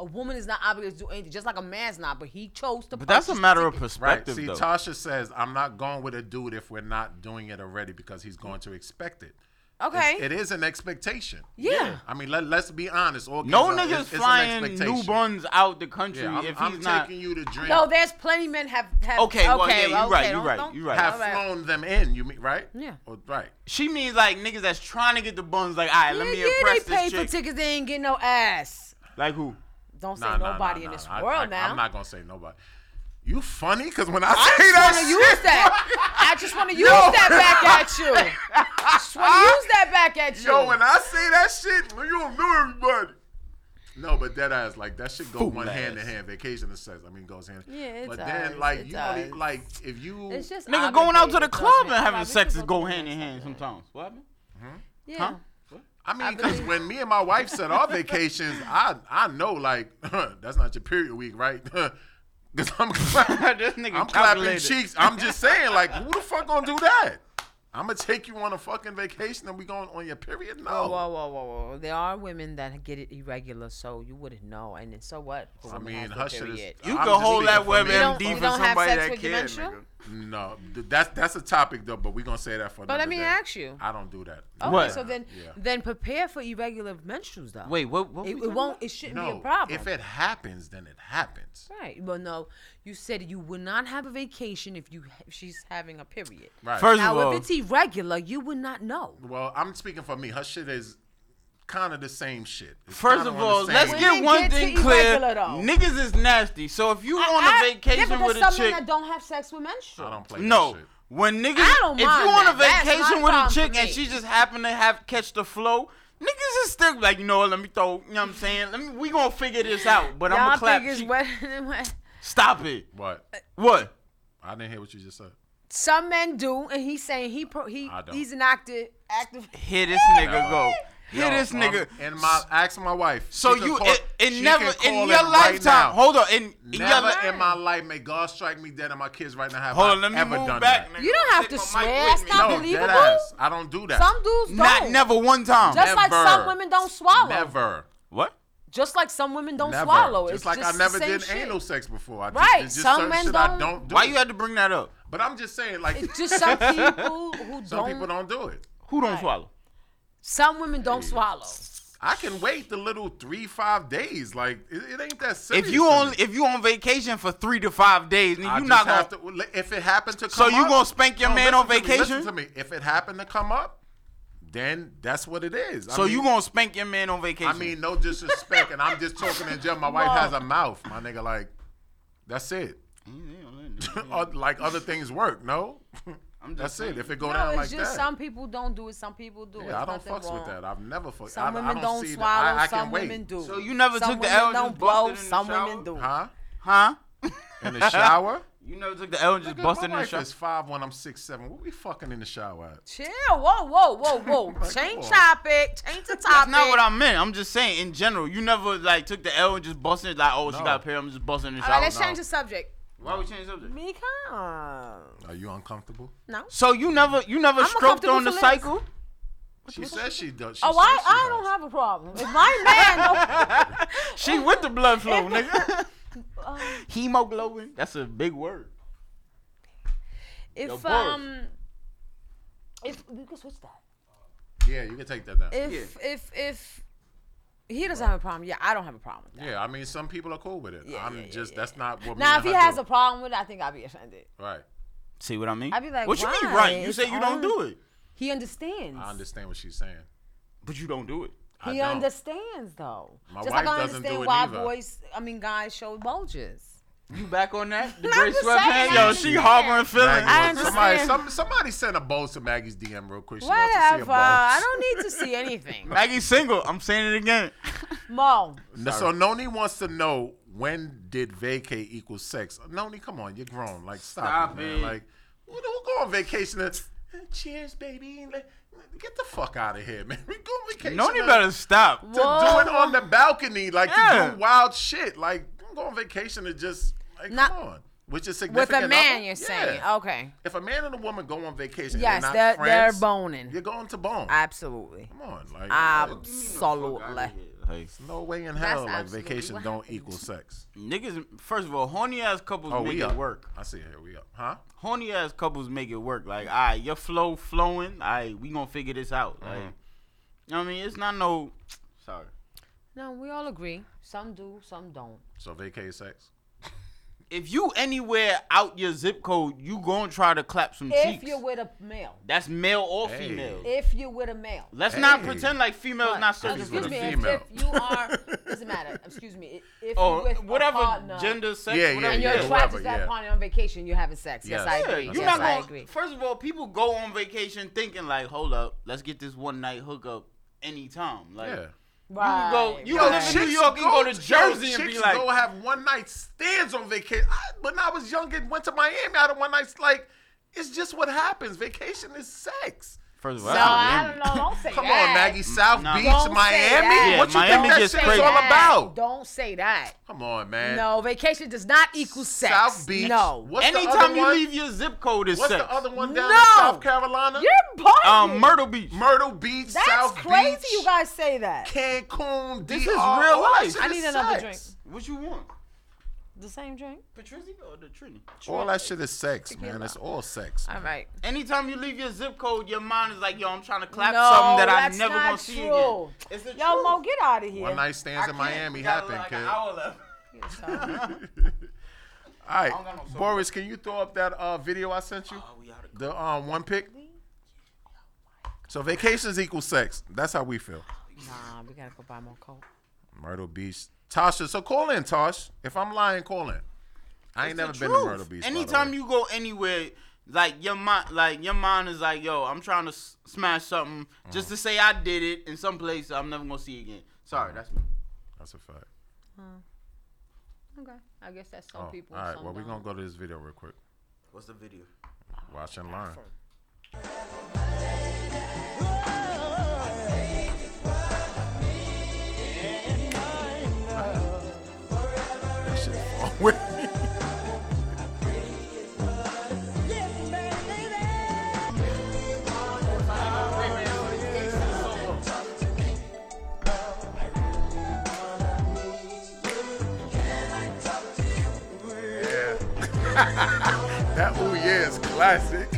[SPEAKER 5] A woman is not obligated to do anything, just like a man's not. But he chose to.
[SPEAKER 3] But that's a
[SPEAKER 5] purchase
[SPEAKER 3] matter
[SPEAKER 5] the
[SPEAKER 3] of
[SPEAKER 5] ticket.
[SPEAKER 4] Right.
[SPEAKER 3] perspective,
[SPEAKER 4] See,
[SPEAKER 3] though.
[SPEAKER 4] Tasha says, I'm not going with a dude if we're not doing it already because he's going to expect it.
[SPEAKER 5] Okay.
[SPEAKER 4] It is an expectation.
[SPEAKER 5] Yeah.
[SPEAKER 4] I mean, let, let's be honest. All
[SPEAKER 3] no
[SPEAKER 4] kids are-
[SPEAKER 3] niggas
[SPEAKER 4] it's- it's an
[SPEAKER 3] flying
[SPEAKER 4] expectation.
[SPEAKER 3] newborns out the country
[SPEAKER 4] Yeah, I'm,
[SPEAKER 3] if he's
[SPEAKER 4] I'm
[SPEAKER 3] not.
[SPEAKER 4] taking you to drink.
[SPEAKER 5] no, there's plenty men have. have
[SPEAKER 3] Okay, well, yeah,
[SPEAKER 5] okay,
[SPEAKER 3] you right, you
[SPEAKER 5] don't-
[SPEAKER 3] right,
[SPEAKER 5] don't-
[SPEAKER 3] you right.
[SPEAKER 4] have
[SPEAKER 5] all right.
[SPEAKER 4] flown them in. You mean right?
[SPEAKER 5] Yeah.
[SPEAKER 4] Or- right.
[SPEAKER 3] She means like niggas that's trying to get the buns. Like, all right, let
[SPEAKER 5] yeah,
[SPEAKER 3] me
[SPEAKER 5] yeah,
[SPEAKER 3] impress
[SPEAKER 5] they paid
[SPEAKER 3] this chick.
[SPEAKER 5] for tickets. They ain't get no ass.
[SPEAKER 3] like who?
[SPEAKER 5] Don't say
[SPEAKER 4] Nah, nah,
[SPEAKER 5] nobody
[SPEAKER 4] nah,
[SPEAKER 5] in
[SPEAKER 4] nah.
[SPEAKER 5] this
[SPEAKER 4] I-
[SPEAKER 5] world
[SPEAKER 4] I,
[SPEAKER 5] now.
[SPEAKER 4] I'm not gonna say nobody. You funny? Because when I
[SPEAKER 5] I
[SPEAKER 4] say
[SPEAKER 5] just
[SPEAKER 4] that,
[SPEAKER 5] want to
[SPEAKER 4] shit,
[SPEAKER 5] use that. I just want to use that back at you. I just want to use that back at you.
[SPEAKER 4] Yo, when I say that shit, you don't know everybody. No, but that ass like that shit go
[SPEAKER 3] Fool
[SPEAKER 4] one hand to
[SPEAKER 3] ass.
[SPEAKER 4] hand. Vacation and sex, I mean, goes hand.
[SPEAKER 5] Yeah, it
[SPEAKER 4] But
[SPEAKER 5] does,
[SPEAKER 4] then like
[SPEAKER 5] it
[SPEAKER 4] you only
[SPEAKER 5] does.
[SPEAKER 4] like if you
[SPEAKER 5] It's just
[SPEAKER 3] Nigga going out to the
[SPEAKER 5] obligated,
[SPEAKER 3] club
[SPEAKER 5] trust
[SPEAKER 3] and
[SPEAKER 5] me.
[SPEAKER 3] having
[SPEAKER 5] Like, we
[SPEAKER 3] sex
[SPEAKER 5] could
[SPEAKER 3] is
[SPEAKER 5] go
[SPEAKER 3] go
[SPEAKER 5] do
[SPEAKER 3] hand in
[SPEAKER 5] that
[SPEAKER 3] hand
[SPEAKER 5] somewhere.
[SPEAKER 3] sometimes. What happened?
[SPEAKER 4] Mm-hmm.
[SPEAKER 5] Yeah.
[SPEAKER 3] Huh?
[SPEAKER 4] I mean, because when me and my wife said our vacations, I I know like that's not your period week, right? Because I'm,
[SPEAKER 3] This nigga
[SPEAKER 4] I'm clapping
[SPEAKER 3] calculated.
[SPEAKER 4] cheeks. I'm just saying, like, who the fuck gonna do that? I'm gonna take you on a fucking vacation and we going on your period? No.
[SPEAKER 5] Whoa, whoa, whoa, whoa, whoa! There are women that get it irregular, so you wouldn't know. And then so what? if a
[SPEAKER 4] I
[SPEAKER 5] woman has
[SPEAKER 4] mean, her
[SPEAKER 5] no
[SPEAKER 4] shit is.
[SPEAKER 5] period?
[SPEAKER 3] You
[SPEAKER 4] I'm
[SPEAKER 3] can
[SPEAKER 4] just
[SPEAKER 3] hold
[SPEAKER 4] speaking
[SPEAKER 3] that
[SPEAKER 4] for me.
[SPEAKER 5] You don't-
[SPEAKER 3] WebMD
[SPEAKER 5] you
[SPEAKER 3] for
[SPEAKER 5] don't have
[SPEAKER 3] somebody
[SPEAKER 5] sex
[SPEAKER 3] that
[SPEAKER 5] with your
[SPEAKER 3] can.
[SPEAKER 5] menstrual?
[SPEAKER 3] nigga.
[SPEAKER 4] No, th- that's that's a topic though, but we're gonna say that for.
[SPEAKER 5] But let
[SPEAKER 4] another
[SPEAKER 5] me
[SPEAKER 4] day.
[SPEAKER 5] ask you.
[SPEAKER 4] I don't do that.
[SPEAKER 5] Okay,
[SPEAKER 3] What?
[SPEAKER 5] so then
[SPEAKER 4] Yeah.
[SPEAKER 5] then prepare for irregular menstruals, though.
[SPEAKER 3] Wait, what? what
[SPEAKER 5] it,
[SPEAKER 3] we
[SPEAKER 5] it
[SPEAKER 3] talking
[SPEAKER 5] won't.
[SPEAKER 3] about?
[SPEAKER 5] It shouldn't
[SPEAKER 4] no,
[SPEAKER 5] be a problem.
[SPEAKER 4] if it happens, then it happens.
[SPEAKER 5] right. Well, no, you said you would not have a vacation if you if she's having a period.
[SPEAKER 4] Right.
[SPEAKER 3] First of
[SPEAKER 5] Now,
[SPEAKER 3] all,
[SPEAKER 5] if it's irregular, you would not know.
[SPEAKER 4] Well, I'm speaking for me. Her shit is kind of the same shit. It's
[SPEAKER 3] First
[SPEAKER 4] kinda
[SPEAKER 3] of
[SPEAKER 4] on the
[SPEAKER 3] all,
[SPEAKER 4] same-
[SPEAKER 3] let's
[SPEAKER 5] When
[SPEAKER 3] get
[SPEAKER 5] it
[SPEAKER 3] one
[SPEAKER 5] gets to
[SPEAKER 3] thing clear.
[SPEAKER 5] irregular, though.
[SPEAKER 3] Niggas is nasty. So if you on
[SPEAKER 5] I-
[SPEAKER 3] a
[SPEAKER 5] I-
[SPEAKER 3] vacation
[SPEAKER 5] yeah, but
[SPEAKER 3] with a
[SPEAKER 5] there's some
[SPEAKER 3] chick,
[SPEAKER 5] men that don't have sex with menstrual.
[SPEAKER 4] I don't play
[SPEAKER 3] no.
[SPEAKER 4] that shit.
[SPEAKER 3] When niggas,
[SPEAKER 5] I don't
[SPEAKER 3] if you
[SPEAKER 5] mind
[SPEAKER 3] on a
[SPEAKER 5] that. That's
[SPEAKER 3] vacation
[SPEAKER 5] not
[SPEAKER 3] with
[SPEAKER 5] a
[SPEAKER 3] a
[SPEAKER 5] problem
[SPEAKER 3] chick
[SPEAKER 5] for
[SPEAKER 3] and
[SPEAKER 5] me.
[SPEAKER 3] she just happen to have catch the flow, niggas is still like, you know, what, let me throw. You know what I'm saying? Let me. We gonna figure this out. But I'm
[SPEAKER 5] Y'all
[SPEAKER 3] gonna clap.
[SPEAKER 5] think it's
[SPEAKER 3] cheek.
[SPEAKER 5] wet, wet.
[SPEAKER 3] Stop it.
[SPEAKER 4] What?
[SPEAKER 3] What?
[SPEAKER 4] I didn't hear what you just said.
[SPEAKER 5] Some men do, and he's saying he pro, he
[SPEAKER 4] I don't.
[SPEAKER 5] he's an active active.
[SPEAKER 3] Here this nigga go. Here
[SPEAKER 4] Yo,
[SPEAKER 3] this
[SPEAKER 4] um,
[SPEAKER 3] nigga.
[SPEAKER 4] and my ask my wife.
[SPEAKER 3] So
[SPEAKER 4] She can
[SPEAKER 3] you
[SPEAKER 4] call-
[SPEAKER 3] it, it
[SPEAKER 4] she
[SPEAKER 3] never
[SPEAKER 4] can call
[SPEAKER 3] in
[SPEAKER 4] it
[SPEAKER 3] your
[SPEAKER 4] right
[SPEAKER 3] lifetime.
[SPEAKER 4] now.
[SPEAKER 3] hold on, in, in your
[SPEAKER 4] Never
[SPEAKER 3] life.
[SPEAKER 4] in my life may God strike me dead and my kids right now have
[SPEAKER 3] Hold
[SPEAKER 4] I
[SPEAKER 3] on, let me
[SPEAKER 4] ever
[SPEAKER 3] move
[SPEAKER 4] done
[SPEAKER 3] back.
[SPEAKER 4] that.
[SPEAKER 3] nigga.
[SPEAKER 5] You don't have
[SPEAKER 3] Take
[SPEAKER 5] to
[SPEAKER 3] my mic
[SPEAKER 5] swear.
[SPEAKER 3] with me.
[SPEAKER 5] Stop Not
[SPEAKER 4] No,
[SPEAKER 5] believable?
[SPEAKER 4] dead ass. I don't do that.
[SPEAKER 5] Some dudes don't.
[SPEAKER 3] Not never one time.
[SPEAKER 5] Just like some
[SPEAKER 4] Never.
[SPEAKER 5] women don't swallow.
[SPEAKER 4] Never.
[SPEAKER 3] what?
[SPEAKER 5] Just like some women don't
[SPEAKER 4] Never.
[SPEAKER 5] swallow.
[SPEAKER 4] Just
[SPEAKER 5] it's
[SPEAKER 4] like
[SPEAKER 5] just
[SPEAKER 4] I never
[SPEAKER 5] the same
[SPEAKER 4] did
[SPEAKER 5] shit.
[SPEAKER 4] anal sex before. I
[SPEAKER 5] Right,
[SPEAKER 4] Just, it's just
[SPEAKER 5] some
[SPEAKER 4] certain
[SPEAKER 5] men
[SPEAKER 4] shit I
[SPEAKER 5] don't-
[SPEAKER 4] don't do.
[SPEAKER 3] Why you had to bring that up?
[SPEAKER 4] But I'm just saying, like
[SPEAKER 5] It's just some people who
[SPEAKER 4] some
[SPEAKER 5] don't.
[SPEAKER 4] people don't do it.
[SPEAKER 3] Who don't swallow?
[SPEAKER 5] Some women don't swallow.
[SPEAKER 4] I can wait the little three five days. Like it, it ain't that serious.
[SPEAKER 3] If you
[SPEAKER 4] to
[SPEAKER 3] on
[SPEAKER 4] me.
[SPEAKER 3] if you on vacation for three to five days, then
[SPEAKER 4] I
[SPEAKER 3] you
[SPEAKER 4] just
[SPEAKER 3] not gonna.
[SPEAKER 4] have to. If it happened to come
[SPEAKER 3] So you
[SPEAKER 4] up-
[SPEAKER 3] gonna spank your man
[SPEAKER 4] listen
[SPEAKER 3] on
[SPEAKER 4] to me,
[SPEAKER 3] vacation?
[SPEAKER 4] listen to me. If it happened to come up, then that's what it is. I
[SPEAKER 3] so
[SPEAKER 4] mean,
[SPEAKER 3] you gonna spank your man on vacation?
[SPEAKER 4] I mean, no disrespect, and I'm just talking in general. My wife has a mouth, my nigga. Like, that's it. Or, like other things work, no. that's
[SPEAKER 3] saying.
[SPEAKER 4] it. If it go
[SPEAKER 5] No,
[SPEAKER 4] down
[SPEAKER 5] it's
[SPEAKER 4] like
[SPEAKER 5] just
[SPEAKER 4] that,
[SPEAKER 5] some people don't do it. Some people do. It's
[SPEAKER 4] yeah, I don't
[SPEAKER 5] nothing
[SPEAKER 4] fucks
[SPEAKER 5] wrong.
[SPEAKER 4] with that. I've never fucked.
[SPEAKER 5] Some
[SPEAKER 4] I, I
[SPEAKER 5] women
[SPEAKER 4] don't,
[SPEAKER 5] don't,
[SPEAKER 4] see that.
[SPEAKER 5] swallow.
[SPEAKER 4] I, I
[SPEAKER 5] some
[SPEAKER 4] can wait.
[SPEAKER 5] women do.
[SPEAKER 3] So you never
[SPEAKER 5] some
[SPEAKER 3] took the
[SPEAKER 5] women
[SPEAKER 3] L and
[SPEAKER 5] don't
[SPEAKER 3] just
[SPEAKER 5] blow.
[SPEAKER 3] busted in the
[SPEAKER 5] Some
[SPEAKER 3] shower?
[SPEAKER 5] women do.
[SPEAKER 4] huh?
[SPEAKER 3] huh?
[SPEAKER 4] In the shower?
[SPEAKER 3] You never took the L and just
[SPEAKER 4] Nigga,
[SPEAKER 3] busted in
[SPEAKER 4] my
[SPEAKER 3] the
[SPEAKER 4] wife
[SPEAKER 3] shop.
[SPEAKER 4] is five when I'm six seven. What we fucking in the shower at?
[SPEAKER 5] Chill. Whoa, whoa, whoa, whoa.
[SPEAKER 4] Like,
[SPEAKER 5] Change
[SPEAKER 4] come on.
[SPEAKER 5] topic. Change the topic.
[SPEAKER 3] That's not what I meant. I'm just saying in general. You never like took the L and just busted like, oh, she
[SPEAKER 4] No.
[SPEAKER 3] got a pair. I'm just busting the
[SPEAKER 5] All
[SPEAKER 3] shower.
[SPEAKER 5] right, let's
[SPEAKER 3] No.
[SPEAKER 5] change the subject.
[SPEAKER 3] Why we change subject?
[SPEAKER 5] Because
[SPEAKER 4] Are you uncomfortable?
[SPEAKER 5] no.
[SPEAKER 3] So you never you never
[SPEAKER 5] I'm
[SPEAKER 3] stroked
[SPEAKER 5] uncomfortable
[SPEAKER 3] on the
[SPEAKER 5] for less.
[SPEAKER 3] cycle?
[SPEAKER 4] She says she does. She
[SPEAKER 5] Oh,
[SPEAKER 4] says
[SPEAKER 5] I,
[SPEAKER 4] she
[SPEAKER 5] I
[SPEAKER 4] has.
[SPEAKER 5] don't have a problem. If my man, don't,
[SPEAKER 3] She with the blood flow, nigga.
[SPEAKER 5] Uh,
[SPEAKER 3] Hemoglobin. That's a big word.
[SPEAKER 5] if
[SPEAKER 3] both.
[SPEAKER 5] um, if we can switch that.
[SPEAKER 4] Yeah, you can take that down.
[SPEAKER 5] If if if he doesn't have a problem, yeah, I don't have a problem with that.
[SPEAKER 4] yeah, I mean, some people are cool with it. I'm
[SPEAKER 5] yeah, yeah,
[SPEAKER 4] just that's not what.
[SPEAKER 5] Now, if
[SPEAKER 4] me
[SPEAKER 5] he
[SPEAKER 4] and her
[SPEAKER 5] has
[SPEAKER 4] do.
[SPEAKER 5] a problem with it, I think I'd be offended.
[SPEAKER 4] right,
[SPEAKER 3] See what I mean?
[SPEAKER 5] I be like,
[SPEAKER 3] what you mean
[SPEAKER 5] why?
[SPEAKER 3] right? You
[SPEAKER 5] It's
[SPEAKER 3] say you don't
[SPEAKER 5] on-
[SPEAKER 3] do it,
[SPEAKER 5] He understands.
[SPEAKER 4] I understand what she's saying.
[SPEAKER 3] but you don't do it.
[SPEAKER 4] I
[SPEAKER 5] He
[SPEAKER 4] don't.
[SPEAKER 5] understands though.
[SPEAKER 4] My
[SPEAKER 5] Just
[SPEAKER 4] wife
[SPEAKER 5] like I
[SPEAKER 4] doesn't do
[SPEAKER 5] understand
[SPEAKER 4] it
[SPEAKER 5] why
[SPEAKER 4] neither.
[SPEAKER 5] boys, I mean guys show bulges.
[SPEAKER 3] You back on that? The
[SPEAKER 5] Not
[SPEAKER 3] gray
[SPEAKER 5] the
[SPEAKER 3] sweatpants?
[SPEAKER 5] same.
[SPEAKER 3] Yo, she harboring feelings.
[SPEAKER 4] Maggie,
[SPEAKER 5] I
[SPEAKER 4] somebody,
[SPEAKER 5] understand.
[SPEAKER 4] some, somebody send a bow to Maggie's DM real quick. She wants to see a
[SPEAKER 5] Whatever.
[SPEAKER 4] bow.
[SPEAKER 5] I don't need to see anything.
[SPEAKER 3] Maggie's single. I'm saying it again.
[SPEAKER 5] Mo,
[SPEAKER 4] No, So Noni wants to know when did vacay equal sex? Noni, come on, you're grown. Like stop,
[SPEAKER 3] Stop
[SPEAKER 4] it, man.
[SPEAKER 3] it.
[SPEAKER 4] Like who, who go on vacation? And, Cheers, baby. Like, Get the fuck out of here, man. We go on vacation.
[SPEAKER 3] Noni
[SPEAKER 4] and-
[SPEAKER 3] better stop.
[SPEAKER 4] to do it on the balcony, like
[SPEAKER 3] Yeah.
[SPEAKER 4] to do wild shit. Like don't go on vacation and just like
[SPEAKER 5] Not-
[SPEAKER 4] come on. With your
[SPEAKER 5] with
[SPEAKER 4] significant
[SPEAKER 5] a man,
[SPEAKER 4] other?
[SPEAKER 5] you're saying.
[SPEAKER 4] Yeah.
[SPEAKER 5] Okay.
[SPEAKER 4] If a man and a woman go on vacation,
[SPEAKER 5] Yes,
[SPEAKER 4] and
[SPEAKER 5] they're,
[SPEAKER 4] they're, not
[SPEAKER 5] they're
[SPEAKER 4] friends,
[SPEAKER 5] boning.
[SPEAKER 4] You're going to bone.
[SPEAKER 5] Absolutely.
[SPEAKER 4] Come on, like
[SPEAKER 5] Absolutely.
[SPEAKER 3] Like,
[SPEAKER 4] no way in hell like
[SPEAKER 5] absolutely
[SPEAKER 4] vacation
[SPEAKER 5] what
[SPEAKER 4] don't
[SPEAKER 5] happened.
[SPEAKER 4] equal sex.
[SPEAKER 3] niggas, first of all, horny ass couples
[SPEAKER 4] Oh,
[SPEAKER 3] make
[SPEAKER 4] we
[SPEAKER 3] it
[SPEAKER 4] up.
[SPEAKER 3] work.
[SPEAKER 4] I see. it. Here we up. Huh?
[SPEAKER 3] Horny ass couples make it work. Like, all right, your flow flowing. All right, we gonna figure this out.
[SPEAKER 4] Mm-hmm.
[SPEAKER 3] Like, you know what I mean? It's not no. Sorry.
[SPEAKER 5] No, we all agree. Some do, some don't.
[SPEAKER 4] So vacay sex.
[SPEAKER 3] If you anywhere out your zip code, you gonna try to clap some
[SPEAKER 5] If
[SPEAKER 3] cheeks.
[SPEAKER 5] you're with a male.
[SPEAKER 3] That's male or
[SPEAKER 4] Hey.
[SPEAKER 3] female.
[SPEAKER 5] If you're with a male.
[SPEAKER 3] Let's not
[SPEAKER 4] Hey.
[SPEAKER 3] pretend like female is
[SPEAKER 5] But-
[SPEAKER 3] not
[SPEAKER 5] uh,
[SPEAKER 3] certain.
[SPEAKER 5] excuse
[SPEAKER 4] with a
[SPEAKER 5] me, if,
[SPEAKER 4] female.
[SPEAKER 5] if you are, doesn't matter. Excuse me, i- if
[SPEAKER 3] or
[SPEAKER 5] you're with a
[SPEAKER 3] Oh, whatever
[SPEAKER 5] partner
[SPEAKER 3] gender, sex,
[SPEAKER 4] Yeah, yeah,
[SPEAKER 3] whatever.
[SPEAKER 5] and you're
[SPEAKER 4] yeah,
[SPEAKER 5] attracted
[SPEAKER 4] whatever,
[SPEAKER 5] to that
[SPEAKER 4] yeah.
[SPEAKER 5] partner on vacation, you're having sex. Yes,
[SPEAKER 4] Yes.
[SPEAKER 5] I
[SPEAKER 4] Yeah,
[SPEAKER 5] agree.
[SPEAKER 3] you're
[SPEAKER 5] yes,
[SPEAKER 3] not
[SPEAKER 5] I
[SPEAKER 3] gonna,
[SPEAKER 5] agree.
[SPEAKER 3] First of all, people go on vacation thinking like, hold up, let's get this one night hookup anytime. Like,
[SPEAKER 4] Yeah.
[SPEAKER 5] Right.
[SPEAKER 3] go- you
[SPEAKER 5] right.
[SPEAKER 3] live in New York and go to Jersey and be
[SPEAKER 4] chicks
[SPEAKER 3] like-
[SPEAKER 4] go have one night stands on vacation. I, when I was young and went to Miami, I had a one night like. It's just what happens. Vacation is sex.
[SPEAKER 3] first of
[SPEAKER 5] No, I don't know. Don't say
[SPEAKER 4] Come
[SPEAKER 5] that.
[SPEAKER 4] on, Maggie. South
[SPEAKER 3] Nah.
[SPEAKER 4] Beach,
[SPEAKER 5] Don't say
[SPEAKER 4] Miami.
[SPEAKER 5] that.
[SPEAKER 3] Yeah,
[SPEAKER 4] what you
[SPEAKER 3] Miami
[SPEAKER 4] think that
[SPEAKER 3] gets
[SPEAKER 4] shit's
[SPEAKER 3] crazy.
[SPEAKER 4] all
[SPEAKER 5] That-
[SPEAKER 4] about?
[SPEAKER 5] Don't say that.
[SPEAKER 4] Come on, man.
[SPEAKER 5] No, vacation does not equal sex.
[SPEAKER 4] South Beach.
[SPEAKER 5] No.
[SPEAKER 4] What's the
[SPEAKER 3] Anytime
[SPEAKER 4] other
[SPEAKER 3] you
[SPEAKER 4] one?
[SPEAKER 3] leave your zip code is
[SPEAKER 4] What's
[SPEAKER 3] sex.
[SPEAKER 4] the other one down
[SPEAKER 5] No.
[SPEAKER 4] in South Carolina?
[SPEAKER 5] You're bugging.
[SPEAKER 3] Um, Myrtle Beach.
[SPEAKER 4] Myrtle Beach,
[SPEAKER 5] That's
[SPEAKER 4] South
[SPEAKER 5] crazy.
[SPEAKER 4] Beach,
[SPEAKER 5] You guys say that.
[SPEAKER 4] Cancun.
[SPEAKER 3] This
[SPEAKER 4] DR,
[SPEAKER 3] is
[SPEAKER 4] all
[SPEAKER 3] real
[SPEAKER 4] that
[SPEAKER 3] life.
[SPEAKER 4] shit
[SPEAKER 5] I
[SPEAKER 4] is
[SPEAKER 5] need another
[SPEAKER 4] sex.
[SPEAKER 5] drink.
[SPEAKER 3] What you want,
[SPEAKER 5] The same drink.
[SPEAKER 3] Patrizzi or the Trini?
[SPEAKER 4] All that shit is sex, man. It's all sex.
[SPEAKER 5] All right.
[SPEAKER 3] Anytime you leave your zip code, your mind is like, yo, I'm trying to clap
[SPEAKER 5] No,
[SPEAKER 3] something that I
[SPEAKER 5] that's
[SPEAKER 3] never
[SPEAKER 5] not
[SPEAKER 3] gonna see
[SPEAKER 5] true.
[SPEAKER 3] again. It's the
[SPEAKER 5] Yo,
[SPEAKER 3] truth.
[SPEAKER 5] Mo, get out of here.
[SPEAKER 4] One night stands in
[SPEAKER 3] I can't.
[SPEAKER 4] Miami
[SPEAKER 3] We got
[SPEAKER 4] happen,
[SPEAKER 3] like
[SPEAKER 4] kid.
[SPEAKER 3] an
[SPEAKER 4] All
[SPEAKER 3] hour left.
[SPEAKER 4] right,
[SPEAKER 3] don't got no soda.
[SPEAKER 4] Boris, can you throw up that uh, video I sent you?
[SPEAKER 3] Oh, we out of
[SPEAKER 4] The um, one pick. So vacations equal sex. That's how we feel.
[SPEAKER 5] Nah, we gotta go buy more coke.
[SPEAKER 4] Myrtle Beach, Tasha. So call in, Tosh. If I'm lying, call in. I ain't never been to Myrtle Beach. by the
[SPEAKER 3] Anytime
[SPEAKER 4] way.
[SPEAKER 3] you go anywhere, like your mind, like your mind is like, yo, I'm trying to s- smash something
[SPEAKER 4] Uh-huh.
[SPEAKER 3] just to say I did it in some place I'm never gonna see again. Sorry, that's me.
[SPEAKER 4] that's a fact.
[SPEAKER 5] Okay. I guess that's some
[SPEAKER 4] Oh,
[SPEAKER 5] people.
[SPEAKER 4] all right,
[SPEAKER 5] some
[SPEAKER 4] well we're
[SPEAKER 5] don't.
[SPEAKER 4] gonna go to this video real quick.
[SPEAKER 3] What's the video?
[SPEAKER 4] Watch and learn. That shit fall with me. That ooh yeah is classic.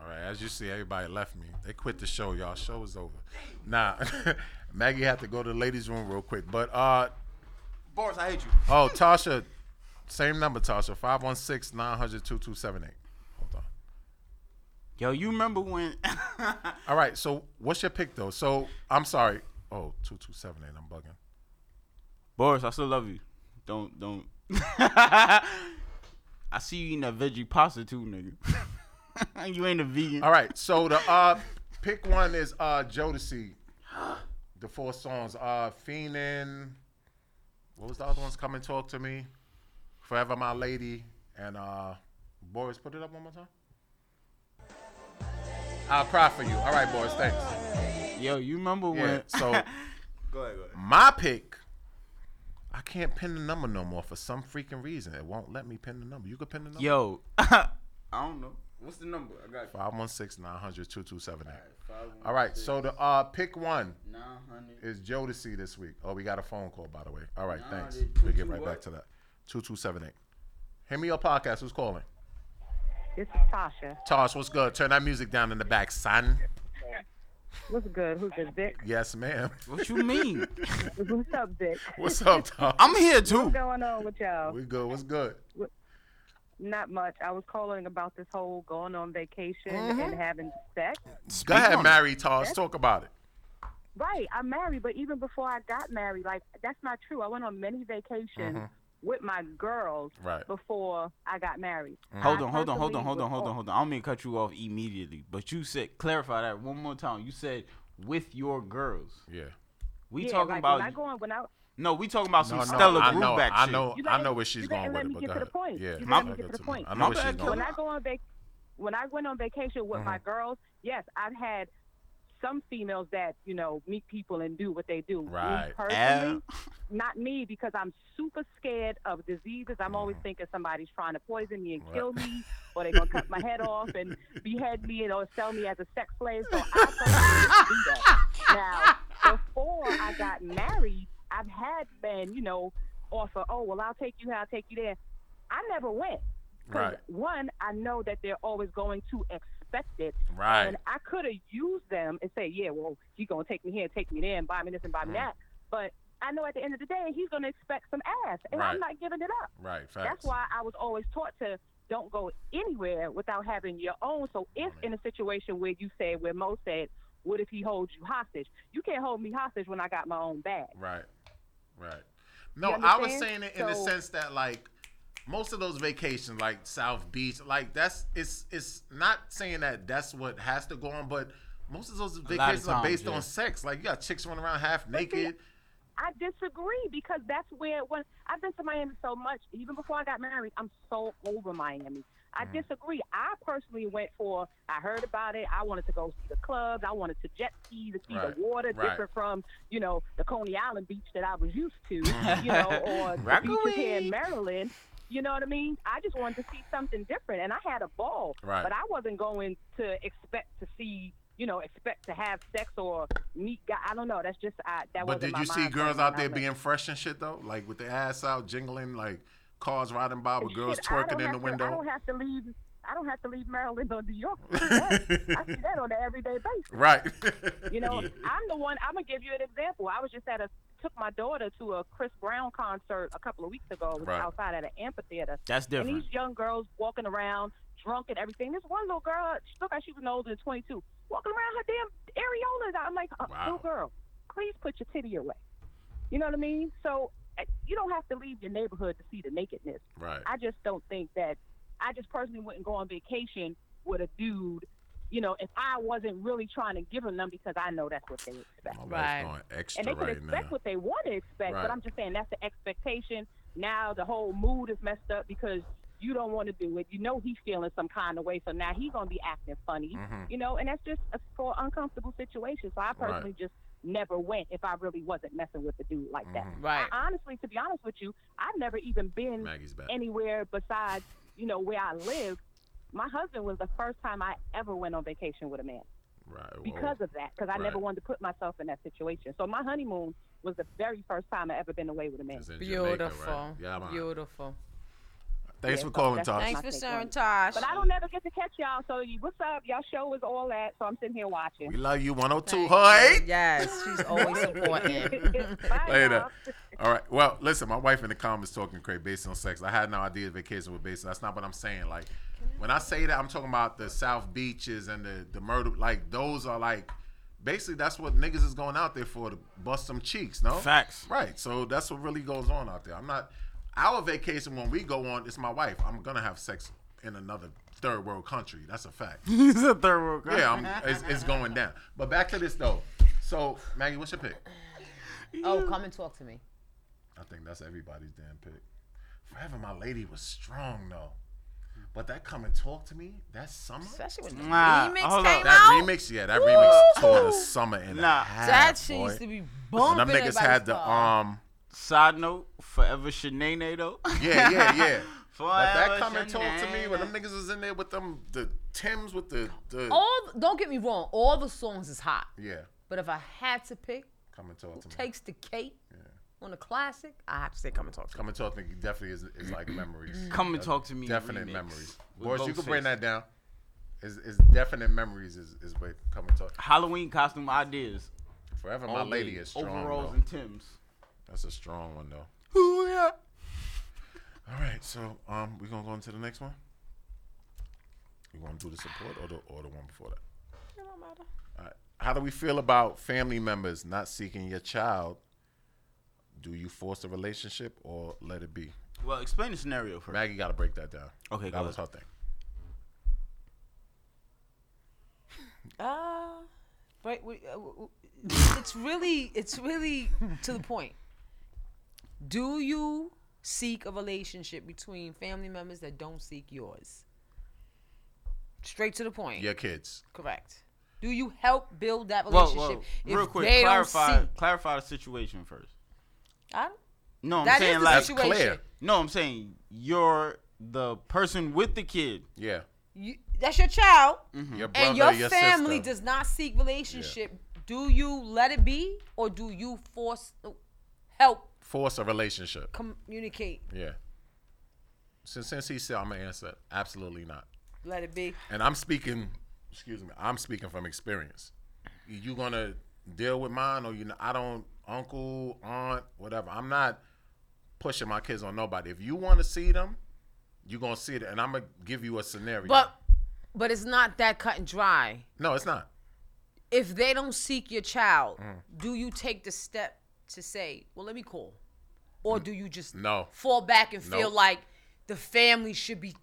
[SPEAKER 4] All right, as you see, everybody left me. They quit the show, y'all. Show is over. Nah, Maggie had to go to the ladies' room real quick. But uh
[SPEAKER 3] Boris, I hate you.
[SPEAKER 4] oh, Tasha, same number, Tasha. 516-900-2278. Hold on.
[SPEAKER 3] Yo, you remember when?
[SPEAKER 4] All right, so what's your pick though? So I'm sorry. Oh, 2278, I'm bugging.
[SPEAKER 3] Boris, I still love you. Don't don't. I see you eating that veggie pasta too, nigga. you ain't a vegan.
[SPEAKER 4] All right, so the uh pick one is uh Jodeci. The four songs. Uh Fiendin'. What was the other ones? Come and talk to me. Forever My Lady. And uh Boris, put it up one more time. I'll cry for you. All right, Boris, thanks.
[SPEAKER 3] Yo, you remember
[SPEAKER 4] Yeah.
[SPEAKER 3] when?
[SPEAKER 4] So
[SPEAKER 3] Go ahead, go ahead.
[SPEAKER 4] my pick. I can't pin the number no more for some freaking reason. It won't let me pin the number. You could pin the number.
[SPEAKER 3] Yo, I don't know. What's the number? I got
[SPEAKER 4] 516 900 2278.
[SPEAKER 3] five
[SPEAKER 4] All right, so the uh, pick one
[SPEAKER 3] nine hundred.
[SPEAKER 4] is Jodeci this week. Oh, we got a phone call, by the way. All right,
[SPEAKER 3] Nah,
[SPEAKER 4] thanks.
[SPEAKER 3] they
[SPEAKER 4] We'll
[SPEAKER 3] put
[SPEAKER 4] get
[SPEAKER 3] you
[SPEAKER 4] right
[SPEAKER 3] up.
[SPEAKER 4] back to that. 2278. Hit me your podcast. Who's calling?
[SPEAKER 9] This is Tasha.
[SPEAKER 4] Tosh, what's good? Turn that music down in the back, son.
[SPEAKER 9] What's good? Who's this, Vic?
[SPEAKER 4] Yes, ma'am.
[SPEAKER 3] What you mean?
[SPEAKER 9] What's up, Vic?
[SPEAKER 4] What's up, Tosh?
[SPEAKER 3] I'm here too.
[SPEAKER 9] What's going on with y'all?
[SPEAKER 4] We good. What's good?
[SPEAKER 9] Not much. I was calling about this whole going on vacation
[SPEAKER 3] Mm-hmm.
[SPEAKER 9] and having sex.
[SPEAKER 4] Go ahead, marry Tosh. Talk about it.
[SPEAKER 9] Right. I'm married, but even before I got married, like that's not true. I went on many vacations
[SPEAKER 3] Mm-hmm.
[SPEAKER 9] with my girls
[SPEAKER 4] Right.
[SPEAKER 9] before I got married.
[SPEAKER 3] Hold
[SPEAKER 9] I
[SPEAKER 3] on, hold on, hold on,
[SPEAKER 9] personally
[SPEAKER 3] hold on,
[SPEAKER 9] was
[SPEAKER 3] hold on, hold on. I don't mean to cut you off immediately, but you said clarify that one more time. You said with your girls.
[SPEAKER 4] Yeah.
[SPEAKER 3] We
[SPEAKER 9] Yeah,
[SPEAKER 3] talking
[SPEAKER 9] like,
[SPEAKER 3] about
[SPEAKER 9] When I go on, when I
[SPEAKER 3] no, we talking about some
[SPEAKER 4] No, no,
[SPEAKER 3] Stella
[SPEAKER 4] I
[SPEAKER 3] group
[SPEAKER 4] know,
[SPEAKER 3] back
[SPEAKER 4] I
[SPEAKER 3] shit.
[SPEAKER 4] know,
[SPEAKER 9] You
[SPEAKER 4] I
[SPEAKER 9] gotta-
[SPEAKER 4] know where she's
[SPEAKER 9] you gotta
[SPEAKER 4] going
[SPEAKER 9] let
[SPEAKER 4] with it.
[SPEAKER 9] me
[SPEAKER 4] but
[SPEAKER 9] get
[SPEAKER 4] go
[SPEAKER 9] to the
[SPEAKER 4] ahead.
[SPEAKER 9] point.
[SPEAKER 4] Yeah,
[SPEAKER 9] You gotta
[SPEAKER 4] my
[SPEAKER 9] let me
[SPEAKER 4] bad,
[SPEAKER 9] get to the
[SPEAKER 4] too.
[SPEAKER 9] point.
[SPEAKER 4] I know
[SPEAKER 3] My
[SPEAKER 4] where she's
[SPEAKER 3] bad,
[SPEAKER 4] going. Uh-huh.
[SPEAKER 9] when I go on vac- when I went on vacation with my girls, yes, I've had some females that you know meet people and do what they do. Me
[SPEAKER 4] Right.
[SPEAKER 9] personally, not me because I'm super scared of diseases. I'm always thinking somebody's trying to poison me and
[SPEAKER 4] Right.
[SPEAKER 9] kill me, or they're gonna cut my head off and behead me and or sell me as a sex slave. So I personally do that. Now, before I got married, I've had men, you know, offer, oh well, I'll take you here, I'll take you there. I never went. 'Cause
[SPEAKER 4] Right.
[SPEAKER 9] One, I know that they're always going to expect it.
[SPEAKER 4] Right.
[SPEAKER 9] And I could have used them and say, yeah, well, he's going to take me here and take me there and buy me this and buy
[SPEAKER 4] Mm.
[SPEAKER 9] me that. But I know at the end of the day, he's going to expect some ass. And
[SPEAKER 4] Right.
[SPEAKER 9] I'm not giving it up.
[SPEAKER 4] Right. Facts.
[SPEAKER 9] That's why I was always taught to don't go anywhere without having your own. So if in a situation where you said, where Mo said, what if he holds you hostage? You can't hold me hostage when I got my own bag.
[SPEAKER 4] Right. Right. No,
[SPEAKER 9] You
[SPEAKER 4] I was saying
[SPEAKER 9] understand?
[SPEAKER 4] it in the
[SPEAKER 9] So-
[SPEAKER 4] sense that like most of those vacations, like South Beach, like that's it's it's not saying that that's what has to go on, but most of those vacations are
[SPEAKER 3] times,
[SPEAKER 4] based
[SPEAKER 3] yeah.
[SPEAKER 4] on sex. Like you got chicks running around half naked.
[SPEAKER 9] I disagree because that's where when I've been to Miami so much, even before I got married, I'm so over Miami. I
[SPEAKER 4] Mm.
[SPEAKER 9] disagree. I personally went for I heard about it. I wanted to go see the clubs. I wanted to jet ski to see
[SPEAKER 4] Right.
[SPEAKER 9] the water
[SPEAKER 4] Right.
[SPEAKER 9] different from, you know, the Coney Island beach that I was used to, you know, or the beaches here in Maryland. You know what I mean? I just wanted to see something different and I had a ball.
[SPEAKER 4] Right.
[SPEAKER 9] But I wasn't going to expect to see you know, expect to have sex or meet guy. I don't know. That's just I, that
[SPEAKER 4] But
[SPEAKER 9] wasn't
[SPEAKER 4] did
[SPEAKER 9] my
[SPEAKER 4] you see
[SPEAKER 9] mind
[SPEAKER 4] girls
[SPEAKER 9] frame
[SPEAKER 4] out
[SPEAKER 9] when I
[SPEAKER 4] there
[SPEAKER 9] left.
[SPEAKER 4] being fresh and shit though? Like with their ass out, jingling, like cars riding by with girls
[SPEAKER 9] Shit, I
[SPEAKER 4] twerking
[SPEAKER 9] don't
[SPEAKER 4] in
[SPEAKER 9] have
[SPEAKER 4] the
[SPEAKER 9] to- I
[SPEAKER 4] window.
[SPEAKER 9] don't have to leave. I don't have to leave Maryland or New York. to see that. I see that on an everyday basis.
[SPEAKER 4] Right.
[SPEAKER 9] You know, I'm the one. I'm gonna give you an example. I was just at a took my daughter to a Chris Brown concert a couple of weeks ago. It was
[SPEAKER 4] Right.
[SPEAKER 9] outside at an amphitheater.
[SPEAKER 3] That's
[SPEAKER 9] And
[SPEAKER 3] different.
[SPEAKER 9] these young girls walking around drunk and everything. This one little girl, she looked like she was no older than 22, walking around her damn areolas. out. I'm like, uh,
[SPEAKER 4] Wow.
[SPEAKER 9] little girl, please put your titty away. You know what I mean? So uh, you don't have to leave your neighborhood to see the nakedness.
[SPEAKER 4] right.
[SPEAKER 9] I just don't think that I just personally wouldn't go on vacation with a dude, you know, if I wasn't really trying to give them them because I know that's what they expect.
[SPEAKER 4] My
[SPEAKER 5] Right.
[SPEAKER 4] wife's going extra
[SPEAKER 9] And they can
[SPEAKER 4] right
[SPEAKER 9] expect
[SPEAKER 4] now.
[SPEAKER 9] what they want to expect,
[SPEAKER 4] Right.
[SPEAKER 9] but I'm just saying that's the expectation. Now the whole mood is messed up because you don't want to do it. You know he's feeling some kind of way, so now he's gonna be acting funny,
[SPEAKER 4] Mm-hmm.
[SPEAKER 9] you know, and that's just a, for uncomfortable situation. So I personally just never went if I really wasn't messing with the dude like that.
[SPEAKER 4] Mm-hmm.
[SPEAKER 5] Right.
[SPEAKER 9] I honestly, to be honest with you, I've never even been
[SPEAKER 4] Maggie's back.
[SPEAKER 9] anywhere besides you know where I live. My husband was the first time I ever went on vacation with a man
[SPEAKER 4] Right. well,
[SPEAKER 9] because of that, because I
[SPEAKER 4] Right.
[SPEAKER 9] never wanted to put myself in that situation. So my honeymoon was the very first time I ever been away with a man.
[SPEAKER 4] it's in Jamaica, right?
[SPEAKER 5] Beautiful.
[SPEAKER 4] Yeah, man.
[SPEAKER 5] Beautiful.
[SPEAKER 4] Thanks
[SPEAKER 9] Yeah,
[SPEAKER 4] for
[SPEAKER 9] so
[SPEAKER 4] calling,
[SPEAKER 9] that's-
[SPEAKER 4] Tosh.
[SPEAKER 9] Thank
[SPEAKER 5] Thanks
[SPEAKER 9] my
[SPEAKER 5] for
[SPEAKER 9] take
[SPEAKER 5] sharing,
[SPEAKER 9] on it.
[SPEAKER 5] Tosh.
[SPEAKER 9] But I don't never get to catch y'all. So you, what's up? Y'all show is all that. So I'm sitting here watching.
[SPEAKER 4] We love you, 102
[SPEAKER 5] Thank
[SPEAKER 4] Hoy.
[SPEAKER 5] you. Yes, she's always supporting.
[SPEAKER 9] Bye,
[SPEAKER 4] Later.
[SPEAKER 9] y'all.
[SPEAKER 4] All right. Well, listen, my wife in the comments talking crazy based on sex. I had no idea vacation was based. That's not what I'm saying. Like, when I say that, I'm talking about the South Beaches and the the murder. Like, those are like, basically, that's what niggas is going out there for to bust some cheeks. No
[SPEAKER 3] Facts.
[SPEAKER 4] Right. So that's what really goes on out there. I'm not. Our vacation when we go on, it's my wife. I'm gonna have sex in another third world country. That's a fact.
[SPEAKER 3] He's a third world guy.
[SPEAKER 4] Yeah, I'm, it's, it's going down. But back to this though. So Maggie, what's your pick?
[SPEAKER 5] oh, come and talk to me.
[SPEAKER 4] I think that's everybody's damn pick. Forever, my lady was strong though. But that come and talk to me. That summer.
[SPEAKER 5] Especially when the
[SPEAKER 3] Nah,
[SPEAKER 5] remix
[SPEAKER 3] hold
[SPEAKER 5] came
[SPEAKER 3] up.
[SPEAKER 4] That
[SPEAKER 5] out.
[SPEAKER 4] remix, yeah, that remix tore the
[SPEAKER 5] Woo!
[SPEAKER 4] summer in
[SPEAKER 3] Nah.
[SPEAKER 4] nah, half,
[SPEAKER 5] that shit
[SPEAKER 4] boy.
[SPEAKER 5] used to be
[SPEAKER 4] Listen,
[SPEAKER 5] bumping.
[SPEAKER 4] them niggas had the um.
[SPEAKER 3] Side note, forever Shanae though.
[SPEAKER 4] Yeah, yeah, yeah.
[SPEAKER 3] Forever
[SPEAKER 4] But that come and talk to me
[SPEAKER 3] Shanae.
[SPEAKER 4] when them niggas was in there with them the Tims with the the
[SPEAKER 5] All don't get me wrong, all the songs is hot.
[SPEAKER 4] yeah.
[SPEAKER 5] But if I had to pick,
[SPEAKER 4] Come and talk to me.
[SPEAKER 5] takes the cake. on a classic, I have to say, come and talk to me.
[SPEAKER 4] Come and talk to me definitely is, is like memories.
[SPEAKER 3] Come and
[SPEAKER 4] Uh,
[SPEAKER 3] talk to me.
[SPEAKER 4] Definite
[SPEAKER 3] remix
[SPEAKER 4] memories.
[SPEAKER 3] with
[SPEAKER 4] Boris, you
[SPEAKER 3] Ghostface.
[SPEAKER 4] can bring that down. Is is definite memories is, is what come and talk.
[SPEAKER 3] Halloween costume ideas.
[SPEAKER 4] Forever
[SPEAKER 3] All
[SPEAKER 4] my lady
[SPEAKER 3] day.
[SPEAKER 4] is strong.
[SPEAKER 3] Overalls
[SPEAKER 4] though.
[SPEAKER 3] and Tim's.
[SPEAKER 4] That's a strong one though.
[SPEAKER 3] Hoo-yah.
[SPEAKER 4] All right, so um, we're gonna go into the next one. You want to do the support or the or the one before that?
[SPEAKER 5] It don't matter.
[SPEAKER 4] All right. How do we feel about family members not seeking your child? Do you force a relationship or let it be?
[SPEAKER 3] Well, explain the scenario first.
[SPEAKER 4] Maggie got to break that down.
[SPEAKER 3] Okay,
[SPEAKER 4] that
[SPEAKER 3] go
[SPEAKER 4] was her
[SPEAKER 3] ahead.
[SPEAKER 4] thing.
[SPEAKER 5] Uh, right. We, uh, w- w- it's really, it's really to the point. Do you seek a relationship between family members that don't seek yours? Straight to the point.
[SPEAKER 4] Your kids.
[SPEAKER 5] Correct. Do you help build that
[SPEAKER 3] Whoa,
[SPEAKER 5] relationship?
[SPEAKER 3] whoa. Real
[SPEAKER 5] if
[SPEAKER 3] quick,
[SPEAKER 5] they don't
[SPEAKER 3] clarify
[SPEAKER 5] seek?
[SPEAKER 3] clarify the situation first.
[SPEAKER 5] I,
[SPEAKER 3] No, I'm
[SPEAKER 5] that is
[SPEAKER 3] saying
[SPEAKER 5] the
[SPEAKER 3] like
[SPEAKER 4] That's
[SPEAKER 5] situation.
[SPEAKER 4] clear.
[SPEAKER 3] no, I'm saying you're the person with the kid. Mm-hmm.
[SPEAKER 4] Yeah.
[SPEAKER 5] You, that's your child,
[SPEAKER 4] Mm-hmm. Your brother,
[SPEAKER 5] and your,
[SPEAKER 4] your
[SPEAKER 5] family
[SPEAKER 4] sister.
[SPEAKER 5] does not seek relationship. Do you let it be, or do you force, oh, help
[SPEAKER 4] force a relationship.
[SPEAKER 5] communicate?
[SPEAKER 4] Yeah. Since since he said I'm gonna answer, absolutely not.
[SPEAKER 5] Let it be.
[SPEAKER 4] And I'm speaking, excuse me, I'm speaking from experience. You gonna deal with mine or you? Not, I don't uncle, aunt, whatever. I'm not pushing my kids on nobody. If you want to see them, you gonna see it, and I'm gonna give you a scenario.
[SPEAKER 5] But but it's not that cut and dry.
[SPEAKER 4] no, it's not. Mm.
[SPEAKER 5] If they don't seek your child,
[SPEAKER 4] Mm-hmm.
[SPEAKER 5] do you take the step to say, "Well, let me call," or do you just
[SPEAKER 4] No.
[SPEAKER 5] fall back and feel
[SPEAKER 4] Nope.
[SPEAKER 5] like the family should be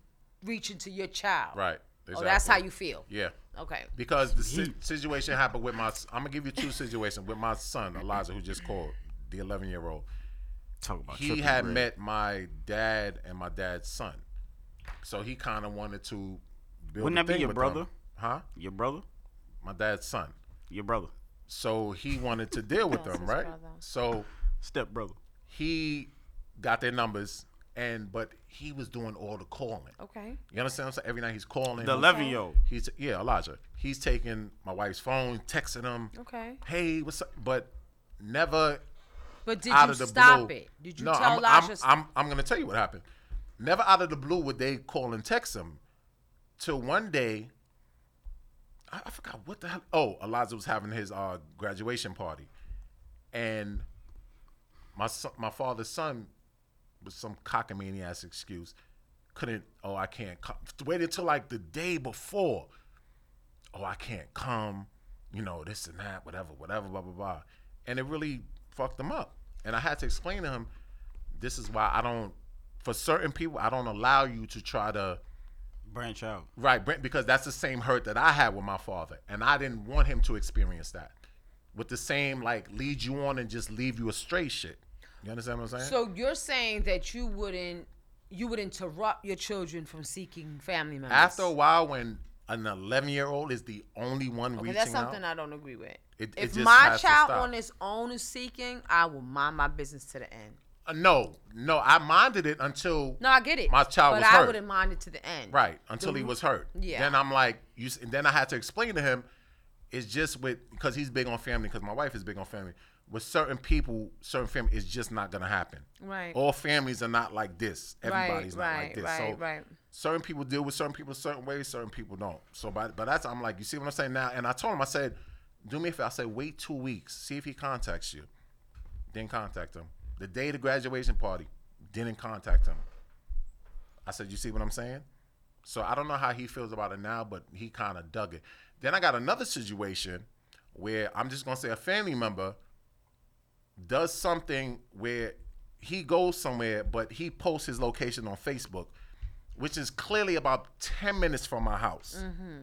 [SPEAKER 5] reaching to your child?
[SPEAKER 4] Right.
[SPEAKER 5] Oh, that's how
[SPEAKER 4] exactly.
[SPEAKER 5] you feel.
[SPEAKER 4] Yeah.
[SPEAKER 5] Okay.
[SPEAKER 4] Because the si- situation happened with my. I'm gonna give you two situations with my son Eliza, who just called, the 11 year old.
[SPEAKER 3] Talk about
[SPEAKER 4] he had met my dad and my dad's son, so he kind of wanted to. Build
[SPEAKER 3] Wouldn't
[SPEAKER 4] a
[SPEAKER 3] that be
[SPEAKER 4] thing
[SPEAKER 3] your
[SPEAKER 4] with
[SPEAKER 3] brother?
[SPEAKER 4] them. Huh?
[SPEAKER 3] your brother,
[SPEAKER 4] My dad's son.
[SPEAKER 3] your brother,
[SPEAKER 4] So he wanted to deal with them, right? So
[SPEAKER 3] step brother.
[SPEAKER 4] he got their numbers, and but he was doing all the calling.
[SPEAKER 5] Okay.
[SPEAKER 4] You understand? what I'm saying? Every night he's calling.
[SPEAKER 3] The 11 year old.
[SPEAKER 4] He's yeah, Elijah. He's taking my wife's phone, texting him.
[SPEAKER 5] Okay.
[SPEAKER 4] Hey, what's up? But never
[SPEAKER 5] But did
[SPEAKER 4] out
[SPEAKER 5] you
[SPEAKER 4] of the
[SPEAKER 5] stop
[SPEAKER 4] blue.
[SPEAKER 5] it? Did you
[SPEAKER 4] no,
[SPEAKER 5] tell
[SPEAKER 4] I'm, I'm,
[SPEAKER 5] Elijah?
[SPEAKER 4] I'm, I'm going to tell you what happened. Never out of the blue would they call and text him. Till one day, I, I forgot what the hell. Oh, Eliza was having his uh, graduation party, and my son, my father's son, with some cockamania's excuse, couldn't. Oh, I can't come. Waited till like the day before. Oh, I can't come. You know this and that, whatever, whatever, blah blah blah, and it really fucked him up. And I had to explain to him, this is why I don't. For certain people, I don't allow you to try to
[SPEAKER 3] Branch out.
[SPEAKER 4] Right, Brent, because that's the same hurt that I had with my father, and I didn't want him to experience that. With the same like lead you on and just leave you astray shit. You understand what I'm saying?
[SPEAKER 5] so you're saying that you wouldn't you would interrupt your children from seeking family members?
[SPEAKER 4] After a while, when an 11 year old is the only one
[SPEAKER 5] Okay,
[SPEAKER 4] reaching
[SPEAKER 5] that's something
[SPEAKER 4] out,
[SPEAKER 5] I don't agree with.
[SPEAKER 4] It- it
[SPEAKER 5] if
[SPEAKER 4] just
[SPEAKER 5] my
[SPEAKER 4] has to
[SPEAKER 5] child
[SPEAKER 4] stop.
[SPEAKER 5] on his own is seeking, I will mind my business to the end.
[SPEAKER 4] Uh, no, no, I minded it until
[SPEAKER 5] No, I get it.
[SPEAKER 4] My child
[SPEAKER 5] but
[SPEAKER 4] was
[SPEAKER 5] I
[SPEAKER 4] hurt.
[SPEAKER 5] wouldn't mind it to the end.
[SPEAKER 4] Right, until he was hurt.
[SPEAKER 5] Yeah.
[SPEAKER 4] Then I'm like, you. s- And then I had to explain to him, it's just with because he's big on family, because my wife is big on family. With certain people, certain family, it's just not gonna happen.
[SPEAKER 5] Right.
[SPEAKER 4] All families are not like this.
[SPEAKER 5] Right,
[SPEAKER 4] Everybody's not like
[SPEAKER 5] right,
[SPEAKER 4] this.
[SPEAKER 5] right,
[SPEAKER 4] so
[SPEAKER 5] right.
[SPEAKER 4] certain people deal with certain people a certain way, certain people don't. So, but but that's I'm like, you see what I'm saying now? And I told him, I said, do me a favor. I said, wait two weeks, see if he contacts you. Didn't contact him. The day of the graduation party, didn't contact him. I said, you see what I'm saying? So I don't know how he feels about it now, but he kind of dug it. Then I got another situation where I'm just gonna say a family member does something where he goes somewhere, but he posts his location on Facebook, which is clearly about 10 minutes from my house.
[SPEAKER 5] Mm-hmm.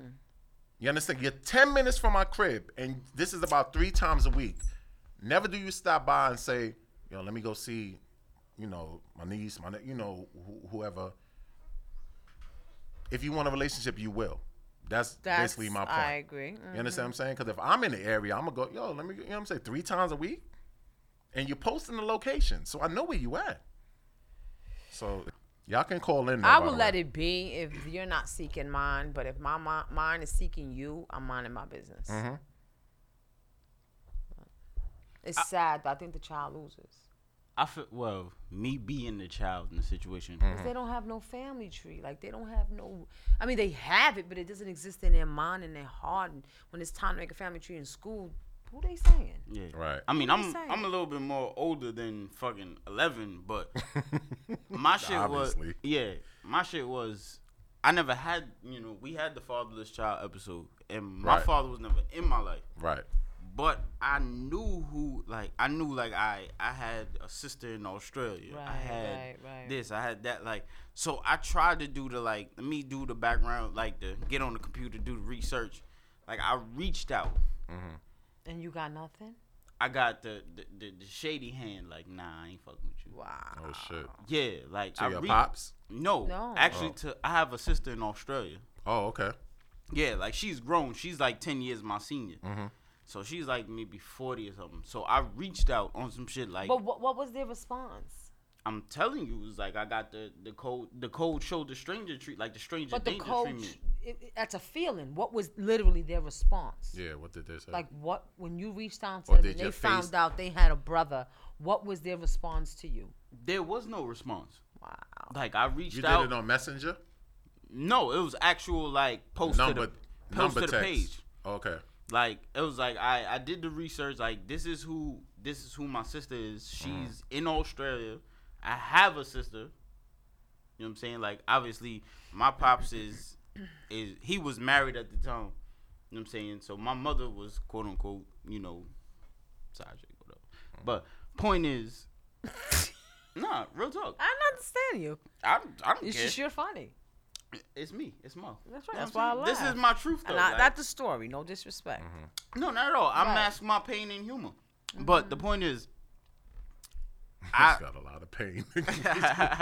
[SPEAKER 4] You understand? You're 10 minutes from my crib, and this is about three times a week. Never do you stop by and say, yo, let me go see, you know, my niece, my, ne- you know, wh- whoever. If you want a relationship, you will. That's,
[SPEAKER 5] That's
[SPEAKER 4] basically my point.
[SPEAKER 5] I agree. Mm-hmm.
[SPEAKER 4] You understand what I'm saying? Because if I'm in the area, I'm gonna go. Yo, let me. You know what I'm saying? Three times a week, and you're posting the location, so I know where you at. So y'all can call in.
[SPEAKER 5] I will let it be if you're not seeking mine, but if my mi- mine is seeking you, I'm minding my business.
[SPEAKER 4] Mm-hmm.
[SPEAKER 5] It's sad, but I think the child loses.
[SPEAKER 3] I feel well, me being the child in the situation.
[SPEAKER 4] Mm-hmm.
[SPEAKER 5] 'Cause They don't have no family tree. Like they don't have no. I mean, they have it, but it doesn't exist in their mind and their heart. And when it's time to make a family tree in school, who they saying?
[SPEAKER 3] Yeah.
[SPEAKER 4] Right.
[SPEAKER 3] I mean,
[SPEAKER 5] What
[SPEAKER 3] I'm
[SPEAKER 5] you saying?
[SPEAKER 3] I'm a little bit more older than fucking 11, but my shit was
[SPEAKER 4] Obviously.
[SPEAKER 3] yeah, my shit was I never had, you know, we had the fatherless child episode and my
[SPEAKER 4] Right.
[SPEAKER 3] father was never in my life.
[SPEAKER 4] Right.
[SPEAKER 3] But I knew who like I knew like I I had a sister in Australia. I
[SPEAKER 5] Right,
[SPEAKER 3] had
[SPEAKER 5] right, right.
[SPEAKER 3] this, I had that like so I tried to do the like let me do the background like the get on the computer, do the research. Like I reached out.
[SPEAKER 4] Mm-hmm.
[SPEAKER 5] And you got nothing.
[SPEAKER 3] I got the the, the the shady hand. Like, nah, I ain't fucking with you.
[SPEAKER 5] Wow.
[SPEAKER 4] Oh shit.
[SPEAKER 3] Yeah, like
[SPEAKER 4] To
[SPEAKER 3] I
[SPEAKER 4] your
[SPEAKER 3] re-
[SPEAKER 4] pops?
[SPEAKER 3] No,
[SPEAKER 5] No.
[SPEAKER 3] actually, to I have a sister in Australia.
[SPEAKER 4] Oh, okay.
[SPEAKER 3] Yeah, like she's grown. She's like ten years my senior.
[SPEAKER 4] Mm-hmm.
[SPEAKER 3] So she's like maybe forty or something. So I reached out on some shit like
[SPEAKER 5] But what, what was their response?
[SPEAKER 3] I'm telling you, it was like I got the the cold the cold shoulder stranger treat like the stranger
[SPEAKER 5] But the
[SPEAKER 3] danger
[SPEAKER 5] coach,
[SPEAKER 3] treatment.
[SPEAKER 5] it, it- that's a feeling. What was literally their response?
[SPEAKER 4] Yeah. What did they say?
[SPEAKER 5] Like what when you reached out to
[SPEAKER 4] Or
[SPEAKER 5] them
[SPEAKER 4] did
[SPEAKER 5] and
[SPEAKER 4] your
[SPEAKER 5] they found
[SPEAKER 4] face-
[SPEAKER 5] out they had a brother? What was their response to you?
[SPEAKER 3] There was no response.
[SPEAKER 5] Wow.
[SPEAKER 3] Like I reached
[SPEAKER 4] you did
[SPEAKER 3] out.
[SPEAKER 4] it on Messenger.
[SPEAKER 3] no, it was actual like post
[SPEAKER 4] Number.
[SPEAKER 3] to the, post
[SPEAKER 4] Number
[SPEAKER 3] to the
[SPEAKER 4] text.
[SPEAKER 3] page.
[SPEAKER 4] Okay.
[SPEAKER 3] like it was like I I did the research like this is who this is who my sister is. She's
[SPEAKER 4] Mm-hmm.
[SPEAKER 3] in Australia. I have a sister. You know what I'm saying? Like obviously my pops is is he was married at the time. You know what I'm saying? So my mother was quote unquote, you know, side chick, whatever. But point is Nah, real talk.
[SPEAKER 5] I don't understand you.
[SPEAKER 3] I, I don't
[SPEAKER 5] You
[SPEAKER 3] care.
[SPEAKER 5] should sure funny.
[SPEAKER 3] It's me. It's Mo.
[SPEAKER 5] That's
[SPEAKER 3] You
[SPEAKER 5] right.
[SPEAKER 3] know
[SPEAKER 5] That's
[SPEAKER 3] what
[SPEAKER 5] why I
[SPEAKER 3] I'm
[SPEAKER 5] laugh.
[SPEAKER 3] saying? This is my truth though.
[SPEAKER 5] And I,
[SPEAKER 3] like- Mm-hmm.
[SPEAKER 5] that's the story. No disrespect.
[SPEAKER 3] No, not at all. I
[SPEAKER 5] Right.
[SPEAKER 3] mask my pain and humor. But the point is, I
[SPEAKER 4] He's got a lot of pain.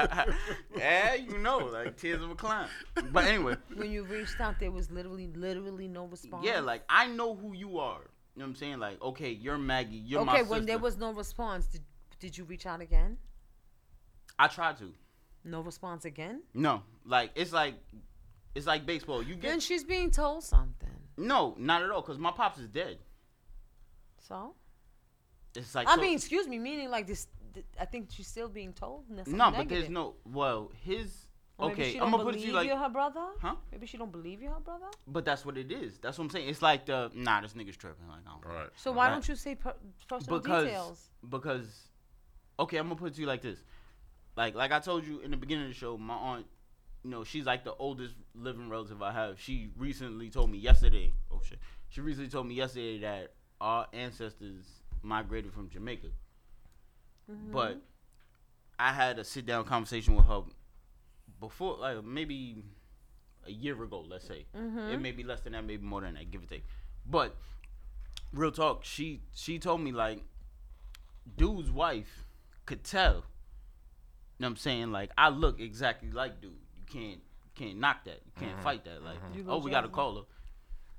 [SPEAKER 3] yeah, you know, like tears of a clown. But anyway,
[SPEAKER 5] When you reached out, there was literally, literally no response.
[SPEAKER 3] yeah, like I know who you are. You know what I'm saying? Like, okay, you're Maggie. You're my
[SPEAKER 5] okay.
[SPEAKER 3] sister.
[SPEAKER 5] When there was no response, did did you reach out again?
[SPEAKER 3] I tried to.
[SPEAKER 5] No response again.
[SPEAKER 3] No, like it's like, it's like baseball. You
[SPEAKER 5] Then
[SPEAKER 3] get
[SPEAKER 5] she's being told something.
[SPEAKER 3] no, not at all, because my pops is dead.
[SPEAKER 5] So
[SPEAKER 3] It's like
[SPEAKER 5] I
[SPEAKER 3] so-
[SPEAKER 5] mean, excuse me, meaning like this. th- I think she's still being told. and that's
[SPEAKER 3] no,
[SPEAKER 5] negative.
[SPEAKER 3] but there's no. Well, his
[SPEAKER 5] Or maybe
[SPEAKER 3] okay.
[SPEAKER 5] she
[SPEAKER 3] I'm
[SPEAKER 5] don't
[SPEAKER 3] gonna put it
[SPEAKER 5] believe
[SPEAKER 3] to you like,
[SPEAKER 5] you're her brother.
[SPEAKER 3] Huh?
[SPEAKER 5] Maybe she don't believe you're her brother.
[SPEAKER 3] but that's what it is. That's what I'm saying. It's like the nah, this nigga's tripping. Like, I don't
[SPEAKER 4] All right.
[SPEAKER 5] So why
[SPEAKER 3] Right.
[SPEAKER 5] don't you say per- personal
[SPEAKER 3] because
[SPEAKER 5] details?
[SPEAKER 3] because okay, I'm gonna put it to you like this. Like like I told you in the beginning of the show, my aunt, you know, she's like the oldest living relative I have. She recently told me yesterday. Oh shit. She recently told me yesterday that our ancestors migrated from Jamaica. But
[SPEAKER 2] Mm-hmm.
[SPEAKER 3] I had a sit down conversation with her before, like maybe a year ago, let's say. It may be less than that, maybe more than that, give or take. But real talk, she she told me like dude's wife could tell. You know what I'm saying? Like I look exactly like dude. You can't you can't knock that. You can't fight that. Like oh we gotta call her.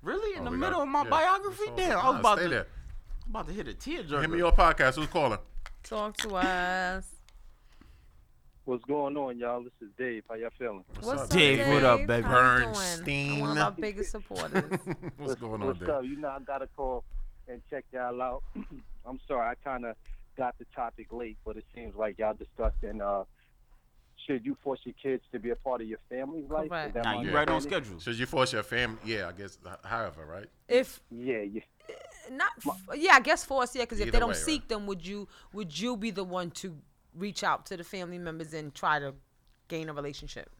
[SPEAKER 3] Really? In
[SPEAKER 4] Mm-hmm. Oh,
[SPEAKER 3] the
[SPEAKER 4] we
[SPEAKER 3] middle
[SPEAKER 4] got-
[SPEAKER 3] of my
[SPEAKER 4] yeah.
[SPEAKER 3] biography?
[SPEAKER 4] It's all-
[SPEAKER 3] Damn, I was
[SPEAKER 4] Nah,
[SPEAKER 3] about
[SPEAKER 4] stay
[SPEAKER 3] to
[SPEAKER 4] there.
[SPEAKER 3] about to hit a teardrop.
[SPEAKER 4] Hit me your podcast. Who's calling?
[SPEAKER 5] Talk to us.
[SPEAKER 10] What's going on, y'all? This is Dave. How y'all feeling?
[SPEAKER 5] What's up,
[SPEAKER 3] Dave? Dave? What up, baby?
[SPEAKER 5] How you doing?
[SPEAKER 4] Bernstein.
[SPEAKER 5] One of our biggest supporters.
[SPEAKER 4] What's going on
[SPEAKER 10] What's
[SPEAKER 4] there?
[SPEAKER 10] up? You know, I got a call and check y'all out. I'm sorry, I kind of got the topic late, but it seems like y'all discussing uh, should you force your kids to be a part of your family's life? Is
[SPEAKER 5] Correct.
[SPEAKER 10] that
[SPEAKER 3] Now
[SPEAKER 10] my
[SPEAKER 3] you right on
[SPEAKER 10] understanding?
[SPEAKER 3] schedule.
[SPEAKER 4] Should you force your family? Yeah, I guess. h- However, right?
[SPEAKER 5] if
[SPEAKER 10] Yeah, yeah.
[SPEAKER 5] Eh, not f- yeah i guess for us yeah because if
[SPEAKER 4] Either
[SPEAKER 5] they don't
[SPEAKER 4] way, right.
[SPEAKER 5] seek them would you would you be the one to reach out to the family members and try to gain a relationship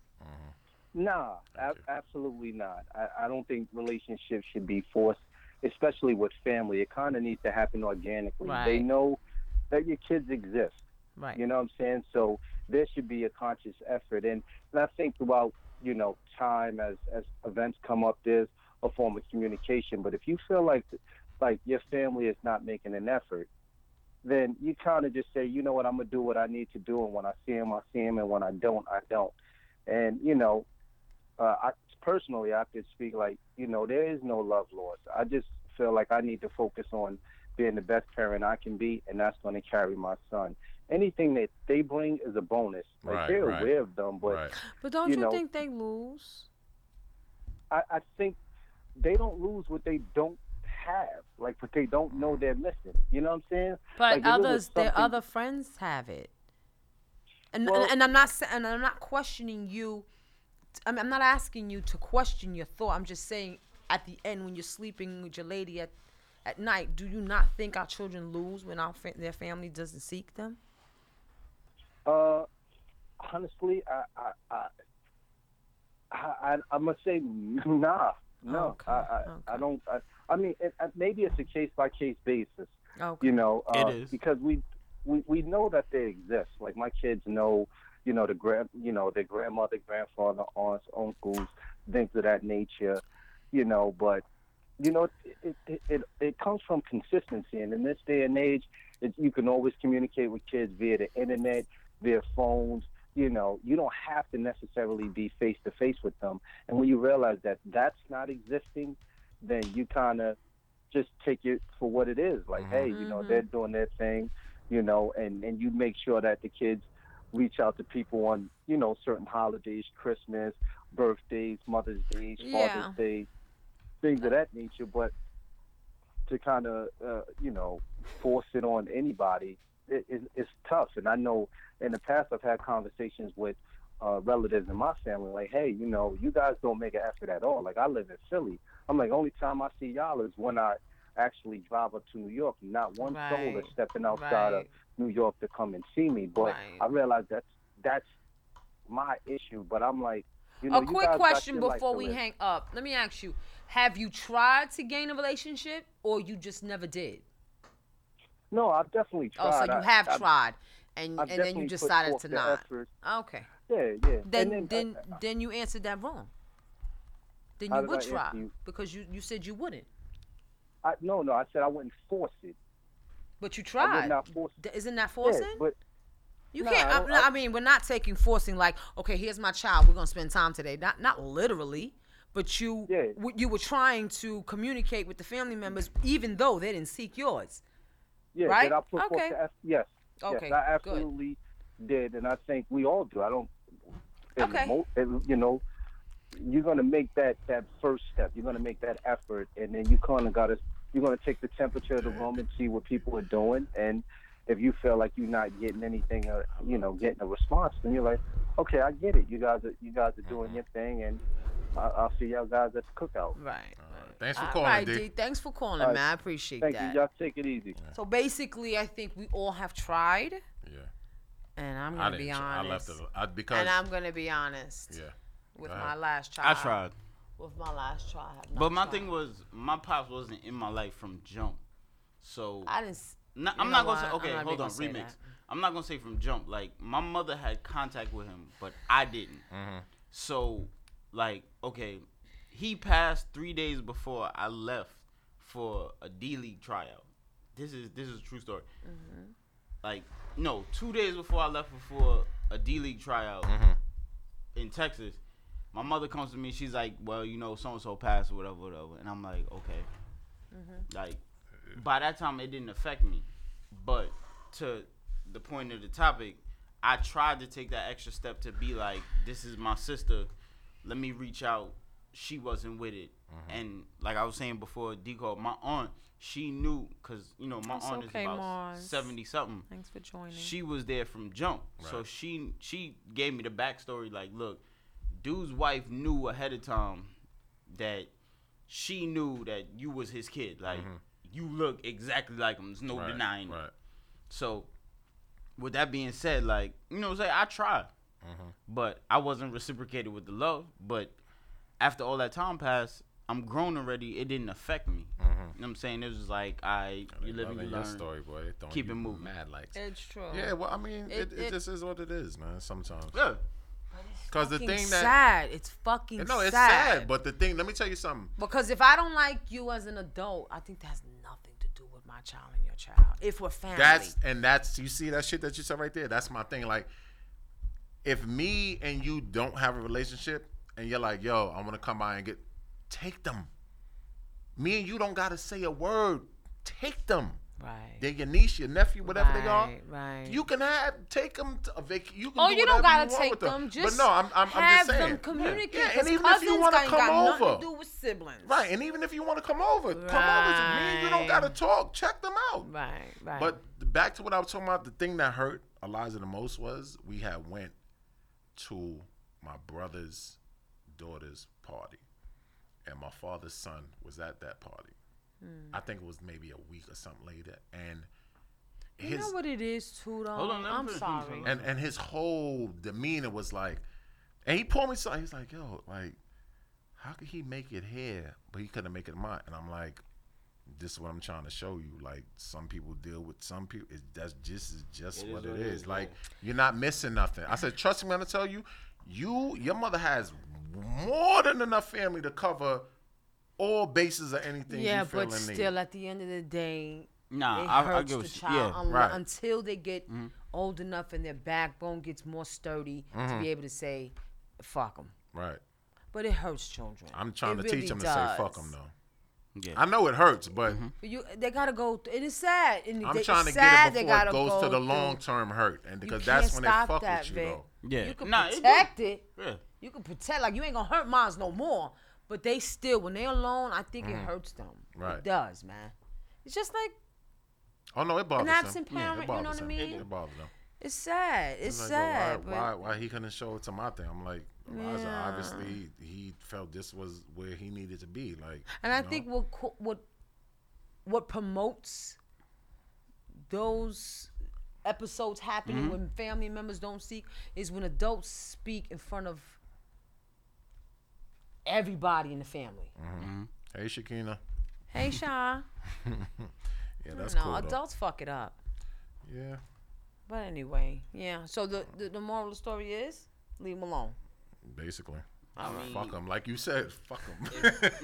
[SPEAKER 10] Nah, ab- absolutely not. I, I don't think relationships should be forced, especially with family. It kind of needs to happen organically. They
[SPEAKER 5] Right.
[SPEAKER 10] know that your kids exist.
[SPEAKER 5] right
[SPEAKER 10] You know what I'm saying? So there should be a conscious effort, and, and I think throughout you know time as as events come up, there's a form of communication. But if you feel like like your family is not making an effort, then you kind of just say, you know what, I'm gonna do what I need to do, and when I see him, I see him, and when I don't, I don't. And you know, uh, I personally, I could speak like you know, there is no love lost. I just feel like I need to focus on being the best parent I can be, and that's going to carry my son. Anything that they bring is a bonus. Like
[SPEAKER 4] Right,
[SPEAKER 10] they're
[SPEAKER 4] right.
[SPEAKER 10] aware of them, but
[SPEAKER 4] right.
[SPEAKER 5] but don't you,
[SPEAKER 10] you know-
[SPEAKER 5] think they lose
[SPEAKER 10] I, I think they don't lose what they don't have, like, but they don't know they're missing. You know what I'm saying?
[SPEAKER 5] But
[SPEAKER 10] Like, if it was
[SPEAKER 5] others, their
[SPEAKER 10] something-
[SPEAKER 5] other friends have it. And,
[SPEAKER 10] Well-
[SPEAKER 5] and and I'm not sa- and I'm not questioning you. t- I'm, I'm not asking you to question your thought. I'm just saying at the end when you're sleeping with your lady at at night, do you not think our children lose when our fa- their family doesn't seek them?
[SPEAKER 10] Uh, honestly, I, I, I, I, I I'm gonna say nah, no. I, I, I don't. I, I mean, it, it, maybe it's a case by case basis.
[SPEAKER 5] Okay.
[SPEAKER 10] You know,
[SPEAKER 5] It
[SPEAKER 10] uh,
[SPEAKER 5] is.
[SPEAKER 10] because we, we we know that they exist. Like my kids know, you know, the grand, you know, their grandmother, grandfather, aunts, uncles, things of that nature. You know, but you know, it it, it, it comes from consistency, and in this day and age, it, you can always communicate with kids via the internet, via phones. You know, you don't have to necessarily be face to face with them. And when you realize that that's not existing, then you kind of just take it for what it is. Like, hey, you know, they're doing their thing, you know, and and you make sure that the kids reach out to people on you know certain holidays, Christmas, birthdays, Mother's Day, Father's
[SPEAKER 5] Yeah.
[SPEAKER 10] Day, things of that nature. But to kind of uh, you know force it on anybody it, it, it's tough and i know in the past i've had conversations with uh, relatives in my family like hey you know you guys don't make an effort at all like i live in philly i'm like only time i see y'all is when i actually drive up to new york not one soul
[SPEAKER 11] Right.
[SPEAKER 10] is stepping outside of
[SPEAKER 11] Right.
[SPEAKER 10] new york to come and see me but
[SPEAKER 5] Right.
[SPEAKER 10] i realize that's that's my issue but i'm like you know
[SPEAKER 5] a
[SPEAKER 10] you
[SPEAKER 5] quick
[SPEAKER 10] guys got
[SPEAKER 5] question
[SPEAKER 10] your life
[SPEAKER 5] before
[SPEAKER 10] to
[SPEAKER 5] we
[SPEAKER 10] live.
[SPEAKER 5] hang up. Let me ask you: Have you tried to gain a relationship, or you just never did?
[SPEAKER 10] no i've definitely tried
[SPEAKER 5] Oh, so you
[SPEAKER 10] I-
[SPEAKER 5] have
[SPEAKER 10] I've-
[SPEAKER 5] tried, and
[SPEAKER 10] I've
[SPEAKER 5] and then
[SPEAKER 10] definitely
[SPEAKER 5] you
[SPEAKER 10] put
[SPEAKER 5] decided
[SPEAKER 10] forth
[SPEAKER 5] to
[SPEAKER 10] the
[SPEAKER 5] not.
[SPEAKER 10] effort.
[SPEAKER 5] Okay.
[SPEAKER 10] Yeah, yeah.
[SPEAKER 5] Then
[SPEAKER 10] And then, uh,
[SPEAKER 5] then then, you answered that wrong. Then
[SPEAKER 10] How
[SPEAKER 5] you
[SPEAKER 10] did
[SPEAKER 5] would
[SPEAKER 10] I
[SPEAKER 5] try
[SPEAKER 10] answer you?
[SPEAKER 5] because you you said you wouldn't,
[SPEAKER 10] I, no, no. I said I wouldn't force it.
[SPEAKER 5] but
[SPEAKER 10] I
[SPEAKER 5] you
[SPEAKER 10] would
[SPEAKER 5] tried.
[SPEAKER 10] not force
[SPEAKER 5] D- Isn't that
[SPEAKER 10] Yeah,
[SPEAKER 5] forcing?
[SPEAKER 10] but
[SPEAKER 5] you
[SPEAKER 10] nah,
[SPEAKER 5] can't.
[SPEAKER 10] I
[SPEAKER 5] I,
[SPEAKER 10] don't-
[SPEAKER 5] I, mean, we're not taking forcing. Like, okay, here's my child. We're gonna spend time today. Not not literally, but you w- you were trying to communicate with the family members, even though they didn't seek yours.
[SPEAKER 10] yeah,
[SPEAKER 5] right?
[SPEAKER 10] did I put forth
[SPEAKER 5] Okay.
[SPEAKER 10] the effort? Yes.
[SPEAKER 5] Okay,
[SPEAKER 10] Yes, I
[SPEAKER 5] good.
[SPEAKER 10] absolutely did, and I think we all do. I don't. and
[SPEAKER 5] Okay.
[SPEAKER 10] mo- and, you know, you're gonna make that that first step. You're gonna make that effort, and then you kind of gotta. You're gonna take the temperature of the room and see what people are doing, and if you feel like you're not getting anything, or you know, getting a response, then you're like, okay, I get it. You guys are you guys are doing your thing, and I, I'll see y'all guys at the cookout.
[SPEAKER 5] Right.
[SPEAKER 4] Thanks
[SPEAKER 5] All right, D. Thanks for calling,
[SPEAKER 10] All right.
[SPEAKER 5] man. I appreciate
[SPEAKER 10] Thank
[SPEAKER 5] that.
[SPEAKER 10] you. Y'all take it easy.
[SPEAKER 5] So basically, I think we all have tried.
[SPEAKER 4] Yeah.
[SPEAKER 5] And I'm
[SPEAKER 4] I
[SPEAKER 5] gonna be
[SPEAKER 4] didn't tr- I
[SPEAKER 5] honest.
[SPEAKER 4] left it I- because-
[SPEAKER 5] And I'm gonna be honest.
[SPEAKER 4] Yeah.
[SPEAKER 5] With
[SPEAKER 4] Go
[SPEAKER 5] my
[SPEAKER 4] ahead.
[SPEAKER 5] last try.
[SPEAKER 3] I tried.
[SPEAKER 5] With my last try. I have not
[SPEAKER 3] But my
[SPEAKER 5] tried.
[SPEAKER 3] thing was, my pops wasn't in my life from jump, so
[SPEAKER 5] I didn't. s-
[SPEAKER 3] No,
[SPEAKER 5] you
[SPEAKER 3] I'm
[SPEAKER 5] know
[SPEAKER 3] not gonna say.
[SPEAKER 5] what? I'm
[SPEAKER 3] Okay,
[SPEAKER 5] not
[SPEAKER 3] hold
[SPEAKER 5] gonna
[SPEAKER 3] on,
[SPEAKER 5] say
[SPEAKER 3] remix.
[SPEAKER 5] that.
[SPEAKER 3] I'm not gonna say from jump. Like my mother had contact with him, but I didn't. So, like, okay, he passed three days before I left for a D League tryout. This is this is a true story. Like, no, two days before I left for a D League tryout in Texas, my mother comes to me. She's like, "Well, you know, so and so passed or whatever, whatever," and I'm like, "Okay."
[SPEAKER 5] Mm-hmm.
[SPEAKER 3] Like by that time it didn't affect me. But to the point of the topic, I tried to take that extra step to be like, This is my sister. Let me reach out. She wasn't with it. And like I was saying before, Deco, my aunt, she knew because you know my
[SPEAKER 5] It's
[SPEAKER 3] aunt
[SPEAKER 5] okay,
[SPEAKER 3] is about
[SPEAKER 5] Mars.
[SPEAKER 3] seventy something.
[SPEAKER 5] Thanks for joining.
[SPEAKER 3] She was there from jump, so
[SPEAKER 5] Right.
[SPEAKER 3] she she gave me the backstory. Like, look, dude's wife knew ahead of time that she knew that you was his kid. Like, you look exactly like him. There's no
[SPEAKER 4] Mm-hmm. Right,
[SPEAKER 3] denying it. So, with that being said, like you know, what I'm saying I tried,
[SPEAKER 4] Mm-hmm.
[SPEAKER 3] but I wasn't reciprocated with the love. But after all that time passed, I'm grown already. It didn't affect me.
[SPEAKER 4] Mm-hmm.
[SPEAKER 3] You know what I'm saying? It was just like I, you live and
[SPEAKER 4] loving
[SPEAKER 3] you
[SPEAKER 4] your
[SPEAKER 3] learn.
[SPEAKER 4] story, boy. They throwing
[SPEAKER 3] Keep
[SPEAKER 4] you
[SPEAKER 3] it moving.
[SPEAKER 4] mad, like-
[SPEAKER 5] It's true.
[SPEAKER 4] Yeah, well, I mean, it, it,
[SPEAKER 5] it-
[SPEAKER 4] just is what it is, man. Sometimes.
[SPEAKER 3] Yeah.
[SPEAKER 4] Because the
[SPEAKER 5] fucking
[SPEAKER 4] thing that
[SPEAKER 5] sad. It's fucking
[SPEAKER 4] no, it's
[SPEAKER 5] sad.
[SPEAKER 4] sad. But the thing, let me tell you something.
[SPEAKER 5] Because if I don't like you as an adult, I think that has nothing to do with my child and your child. If we're family.
[SPEAKER 4] That's and that's you see that shit that you said right there. That's my thing. Like, if me and you don't have a relationship, and you're like, "Yo, I want to come by and get," take them. Me and you don't gotta say a word. Take them.
[SPEAKER 5] Right.
[SPEAKER 4] They're your niece, your nephew, whatever they are.
[SPEAKER 5] Right, right.
[SPEAKER 4] You can have take them to a vac. You can
[SPEAKER 5] Oh,
[SPEAKER 4] do
[SPEAKER 5] you don't
[SPEAKER 4] whatever
[SPEAKER 5] gotta
[SPEAKER 4] you want
[SPEAKER 5] take
[SPEAKER 4] with
[SPEAKER 5] them. Just
[SPEAKER 4] but no, I'm, I'm, I'm
[SPEAKER 5] have
[SPEAKER 4] just saying.
[SPEAKER 5] them communicate.
[SPEAKER 4] Yeah,
[SPEAKER 5] 'cause
[SPEAKER 4] and even if
[SPEAKER 5] cousins
[SPEAKER 4] you want to
[SPEAKER 5] ain't got
[SPEAKER 4] come
[SPEAKER 5] nothing
[SPEAKER 4] over,
[SPEAKER 5] to do with siblings.
[SPEAKER 4] right? And even if you want to come over, come over. to me and you don't gotta talk. Check them out.
[SPEAKER 5] Right, right.
[SPEAKER 4] But back to what I was talking about, the thing that hurt Eliza the most was we had went to my brother's daughter's party, and my father's son was at that party.
[SPEAKER 5] Hmm.
[SPEAKER 4] I think it was maybe a week or something later, and
[SPEAKER 5] you know what it is, too, though.
[SPEAKER 4] Hold on, let me
[SPEAKER 5] Um, I'm
[SPEAKER 4] finish.
[SPEAKER 5] sorry.
[SPEAKER 4] and and his whole demeanor was like, and he pulled me aside. He's like, "Yo, like, how could he make it here, but he couldn't make it mine?" And I'm like, "This is what I'm trying to show you. Like, some people deal with some people. It's that's just is just
[SPEAKER 3] It is
[SPEAKER 4] what
[SPEAKER 3] what
[SPEAKER 4] it
[SPEAKER 3] it
[SPEAKER 4] is.
[SPEAKER 3] is,
[SPEAKER 4] Like, you're not missing nothing." I said, "Trust me, I'm gonna tell you. You, your mother has more than enough family to cover all bases of anything.
[SPEAKER 5] Yeah,
[SPEAKER 4] you feel
[SPEAKER 5] but
[SPEAKER 4] and need."
[SPEAKER 5] still, at the end of the day,
[SPEAKER 3] Nah,
[SPEAKER 5] it
[SPEAKER 3] I- I
[SPEAKER 5] hurts
[SPEAKER 3] get
[SPEAKER 5] the
[SPEAKER 3] what you-
[SPEAKER 5] child
[SPEAKER 3] yeah,
[SPEAKER 5] unle-
[SPEAKER 3] right.
[SPEAKER 5] until they get
[SPEAKER 3] Mhm.
[SPEAKER 5] old enough and their backbone gets more sturdy to
[SPEAKER 4] Mhm.
[SPEAKER 5] be able to say, "Fuck them."
[SPEAKER 4] right.
[SPEAKER 5] But it hurts children.
[SPEAKER 4] I'm trying
[SPEAKER 5] It
[SPEAKER 4] to teach
[SPEAKER 5] really
[SPEAKER 4] them to say "fuck
[SPEAKER 5] does.
[SPEAKER 4] them" though. I know it hurts, but.
[SPEAKER 5] You, they gotta go. Th- it is sad. And
[SPEAKER 4] I'm
[SPEAKER 5] they-
[SPEAKER 4] trying to
[SPEAKER 5] it's
[SPEAKER 4] get
[SPEAKER 5] sad
[SPEAKER 4] it
[SPEAKER 5] they
[SPEAKER 4] before
[SPEAKER 5] gotta
[SPEAKER 4] it goes
[SPEAKER 5] go
[SPEAKER 4] to the
[SPEAKER 5] through.
[SPEAKER 4] long term hurt, and
[SPEAKER 5] You
[SPEAKER 4] because that's
[SPEAKER 5] can't
[SPEAKER 4] when they
[SPEAKER 5] stop
[SPEAKER 4] fuck
[SPEAKER 5] that,
[SPEAKER 4] with you
[SPEAKER 5] Vic.
[SPEAKER 4] though.
[SPEAKER 3] Yeah.
[SPEAKER 5] You can
[SPEAKER 3] Nah, it do.
[SPEAKER 5] protect it.
[SPEAKER 3] Yeah.
[SPEAKER 5] You can protect. Like you ain't gonna hurt moms no more. But they still, when they alone, I think
[SPEAKER 4] Mhm.
[SPEAKER 5] it hurts them.
[SPEAKER 4] Right.
[SPEAKER 5] It does, man. It's just like
[SPEAKER 4] Oh no, it bothers
[SPEAKER 5] absent
[SPEAKER 4] him. Yeah,
[SPEAKER 5] parent, you
[SPEAKER 4] it bothers
[SPEAKER 5] know what I
[SPEAKER 4] him.
[SPEAKER 5] mean?
[SPEAKER 4] It bothers him.
[SPEAKER 5] it's sad. It's
[SPEAKER 4] He's like, yo,
[SPEAKER 5] sad. but
[SPEAKER 4] why, why, why he couldn't show it to my thing? I'm like, Eliza,
[SPEAKER 5] Yeah.
[SPEAKER 4] obviously he felt this was where he needed to be. Like,
[SPEAKER 5] And I
[SPEAKER 4] you know?
[SPEAKER 5] think what co- what what promotes those episodes happening
[SPEAKER 4] Mhm.
[SPEAKER 5] when family members don't seek is when adults speak in front of everybody in the family.
[SPEAKER 4] Mhm.
[SPEAKER 3] Mm-hmm.
[SPEAKER 4] Hey, Shakina.
[SPEAKER 5] Hey, Sean.
[SPEAKER 4] yeah, that's
[SPEAKER 5] no,
[SPEAKER 4] cool. though.
[SPEAKER 5] adults fuck it up.
[SPEAKER 4] Yeah.
[SPEAKER 5] But anyway, yeah. So the the, the moral of the story is leave them alone.
[SPEAKER 4] Basically.
[SPEAKER 5] I mean-
[SPEAKER 4] fuck him, like you said. Fuck him.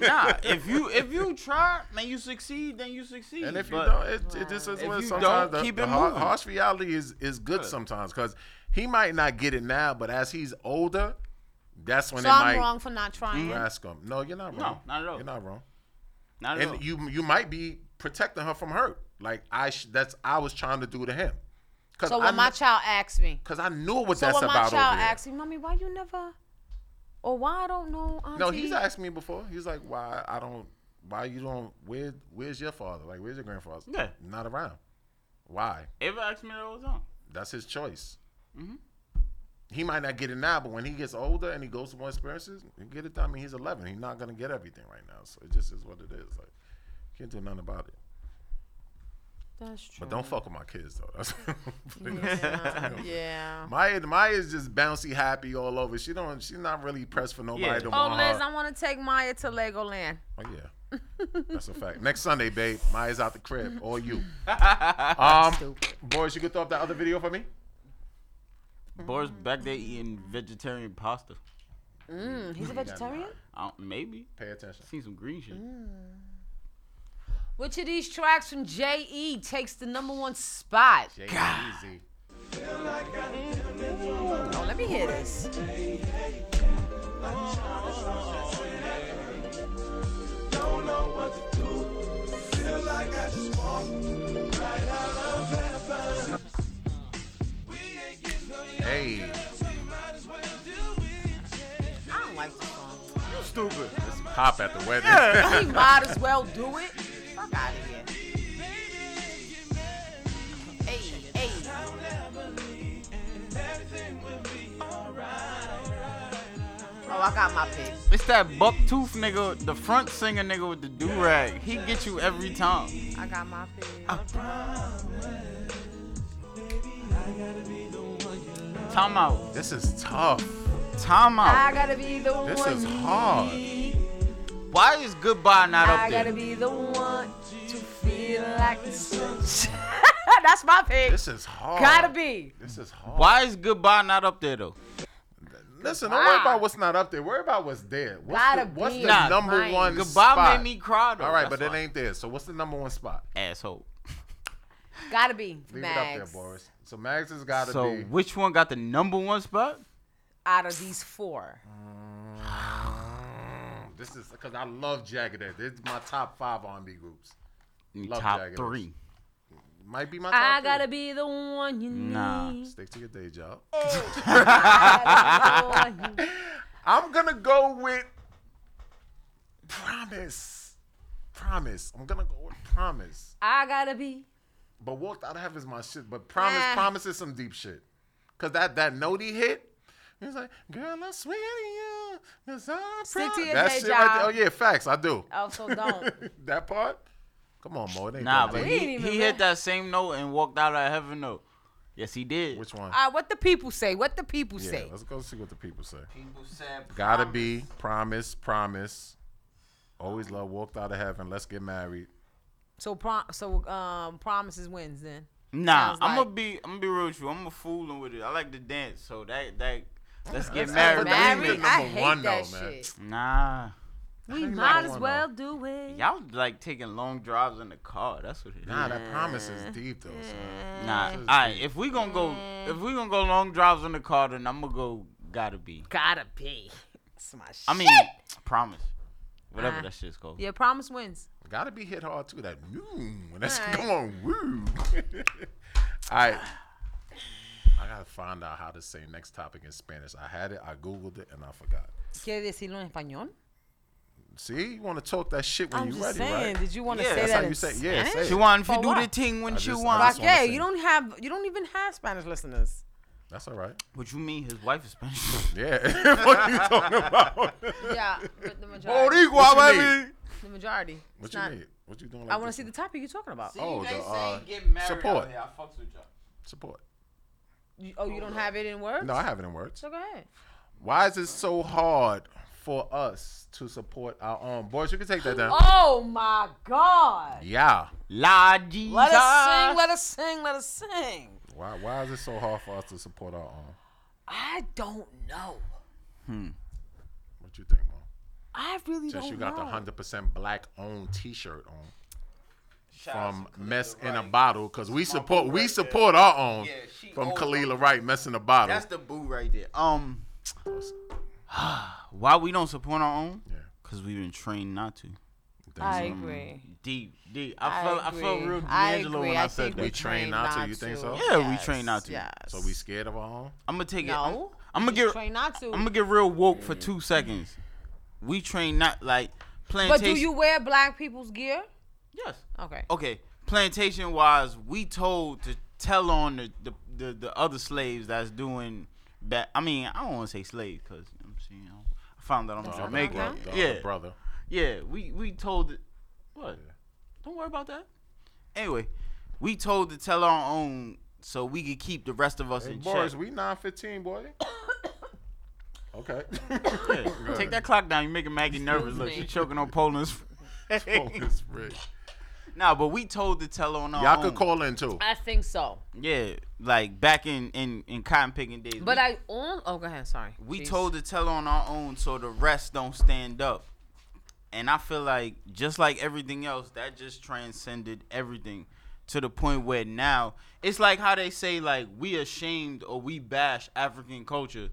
[SPEAKER 3] nah, if you if you try and you succeed, then you succeed.
[SPEAKER 4] And if you
[SPEAKER 3] But
[SPEAKER 4] don't, it, it just is
[SPEAKER 3] if
[SPEAKER 4] what
[SPEAKER 3] you
[SPEAKER 4] sometimes
[SPEAKER 3] don't,
[SPEAKER 4] the,
[SPEAKER 3] keep
[SPEAKER 4] the
[SPEAKER 3] it
[SPEAKER 4] har-
[SPEAKER 3] moving.
[SPEAKER 4] harsh reality is is good
[SPEAKER 3] Yeah.
[SPEAKER 4] sometimes because he might not get it now, but as he's older, that's when
[SPEAKER 5] so
[SPEAKER 4] it
[SPEAKER 5] I'm
[SPEAKER 4] might Mm-hmm.
[SPEAKER 5] wrong for not trying.
[SPEAKER 4] grasp him. No, you're not
[SPEAKER 3] No,
[SPEAKER 4] wrong.
[SPEAKER 3] not at all.
[SPEAKER 4] You're not wrong.
[SPEAKER 3] Not at
[SPEAKER 4] and
[SPEAKER 3] all.
[SPEAKER 4] you you might be protecting her from hurt. Like I sh- that's I was trying to do to him. Cause
[SPEAKER 5] So
[SPEAKER 4] I
[SPEAKER 5] when my
[SPEAKER 4] kn-
[SPEAKER 5] child asks me,
[SPEAKER 4] cause I knew what
[SPEAKER 5] so
[SPEAKER 4] that's
[SPEAKER 5] when my
[SPEAKER 4] about
[SPEAKER 5] child
[SPEAKER 4] over there.
[SPEAKER 5] asks me, mommy, why you never, or why I don't know, auntie?
[SPEAKER 4] No, he's asked me before. He's like, why I don't, why you don't, where where's your father? Like where's your grandfather?
[SPEAKER 3] Yeah.
[SPEAKER 4] not around. Why?
[SPEAKER 3] Ever asked me that all the time.
[SPEAKER 4] That's his choice.
[SPEAKER 3] Mm-hmm.
[SPEAKER 4] he might not get it now, but when he gets older and he goes through more experiences, he get it done. I mean, he's 11. He's not gonna get everything right now, so it just is what it is. Like, can't do nothing about it.
[SPEAKER 5] That's true.
[SPEAKER 4] But don't fuck with my kids though. That's
[SPEAKER 5] Yeah, yeah.
[SPEAKER 4] Maya, Maya's just bouncy, happy all over. She don't. She's not really pressed for nobody
[SPEAKER 3] Yeah.
[SPEAKER 4] to
[SPEAKER 5] Oh,
[SPEAKER 4] want
[SPEAKER 5] Liz,
[SPEAKER 4] her.
[SPEAKER 5] I want to take Maya to Legoland.
[SPEAKER 4] Oh yeah, that's a fact. Next Sunday, babe, Maya's out the crib. All you. Um,
[SPEAKER 3] Um,
[SPEAKER 4] boys, you could throw up that other video for me.
[SPEAKER 3] Boris back there eating vegetarian pasta.
[SPEAKER 5] Mm, he's a vegetarian? Mm.
[SPEAKER 3] I don't- maybe.
[SPEAKER 4] Pay attention.
[SPEAKER 3] Seen some green shit.
[SPEAKER 5] Which of these tracks from J.E. takes the number one spot?
[SPEAKER 4] E. Easy.
[SPEAKER 5] Oh, let me hear this. Mm-hmm.
[SPEAKER 4] Hey,
[SPEAKER 5] I don't like this song.
[SPEAKER 4] Mm-hmm.
[SPEAKER 3] You stupid.
[SPEAKER 4] pop at the wedding.
[SPEAKER 5] Yeah, he might as well do it. Fuck out of here. Hey, hey. Oh, I got my pick.
[SPEAKER 3] It's that buck tooth nigga, the front singer nigga with the do rag. He get you every time.
[SPEAKER 5] I got my pick.
[SPEAKER 3] Time out.
[SPEAKER 4] This is tough.
[SPEAKER 3] Time
[SPEAKER 5] I
[SPEAKER 3] out.
[SPEAKER 5] gotta be the
[SPEAKER 4] This
[SPEAKER 5] one.
[SPEAKER 4] is hard.
[SPEAKER 3] Why is goodbye not up
[SPEAKER 5] I
[SPEAKER 3] there?
[SPEAKER 5] gotta be the one to feel like the sunshine. That's my pick.
[SPEAKER 4] This is hard.
[SPEAKER 5] Gotta be.
[SPEAKER 4] This is hard.
[SPEAKER 3] Why is goodbye not up there though?
[SPEAKER 4] Listen, don't worry
[SPEAKER 5] Goodbye.
[SPEAKER 4] about what's not up there. Worry about what's there. What's
[SPEAKER 5] Gotta
[SPEAKER 4] the, what's
[SPEAKER 5] be
[SPEAKER 4] the
[SPEAKER 3] Nah,
[SPEAKER 4] number
[SPEAKER 5] mine.
[SPEAKER 4] one
[SPEAKER 3] Goodbye
[SPEAKER 4] spot?
[SPEAKER 3] made me cry though.
[SPEAKER 4] All right,
[SPEAKER 3] That's
[SPEAKER 4] but it
[SPEAKER 3] why.
[SPEAKER 4] ain't there. So what's the number one spot?
[SPEAKER 3] asshole.
[SPEAKER 5] Gotta be.
[SPEAKER 4] Leave it up
[SPEAKER 5] Mags.
[SPEAKER 4] there, Boris. So Max has got to
[SPEAKER 3] So
[SPEAKER 4] be.
[SPEAKER 3] which one got the number one spot?
[SPEAKER 5] Out of these four.
[SPEAKER 4] This is because I love Jagged Edge. It's my top five R&B groups.
[SPEAKER 3] Me
[SPEAKER 4] Love
[SPEAKER 3] top
[SPEAKER 4] Jagged Edge.
[SPEAKER 3] three.
[SPEAKER 4] Might be my top
[SPEAKER 5] I
[SPEAKER 4] three.
[SPEAKER 5] gotta be the one you
[SPEAKER 4] Nah.
[SPEAKER 5] need.
[SPEAKER 4] Stick to your day job.
[SPEAKER 5] Oh. I
[SPEAKER 4] I'm gonna go with promise. Promise. I'm gonna go with promise.
[SPEAKER 5] I gotta be.
[SPEAKER 4] But walked out of heaven is my shit. But promise,
[SPEAKER 5] Ah.
[SPEAKER 4] promise is some deep shit. Cause that that note he hit, he was like, "Girl, I swear to you, 'cause I
[SPEAKER 5] Stick to
[SPEAKER 4] prom-"
[SPEAKER 5] your
[SPEAKER 4] That
[SPEAKER 5] day
[SPEAKER 4] shit right there.
[SPEAKER 5] job.
[SPEAKER 4] Oh yeah, facts. I do.
[SPEAKER 5] Also, don't.
[SPEAKER 4] that part. Come on, Mo. It ain't
[SPEAKER 3] Nah,
[SPEAKER 4] that
[SPEAKER 3] but
[SPEAKER 4] deep.
[SPEAKER 5] ain't
[SPEAKER 3] he,
[SPEAKER 5] even
[SPEAKER 3] he
[SPEAKER 5] ready.
[SPEAKER 3] hit that same note and walked out of heaven though. Yes, he did.
[SPEAKER 4] Which one?
[SPEAKER 5] Uh, what the people say? What the people Um,
[SPEAKER 4] yeah,
[SPEAKER 5] say?
[SPEAKER 4] let's go see what the people say.
[SPEAKER 3] People said
[SPEAKER 4] Gotta be promise, promise. Always love. Walked out of heaven. Let's get married.
[SPEAKER 5] So prom, so um, promises wins then.
[SPEAKER 3] Nah,
[SPEAKER 5] Sounds
[SPEAKER 3] I'm
[SPEAKER 5] like-
[SPEAKER 3] gonna be I'm gonna be real with you. I'm gonna fooling with it. I like to dance, so that that let's get
[SPEAKER 4] That's
[SPEAKER 3] married.
[SPEAKER 4] number three,
[SPEAKER 5] Married?
[SPEAKER 4] but
[SPEAKER 5] I
[SPEAKER 4] number
[SPEAKER 5] hate that shit.
[SPEAKER 3] Nah,
[SPEAKER 5] We
[SPEAKER 4] ain't
[SPEAKER 5] might
[SPEAKER 4] number
[SPEAKER 5] as
[SPEAKER 4] one,
[SPEAKER 5] well do it.
[SPEAKER 3] y'all like taking long drives in the car. That's what it is.
[SPEAKER 4] Nah, that promise is deep though. Son.
[SPEAKER 3] Nah,
[SPEAKER 4] This
[SPEAKER 3] all
[SPEAKER 4] is
[SPEAKER 3] right.
[SPEAKER 4] deep.
[SPEAKER 3] If we gonna go, if we gonna go long drives in the car, then I'm gonna go. Gotta be.
[SPEAKER 5] Gotta be. That's my shit.
[SPEAKER 3] I mean, promise. Whatever
[SPEAKER 5] Uh,
[SPEAKER 3] that shit's called.
[SPEAKER 5] yeah, promise wins.
[SPEAKER 4] Gotta be hit hard too. That noon when that's
[SPEAKER 5] All right.
[SPEAKER 4] going woo. All right. I gotta find out how to say next topic in Spanish. I had it, I googled it, and I forgot.
[SPEAKER 5] Quiere decirlo en español?
[SPEAKER 4] See, you want to talk that shit when
[SPEAKER 5] I'm
[SPEAKER 4] you
[SPEAKER 5] just
[SPEAKER 4] ready,
[SPEAKER 5] saying.
[SPEAKER 4] right?
[SPEAKER 5] Did you want to
[SPEAKER 3] Yeah,
[SPEAKER 5] say
[SPEAKER 3] that's
[SPEAKER 5] that
[SPEAKER 4] how
[SPEAKER 5] in
[SPEAKER 4] you say- yeah, say
[SPEAKER 5] Spanish?
[SPEAKER 4] it.
[SPEAKER 3] She want
[SPEAKER 5] For
[SPEAKER 3] to do the
[SPEAKER 5] what?
[SPEAKER 3] thing when
[SPEAKER 4] I
[SPEAKER 3] she
[SPEAKER 4] just- I
[SPEAKER 3] wants.
[SPEAKER 4] just- wanna
[SPEAKER 5] Raquel,
[SPEAKER 4] say-
[SPEAKER 5] you don't have, you don't even have Spanish listeners.
[SPEAKER 4] That's all right.
[SPEAKER 3] What you mean? His wife is Spanish.
[SPEAKER 4] Yeah. what you talking about?
[SPEAKER 5] Yeah, but the majority.
[SPEAKER 3] Boricua,
[SPEAKER 4] What you
[SPEAKER 3] baby.
[SPEAKER 5] The majority.
[SPEAKER 4] What
[SPEAKER 5] It's
[SPEAKER 4] you
[SPEAKER 5] not-
[SPEAKER 4] need? What you doing? Like
[SPEAKER 5] I want to
[SPEAKER 4] this
[SPEAKER 5] see the
[SPEAKER 4] one?
[SPEAKER 5] topic you're talking about.
[SPEAKER 4] Oh, the, uh, support.
[SPEAKER 3] Support. I fucks with y'all.
[SPEAKER 4] support.
[SPEAKER 5] You- oh, you don't have it in words?
[SPEAKER 4] No, I have it in words.
[SPEAKER 5] So go ahead.
[SPEAKER 4] Why is it so hard for us to support our own boys? You can take that down.
[SPEAKER 5] Oh my God!
[SPEAKER 4] Yeah.
[SPEAKER 3] La Jesus.
[SPEAKER 5] Let us sing. Let us sing. Let us sing.
[SPEAKER 4] Why why is it so hard for us to support our own?
[SPEAKER 5] I don't know.
[SPEAKER 3] Hmm.
[SPEAKER 4] What you think, Mom?
[SPEAKER 5] I really
[SPEAKER 4] Just
[SPEAKER 5] don't
[SPEAKER 4] you got
[SPEAKER 5] know.
[SPEAKER 4] the hundred percent black owned T shirt on
[SPEAKER 3] Shout out
[SPEAKER 4] from
[SPEAKER 3] to Khalil
[SPEAKER 4] Mess in a
[SPEAKER 3] Wright.
[SPEAKER 4] Bottle because we
[SPEAKER 3] my
[SPEAKER 4] support
[SPEAKER 3] boy right
[SPEAKER 4] we
[SPEAKER 3] there.
[SPEAKER 4] support our own
[SPEAKER 3] Yeah, she
[SPEAKER 4] from
[SPEAKER 3] old.
[SPEAKER 4] Kalila Wright Mess in a Bottle.
[SPEAKER 3] That's the boo right there. Um, why we don't support our own?
[SPEAKER 4] Yeah.
[SPEAKER 3] Cause we've been trained not to.
[SPEAKER 5] I agree.
[SPEAKER 3] Deep, deep. I, felt, I felt
[SPEAKER 5] agree.
[SPEAKER 3] real
[SPEAKER 5] I
[SPEAKER 3] D'Angelo
[SPEAKER 5] agree.
[SPEAKER 3] when I, said
[SPEAKER 5] think
[SPEAKER 3] that.
[SPEAKER 4] We trained
[SPEAKER 5] trained
[SPEAKER 4] not to, you think so?
[SPEAKER 3] Yeah, we trained not to.
[SPEAKER 5] Yes.
[SPEAKER 4] so we scared of our own?
[SPEAKER 3] I'm gonna take
[SPEAKER 5] No.
[SPEAKER 3] it. I'm, gonna get.
[SPEAKER 5] trained not to.
[SPEAKER 3] I'm gonna get real woke for two seconds. We trained not like
[SPEAKER 5] but
[SPEAKER 3] plantation.
[SPEAKER 5] do you wear black people's gear?
[SPEAKER 3] Yes.
[SPEAKER 5] Okay.
[SPEAKER 3] Okay. Plantation wise, we told to tell on the the, the, the other slaves that's doing that. I mean, I don't want to say slave because I'm seeing. I found that I'm
[SPEAKER 4] The other
[SPEAKER 3] Jamaican.
[SPEAKER 4] bro- the other
[SPEAKER 3] Yeah.
[SPEAKER 4] brother.
[SPEAKER 3] Yeah, we we told it. What? Don't worry about that. Anyway, we told to tell our own so we could keep the rest of us
[SPEAKER 4] Hey,
[SPEAKER 3] in
[SPEAKER 4] boys,
[SPEAKER 3] check.
[SPEAKER 4] we nine fifteen, boy. okay.
[SPEAKER 3] Yeah, Take that clock down. You're making Maggie nervous. Look, she's choking on Poland's.
[SPEAKER 4] Oh, it's rich.
[SPEAKER 3] Nah, but we told to tell on our
[SPEAKER 4] Y'all
[SPEAKER 3] own.
[SPEAKER 4] could call in too.
[SPEAKER 5] I think so.
[SPEAKER 3] Yeah, like back in in in cotton picking days.
[SPEAKER 5] But
[SPEAKER 3] we,
[SPEAKER 5] I on. Oh, go ahead. Sorry.
[SPEAKER 3] we
[SPEAKER 5] Jeez.
[SPEAKER 3] told to tell on our own so the rest don't stand up. And I feel like just like everything else, that just transcended everything to the point where now it's like how they say like we ashamed or we bash African culture,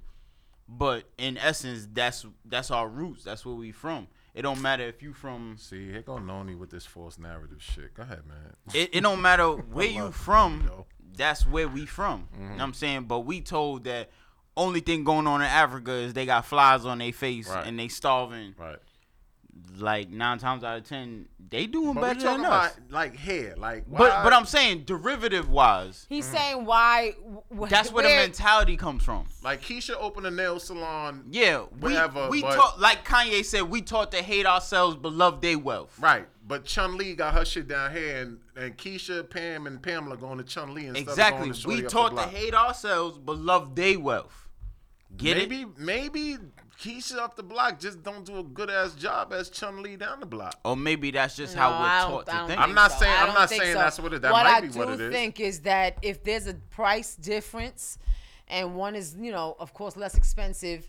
[SPEAKER 3] but in essence that's that's our roots. That's where we from. It don't matter if you from
[SPEAKER 4] See, here go Noni with this false narrative shit. Go ahead, man.
[SPEAKER 3] it, it don't matter where
[SPEAKER 4] love
[SPEAKER 3] you
[SPEAKER 4] you,
[SPEAKER 3] from,
[SPEAKER 4] yo. Mm-hmm.
[SPEAKER 3] that's where we from. You know what I'm saying? But we told that only thing going on in Africa is they got flies on their face
[SPEAKER 4] Right.
[SPEAKER 3] and they starving.
[SPEAKER 4] Right.
[SPEAKER 3] Like nine times out of ten, they doing
[SPEAKER 4] But
[SPEAKER 3] better
[SPEAKER 4] we talking
[SPEAKER 3] than us.
[SPEAKER 4] about like hair, like
[SPEAKER 3] But but
[SPEAKER 4] why- Mm.
[SPEAKER 3] I'm saying derivative wise,
[SPEAKER 5] He's
[SPEAKER 4] Mm-hmm.
[SPEAKER 5] saying why. Wh-
[SPEAKER 3] that's where the
[SPEAKER 5] where-
[SPEAKER 3] mentality comes from.
[SPEAKER 4] like Keisha opened a nail salon.
[SPEAKER 3] Yeah, we
[SPEAKER 4] Whatever,
[SPEAKER 3] we
[SPEAKER 4] but-
[SPEAKER 3] taught like Kanye said, we taught to hate ourselves but love their wealth.
[SPEAKER 4] Right, but Chun Li got her shit down here, and, and Keisha, Pam, and Pamela going to Chun Li instead
[SPEAKER 3] Exactly.
[SPEAKER 4] of going
[SPEAKER 3] We
[SPEAKER 4] to Shorty up the
[SPEAKER 3] taught to
[SPEAKER 4] block.
[SPEAKER 3] hate ourselves but love their wealth. Get it?
[SPEAKER 4] maybe maybe Keisha up the block just don't do a good ass job as Chun Li down the block.
[SPEAKER 3] Or maybe that's just
[SPEAKER 5] No,
[SPEAKER 3] how
[SPEAKER 5] I
[SPEAKER 3] we're
[SPEAKER 5] don't-
[SPEAKER 3] taught
[SPEAKER 5] I
[SPEAKER 3] to
[SPEAKER 5] don't
[SPEAKER 3] think.
[SPEAKER 4] I'm not
[SPEAKER 5] so.
[SPEAKER 4] saying
[SPEAKER 5] I
[SPEAKER 4] I'm
[SPEAKER 5] don't
[SPEAKER 4] not
[SPEAKER 5] think
[SPEAKER 4] saying
[SPEAKER 5] so.
[SPEAKER 4] that's what it. That
[SPEAKER 5] what
[SPEAKER 4] might
[SPEAKER 5] I
[SPEAKER 4] be
[SPEAKER 5] do
[SPEAKER 4] what it is.
[SPEAKER 5] think is that if there's a price difference, and one is you know of course less expensive,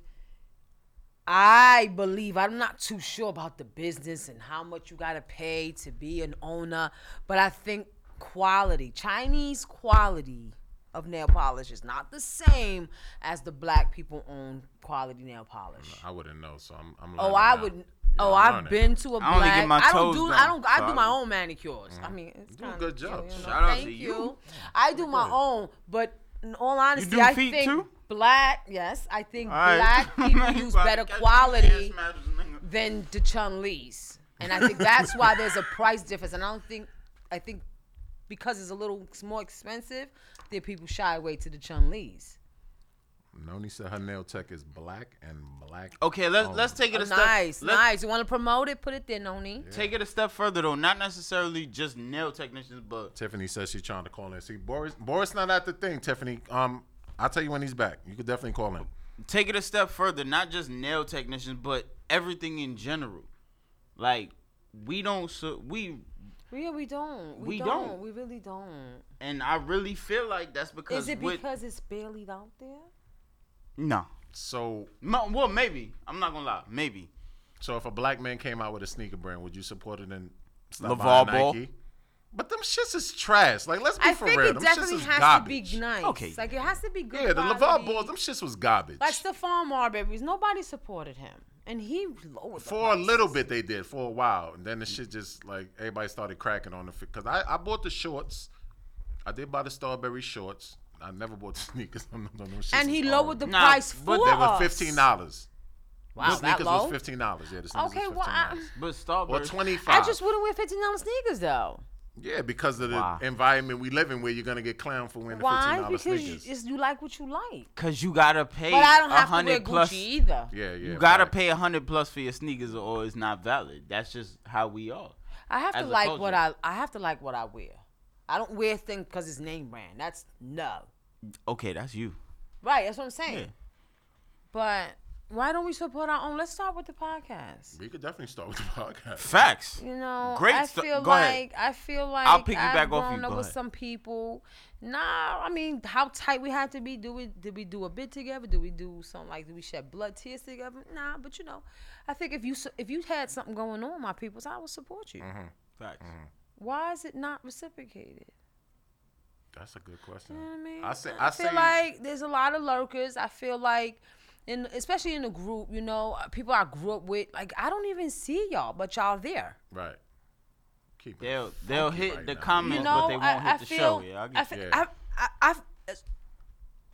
[SPEAKER 5] I believe I'm not too sure about the business and how much you gotta pay to be an owner, but I think quality Chinese quality of nail polish is not the same as the black people own quality nail polish.
[SPEAKER 4] I wouldn't know, so I'm. I'm
[SPEAKER 5] Oh,
[SPEAKER 4] learning
[SPEAKER 5] I
[SPEAKER 4] now.
[SPEAKER 5] would. Oh, I've been to a
[SPEAKER 3] I only
[SPEAKER 5] black.
[SPEAKER 3] get my
[SPEAKER 5] I don't
[SPEAKER 3] toes
[SPEAKER 5] do.
[SPEAKER 3] done.
[SPEAKER 5] I don't. I do
[SPEAKER 3] Sorry.
[SPEAKER 5] my own manicures. I mean, it's
[SPEAKER 4] do a good job.
[SPEAKER 3] Shout out
[SPEAKER 5] thank
[SPEAKER 3] to
[SPEAKER 5] you.
[SPEAKER 3] you.
[SPEAKER 5] I do my own, but in all honesty,
[SPEAKER 3] do
[SPEAKER 5] I
[SPEAKER 3] feet
[SPEAKER 5] think
[SPEAKER 3] too?
[SPEAKER 5] black. Yes, I think
[SPEAKER 3] All right.
[SPEAKER 5] black people
[SPEAKER 3] You
[SPEAKER 5] use
[SPEAKER 3] about
[SPEAKER 5] better
[SPEAKER 3] to catch
[SPEAKER 5] quality
[SPEAKER 3] these ass masters, nigga.
[SPEAKER 5] than Dechun Lee's, and I think that's why there's a price difference. And I don't think, I think, because it's a little more expensive, that people shy away to Dechun Lee's.
[SPEAKER 4] Noni said her nail tech is black and black.
[SPEAKER 3] Okay, let's
[SPEAKER 4] only.
[SPEAKER 3] let's take it a step.
[SPEAKER 5] Oh, Nice,
[SPEAKER 3] let's
[SPEAKER 5] nice. You want to promote it? Put it there, Noni.
[SPEAKER 3] Take it a step further though. Not necessarily just nail technicians, but
[SPEAKER 4] Tiffany says she's trying to call in. See, Boris, Boris not at the thing. Tiffany, um, I'll tell you when he's back. You could definitely call in.
[SPEAKER 3] take it a step further. Not just nail technicians, but everything in general. Like we don't. So, we
[SPEAKER 5] Yeah, we don't. We,
[SPEAKER 3] We
[SPEAKER 5] don't.
[SPEAKER 3] don't.
[SPEAKER 5] We really don't.
[SPEAKER 3] and I really feel like that's because
[SPEAKER 5] Is it
[SPEAKER 3] with-
[SPEAKER 5] because it's barely out there?
[SPEAKER 3] no.
[SPEAKER 4] So,
[SPEAKER 3] Mo- well, maybe I'm not gonna lie. Maybe
[SPEAKER 4] so if a black man came out with a sneaker brand, would you support it in
[SPEAKER 3] LaVar Ball?
[SPEAKER 4] Nike? But them shits is trash. Like, let's be
[SPEAKER 5] I
[SPEAKER 4] for
[SPEAKER 5] think
[SPEAKER 4] real.
[SPEAKER 5] it
[SPEAKER 4] Them
[SPEAKER 5] definitely
[SPEAKER 4] shits is
[SPEAKER 5] has
[SPEAKER 4] garbage.
[SPEAKER 5] to be nice.
[SPEAKER 3] Okay.
[SPEAKER 5] Like it has to be good.
[SPEAKER 4] Yeah, the
[SPEAKER 5] quality.
[SPEAKER 4] LeVar balls, them shits was garbage.
[SPEAKER 5] Like Stephon Marbury's, nobody supported him, and he lowered the
[SPEAKER 4] for a
[SPEAKER 5] price.
[SPEAKER 4] little bit they did for a while, and then the shit just like everybody started cracking on the because I I bought the shorts, I did buy the strawberry shorts. I never bought the sneakers. No, no, no, shits
[SPEAKER 5] And he
[SPEAKER 4] was
[SPEAKER 5] lowered the
[SPEAKER 4] horrible.
[SPEAKER 3] Nah,
[SPEAKER 5] price
[SPEAKER 3] but
[SPEAKER 5] for
[SPEAKER 3] they
[SPEAKER 4] They were
[SPEAKER 5] us.
[SPEAKER 4] fifteen dollars.
[SPEAKER 5] Wow,
[SPEAKER 4] the sneakers
[SPEAKER 5] that low?
[SPEAKER 4] was fifteen dollars. Yeah, the sneakers
[SPEAKER 5] Okay,
[SPEAKER 4] was
[SPEAKER 5] well,
[SPEAKER 4] fifteen
[SPEAKER 5] I,
[SPEAKER 4] dollars.
[SPEAKER 3] But
[SPEAKER 4] Or
[SPEAKER 3] Starburst.
[SPEAKER 4] twenty five.
[SPEAKER 5] I just wouldn't wear fifteen dollars sneakers though.
[SPEAKER 4] yeah, because of the
[SPEAKER 3] Why?
[SPEAKER 4] environment we live in, where you're gonna get clowned for wearing the fifteen
[SPEAKER 5] Why?
[SPEAKER 4] dollars
[SPEAKER 5] Because you,
[SPEAKER 4] sneakers.
[SPEAKER 5] it's, you like what you like.
[SPEAKER 3] Cause you gotta pay.
[SPEAKER 5] But I don't
[SPEAKER 3] a
[SPEAKER 5] have to wear Gucci
[SPEAKER 3] hundred plus.
[SPEAKER 5] either.
[SPEAKER 4] yeah, yeah.
[SPEAKER 3] You gotta
[SPEAKER 4] right.
[SPEAKER 3] pay a hundred plus for your sneakers, or it's not valid. That's just how we are.
[SPEAKER 5] I have to
[SPEAKER 3] as a
[SPEAKER 5] like what I.
[SPEAKER 3] culture.
[SPEAKER 5] I have to like what I wear. I don't wear things because it's name brand. That's no.
[SPEAKER 3] Okay, that's you.
[SPEAKER 5] Right. That's what I'm saying.
[SPEAKER 3] Yeah.
[SPEAKER 5] But why don't we support our own? Let's start with the podcast.
[SPEAKER 4] We could definitely start with the podcast.
[SPEAKER 3] Facts.
[SPEAKER 5] You know,
[SPEAKER 3] Great
[SPEAKER 5] I
[SPEAKER 3] sto-
[SPEAKER 5] feel
[SPEAKER 3] go ahead.
[SPEAKER 5] like I feel like
[SPEAKER 3] I'll
[SPEAKER 5] have
[SPEAKER 3] piggyback off you.
[SPEAKER 5] grown up
[SPEAKER 3] Go
[SPEAKER 5] with
[SPEAKER 3] ahead.
[SPEAKER 5] some people. Nah, I mean, how tight we had to be. Do we did we do a bit together? Do we do something like do we shed blood tears together? Nah, but you know, I think if you su- if you had something going on, my peoples, I would support you.
[SPEAKER 3] Mm-hmm. Facts.
[SPEAKER 4] Mm-hmm.
[SPEAKER 5] Why is it not reciprocated?
[SPEAKER 4] That's a good question.
[SPEAKER 5] You know what I mean?
[SPEAKER 4] I say, I,
[SPEAKER 5] feel
[SPEAKER 4] say,
[SPEAKER 5] like there's a lot of lurkers. I feel like, in especially in the group, you know, uh, people I grew up with, like I don't even see y'all, but y'all there.
[SPEAKER 4] right. Keep it
[SPEAKER 3] They'll they'll
[SPEAKER 4] funky
[SPEAKER 3] hit
[SPEAKER 4] right
[SPEAKER 3] the
[SPEAKER 4] now.
[SPEAKER 3] comments,
[SPEAKER 5] You know,
[SPEAKER 3] but they won't
[SPEAKER 5] I,
[SPEAKER 3] hit
[SPEAKER 5] I
[SPEAKER 3] the
[SPEAKER 5] feel,
[SPEAKER 3] show. Yeah, I
[SPEAKER 5] I
[SPEAKER 3] get
[SPEAKER 5] feel,
[SPEAKER 3] you.
[SPEAKER 4] Yeah.
[SPEAKER 5] I've, I, I've,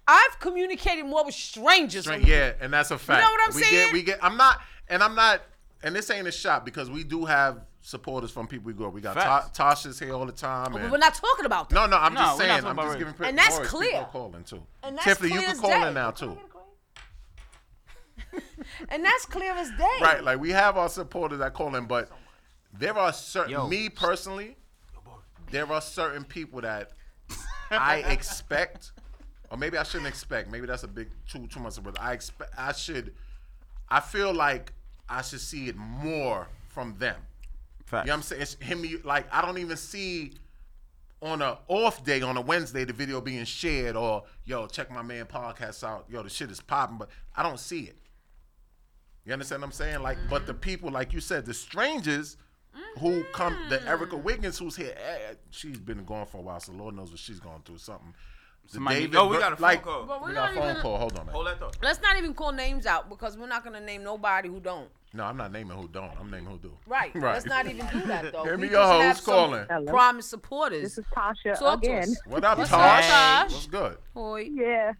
[SPEAKER 5] I've communicated more with strangers.
[SPEAKER 4] Straight-
[SPEAKER 5] than-
[SPEAKER 4] yeah, and that's a fact.
[SPEAKER 5] know what I'm
[SPEAKER 4] we
[SPEAKER 5] saying?
[SPEAKER 4] Get, we get. I'm not, and I'm not, and this ain't a shot because we do have supporters from people we go. We got Ta-
[SPEAKER 3] Facts.
[SPEAKER 4] Tasha's here all the time.
[SPEAKER 5] But
[SPEAKER 4] And,
[SPEAKER 5] we're not talking about that.
[SPEAKER 4] no, no, I'm
[SPEAKER 3] No, we're not
[SPEAKER 4] just saying.
[SPEAKER 3] talking
[SPEAKER 4] I'm
[SPEAKER 3] about
[SPEAKER 4] just
[SPEAKER 3] race.
[SPEAKER 4] giving. pre-
[SPEAKER 5] And that's
[SPEAKER 4] Boris,
[SPEAKER 5] clear.
[SPEAKER 4] People calling too.
[SPEAKER 5] And that's
[SPEAKER 4] Tiffany,
[SPEAKER 5] clear
[SPEAKER 4] you
[SPEAKER 5] as
[SPEAKER 4] can call
[SPEAKER 5] day.
[SPEAKER 4] in now too.
[SPEAKER 5] And that's clear as day.
[SPEAKER 4] Right, like we have our supporters that call in, but there are certain.
[SPEAKER 3] Yo.
[SPEAKER 4] Me personally, there are certain people that I expect, or maybe I shouldn't expect. Maybe that's a big too too much of it. I expect. I should. I feel like I should see it more from them.
[SPEAKER 3] Facts.
[SPEAKER 4] You know what I'm saying? It's him. you- Like I don't even see on a off day on a Wednesday the video being shared or yo check my man podcast out. Yo, the shit is popping, but I don't see it. You understand what I'm saying? Like, but the people, like you said, the strangers who come,
[SPEAKER 5] Mm-hmm.
[SPEAKER 4] the Erica Wiggins who's here, eh, eh, she's been gone for a while, so Lord knows what she's going through. Something. The
[SPEAKER 3] Somebody-
[SPEAKER 4] David
[SPEAKER 3] yo, we
[SPEAKER 4] Ber-
[SPEAKER 3] got a phone call. But
[SPEAKER 5] we're
[SPEAKER 4] we got
[SPEAKER 5] not
[SPEAKER 4] a phone
[SPEAKER 5] even-
[SPEAKER 4] call. Hold on. man.
[SPEAKER 3] Hold that thought.
[SPEAKER 5] Let's not even call names out because we're not gonna name nobody who don't.
[SPEAKER 4] No, I'm not naming who don't. I'm naming who do.
[SPEAKER 5] Right.
[SPEAKER 4] Right.
[SPEAKER 5] Let's not even do that though.
[SPEAKER 4] Hit
[SPEAKER 5] We
[SPEAKER 4] me your
[SPEAKER 5] just
[SPEAKER 4] hoes
[SPEAKER 5] have some
[SPEAKER 4] calling.
[SPEAKER 9] Hello.
[SPEAKER 5] Promise supporters.
[SPEAKER 9] This is Tasha
[SPEAKER 5] Talk to
[SPEAKER 9] again.
[SPEAKER 5] us.
[SPEAKER 4] What up,
[SPEAKER 5] What's
[SPEAKER 4] Tosh?
[SPEAKER 5] up, Tosh?
[SPEAKER 4] What's good?
[SPEAKER 5] Hoy.
[SPEAKER 9] Yeah.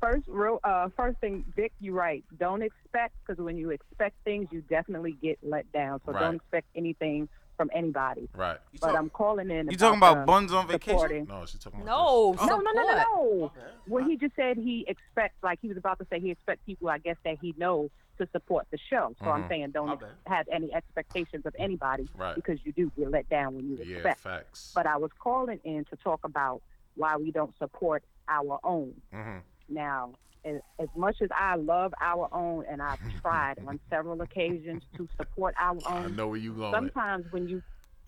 [SPEAKER 9] First, real, uh, first thing, Vic, you're right. Don't expect because when you expect things, you definitely get let down. So
[SPEAKER 4] Right.
[SPEAKER 9] don't expect anything from anybody.
[SPEAKER 4] Right.
[SPEAKER 3] You
[SPEAKER 9] But
[SPEAKER 3] talk-
[SPEAKER 9] I'm calling in.
[SPEAKER 3] You talking about Oh,
[SPEAKER 9] um,
[SPEAKER 3] buns on vacation?
[SPEAKER 9] supporting.
[SPEAKER 4] No, she's talking about this.
[SPEAKER 5] No,
[SPEAKER 9] No, no, no, no,
[SPEAKER 5] support.
[SPEAKER 9] no. Well, he just said he expects, like he was about to say, he expects people, I guess, that he knows to support the show. So I'm saying don't
[SPEAKER 3] My bad.
[SPEAKER 9] have any expectations of anybody
[SPEAKER 4] Mm-hmm. Right.
[SPEAKER 9] because you do get let down when you
[SPEAKER 4] Yeah,
[SPEAKER 9] expect.
[SPEAKER 4] facts.
[SPEAKER 9] But I was calling in to talk about why we don't support our own.
[SPEAKER 4] Mhm.
[SPEAKER 9] Now, as, as much as I love our own, and I've tried on several occasions to support our
[SPEAKER 4] I
[SPEAKER 9] own,
[SPEAKER 4] know where you going. with-
[SPEAKER 9] sometimes when you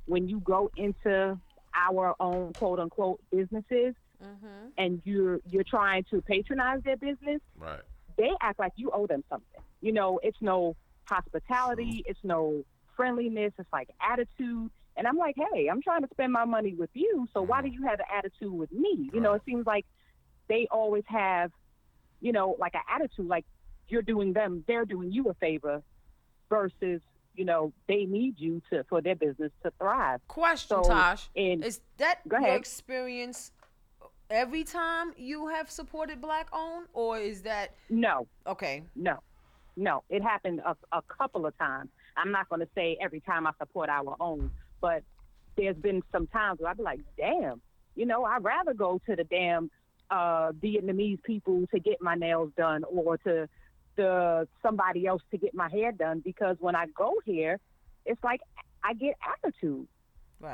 [SPEAKER 9] when you go into our own quote unquote businesses
[SPEAKER 5] Mm-hmm.
[SPEAKER 9] and you're you're trying to patronize their business,
[SPEAKER 4] Right.
[SPEAKER 9] they act like you owe them something. You know, it's no hospitality,
[SPEAKER 5] Mm-hmm.
[SPEAKER 9] it's no friendliness, it's like attitude. And I'm like, hey, I'm trying to spend my money with you, so why do
[SPEAKER 5] Mm-hmm.
[SPEAKER 9] you have an attitude with me? You know, it seems like they always have, you know, like an attitude, like you're doing them, they're doing you a favor versus you know, they need you to for their business to thrive.
[SPEAKER 5] Question,
[SPEAKER 9] so,
[SPEAKER 5] Tosh.
[SPEAKER 9] And
[SPEAKER 5] is that
[SPEAKER 9] go
[SPEAKER 5] your
[SPEAKER 9] ahead.
[SPEAKER 5] experience every time you have supported black owned, or is that
[SPEAKER 9] No.
[SPEAKER 5] Okay.
[SPEAKER 9] No. No. It happened a, a couple of times. I'm not going to say every time I support our own, but there's been some times where I'd be like, damn, you know, I'd rather go to the damn uh, Vietnamese people to get my nails done or to the somebody else to get my hair done because when I go here, it's like I get attitude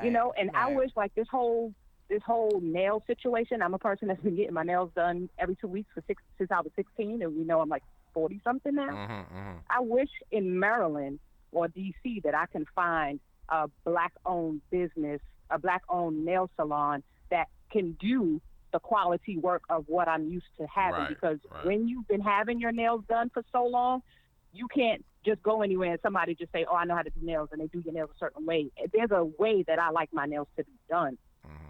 [SPEAKER 9] you know and i wish like this whole this whole nail situation i'm a person that's been getting my nails done every two weeks for six since i was 16 and you know i'm like 40 something now i wish in maryland or dc that i can find a black owned business a black owned nail salon that can do the quality work of what i'm used to having
[SPEAKER 11] Right,
[SPEAKER 9] because
[SPEAKER 11] right.
[SPEAKER 9] when you've been having your nails done for so long you can't just go anywhere and somebody just say, "Oh, I know how to do nails," and they do your nails a certain way. There's a way that I like my nails to be done.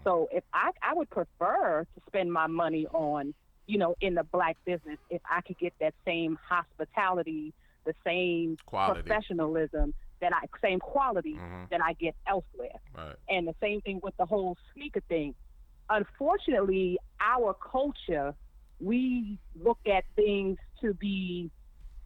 [SPEAKER 9] So if I, I would prefer to spend my money on, you know, in the black business, if I could get that same hospitality, the same
[SPEAKER 4] Quality.
[SPEAKER 9] professionalism that I same quality
[SPEAKER 4] Mhm.
[SPEAKER 9] that I get elsewhere.
[SPEAKER 4] Right.
[SPEAKER 9] And the same thing with the whole sneaker thing. Unfortunately, our culture, we look at things to be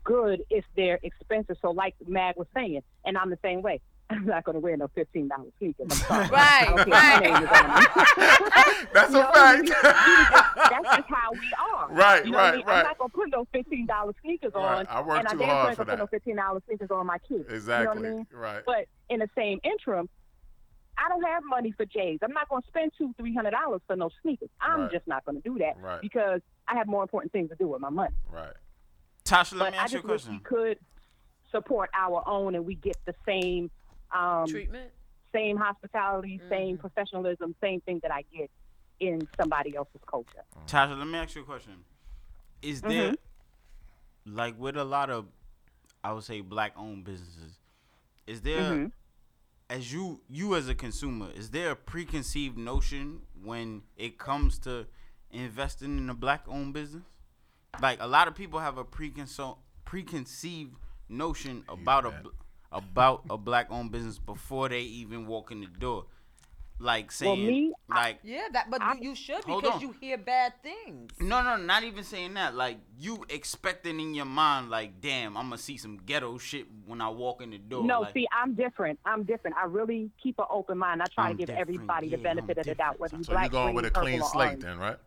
[SPEAKER 9] good if they're expensive. So, like Mag was saying, and I'm the same way. I'm not going to wear no fifteen dollars sneakers. I'm sorry.
[SPEAKER 11] Right,
[SPEAKER 9] I don't care how many
[SPEAKER 11] right.
[SPEAKER 9] of them.
[SPEAKER 11] That's a
[SPEAKER 9] You know,
[SPEAKER 11] fact.
[SPEAKER 9] That's just how we are.
[SPEAKER 11] Right,
[SPEAKER 9] You know what I
[SPEAKER 11] right,
[SPEAKER 9] mean?
[SPEAKER 11] right.
[SPEAKER 9] I'm not gonna put no fifteen dollar sneakers
[SPEAKER 11] Right,
[SPEAKER 9] on.
[SPEAKER 11] I work
[SPEAKER 9] and
[SPEAKER 11] too
[SPEAKER 9] I damn
[SPEAKER 11] hard
[SPEAKER 9] sure ain't
[SPEAKER 11] for
[SPEAKER 9] gonna put no
[SPEAKER 11] that.
[SPEAKER 9] fifteen dollar sneakers on my kids. You
[SPEAKER 11] Exactly,
[SPEAKER 9] know what I mean?
[SPEAKER 11] right.
[SPEAKER 9] But in the same interim, I don't have money for J's. I'm not gonna spend two, three hundred dollars for no sneakers. I'm
[SPEAKER 3] Right.
[SPEAKER 9] just not gonna do that
[SPEAKER 3] Right.
[SPEAKER 9] because I have more important things to do with my money.
[SPEAKER 4] Right.
[SPEAKER 3] Tasha, let
[SPEAKER 9] but
[SPEAKER 3] me
[SPEAKER 9] I
[SPEAKER 3] ask
[SPEAKER 9] just
[SPEAKER 3] you a
[SPEAKER 9] wish we
[SPEAKER 3] question.
[SPEAKER 9] could support our own and we get the same um,
[SPEAKER 5] treatment,
[SPEAKER 9] same hospitality, same professionalism, same thing that I get in somebody else's culture.
[SPEAKER 3] Tasha, let me ask you a question. Is there like with a lot of I would say black owned businesses, is there
[SPEAKER 9] Mhm.
[SPEAKER 3] as you you as a consumer, is there a preconceived notion when it comes to investing in a black owned business? Like a lot of people have a preconce- preconceived notion about a bl- about a black owned business before they even walk in the door. Like saying
[SPEAKER 5] me,
[SPEAKER 3] like
[SPEAKER 5] yeah, that. But you, you should
[SPEAKER 3] Hold
[SPEAKER 5] because
[SPEAKER 3] on.
[SPEAKER 5] you hear bad things.
[SPEAKER 3] no, no, not even saying that. Like you expecting in your mind, like, damn, I'm gonna see some ghetto shit when I walk in the door.
[SPEAKER 9] No,
[SPEAKER 3] like,
[SPEAKER 9] see, I'm different. I'm different. I really keep an open mind. I try
[SPEAKER 3] I'm
[SPEAKER 9] to give
[SPEAKER 3] different.
[SPEAKER 9] everybody the benefit of the doubt, whether you
[SPEAKER 4] So
[SPEAKER 9] black,
[SPEAKER 4] you're going
[SPEAKER 9] green,
[SPEAKER 4] with a
[SPEAKER 9] purple,
[SPEAKER 4] clean
[SPEAKER 9] or
[SPEAKER 4] slate
[SPEAKER 9] orange.
[SPEAKER 4] then, right?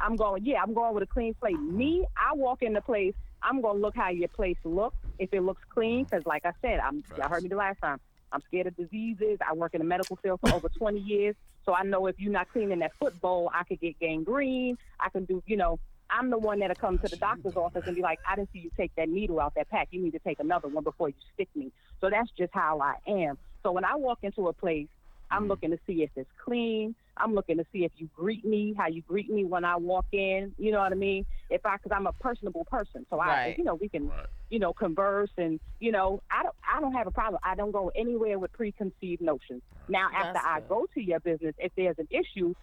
[SPEAKER 9] I'm going, yeah, I'm going with a clean slate. Me, I walk in the place, I'm going to look how your place looks, if it looks clean, because like I said, I'm, y'all heard me the last time, I'm scared of diseases. I work in the medical field for over 20 years, so I know if you're not cleaning that football, I could get gangrene. I can do, you know, I'm the one that'll come to the doctor's office and be like, I didn't see you take that needle out that pack. You need to take another one before you stick me. So that's just how I am. So when I walk into a place, I'm
[SPEAKER 5] Mm.
[SPEAKER 9] looking to see if it's clean. I'm looking to see if you greet me, how you greet me when I walk in. You know what I mean? If I, because I'm a personable person, so I,
[SPEAKER 11] Right.
[SPEAKER 9] you know, we can, you know, converse and, you know, I don't, I don't have a problem. I don't go anywhere with preconceived notions. Now, after
[SPEAKER 11] That's
[SPEAKER 9] I go to your business, if there's an issue,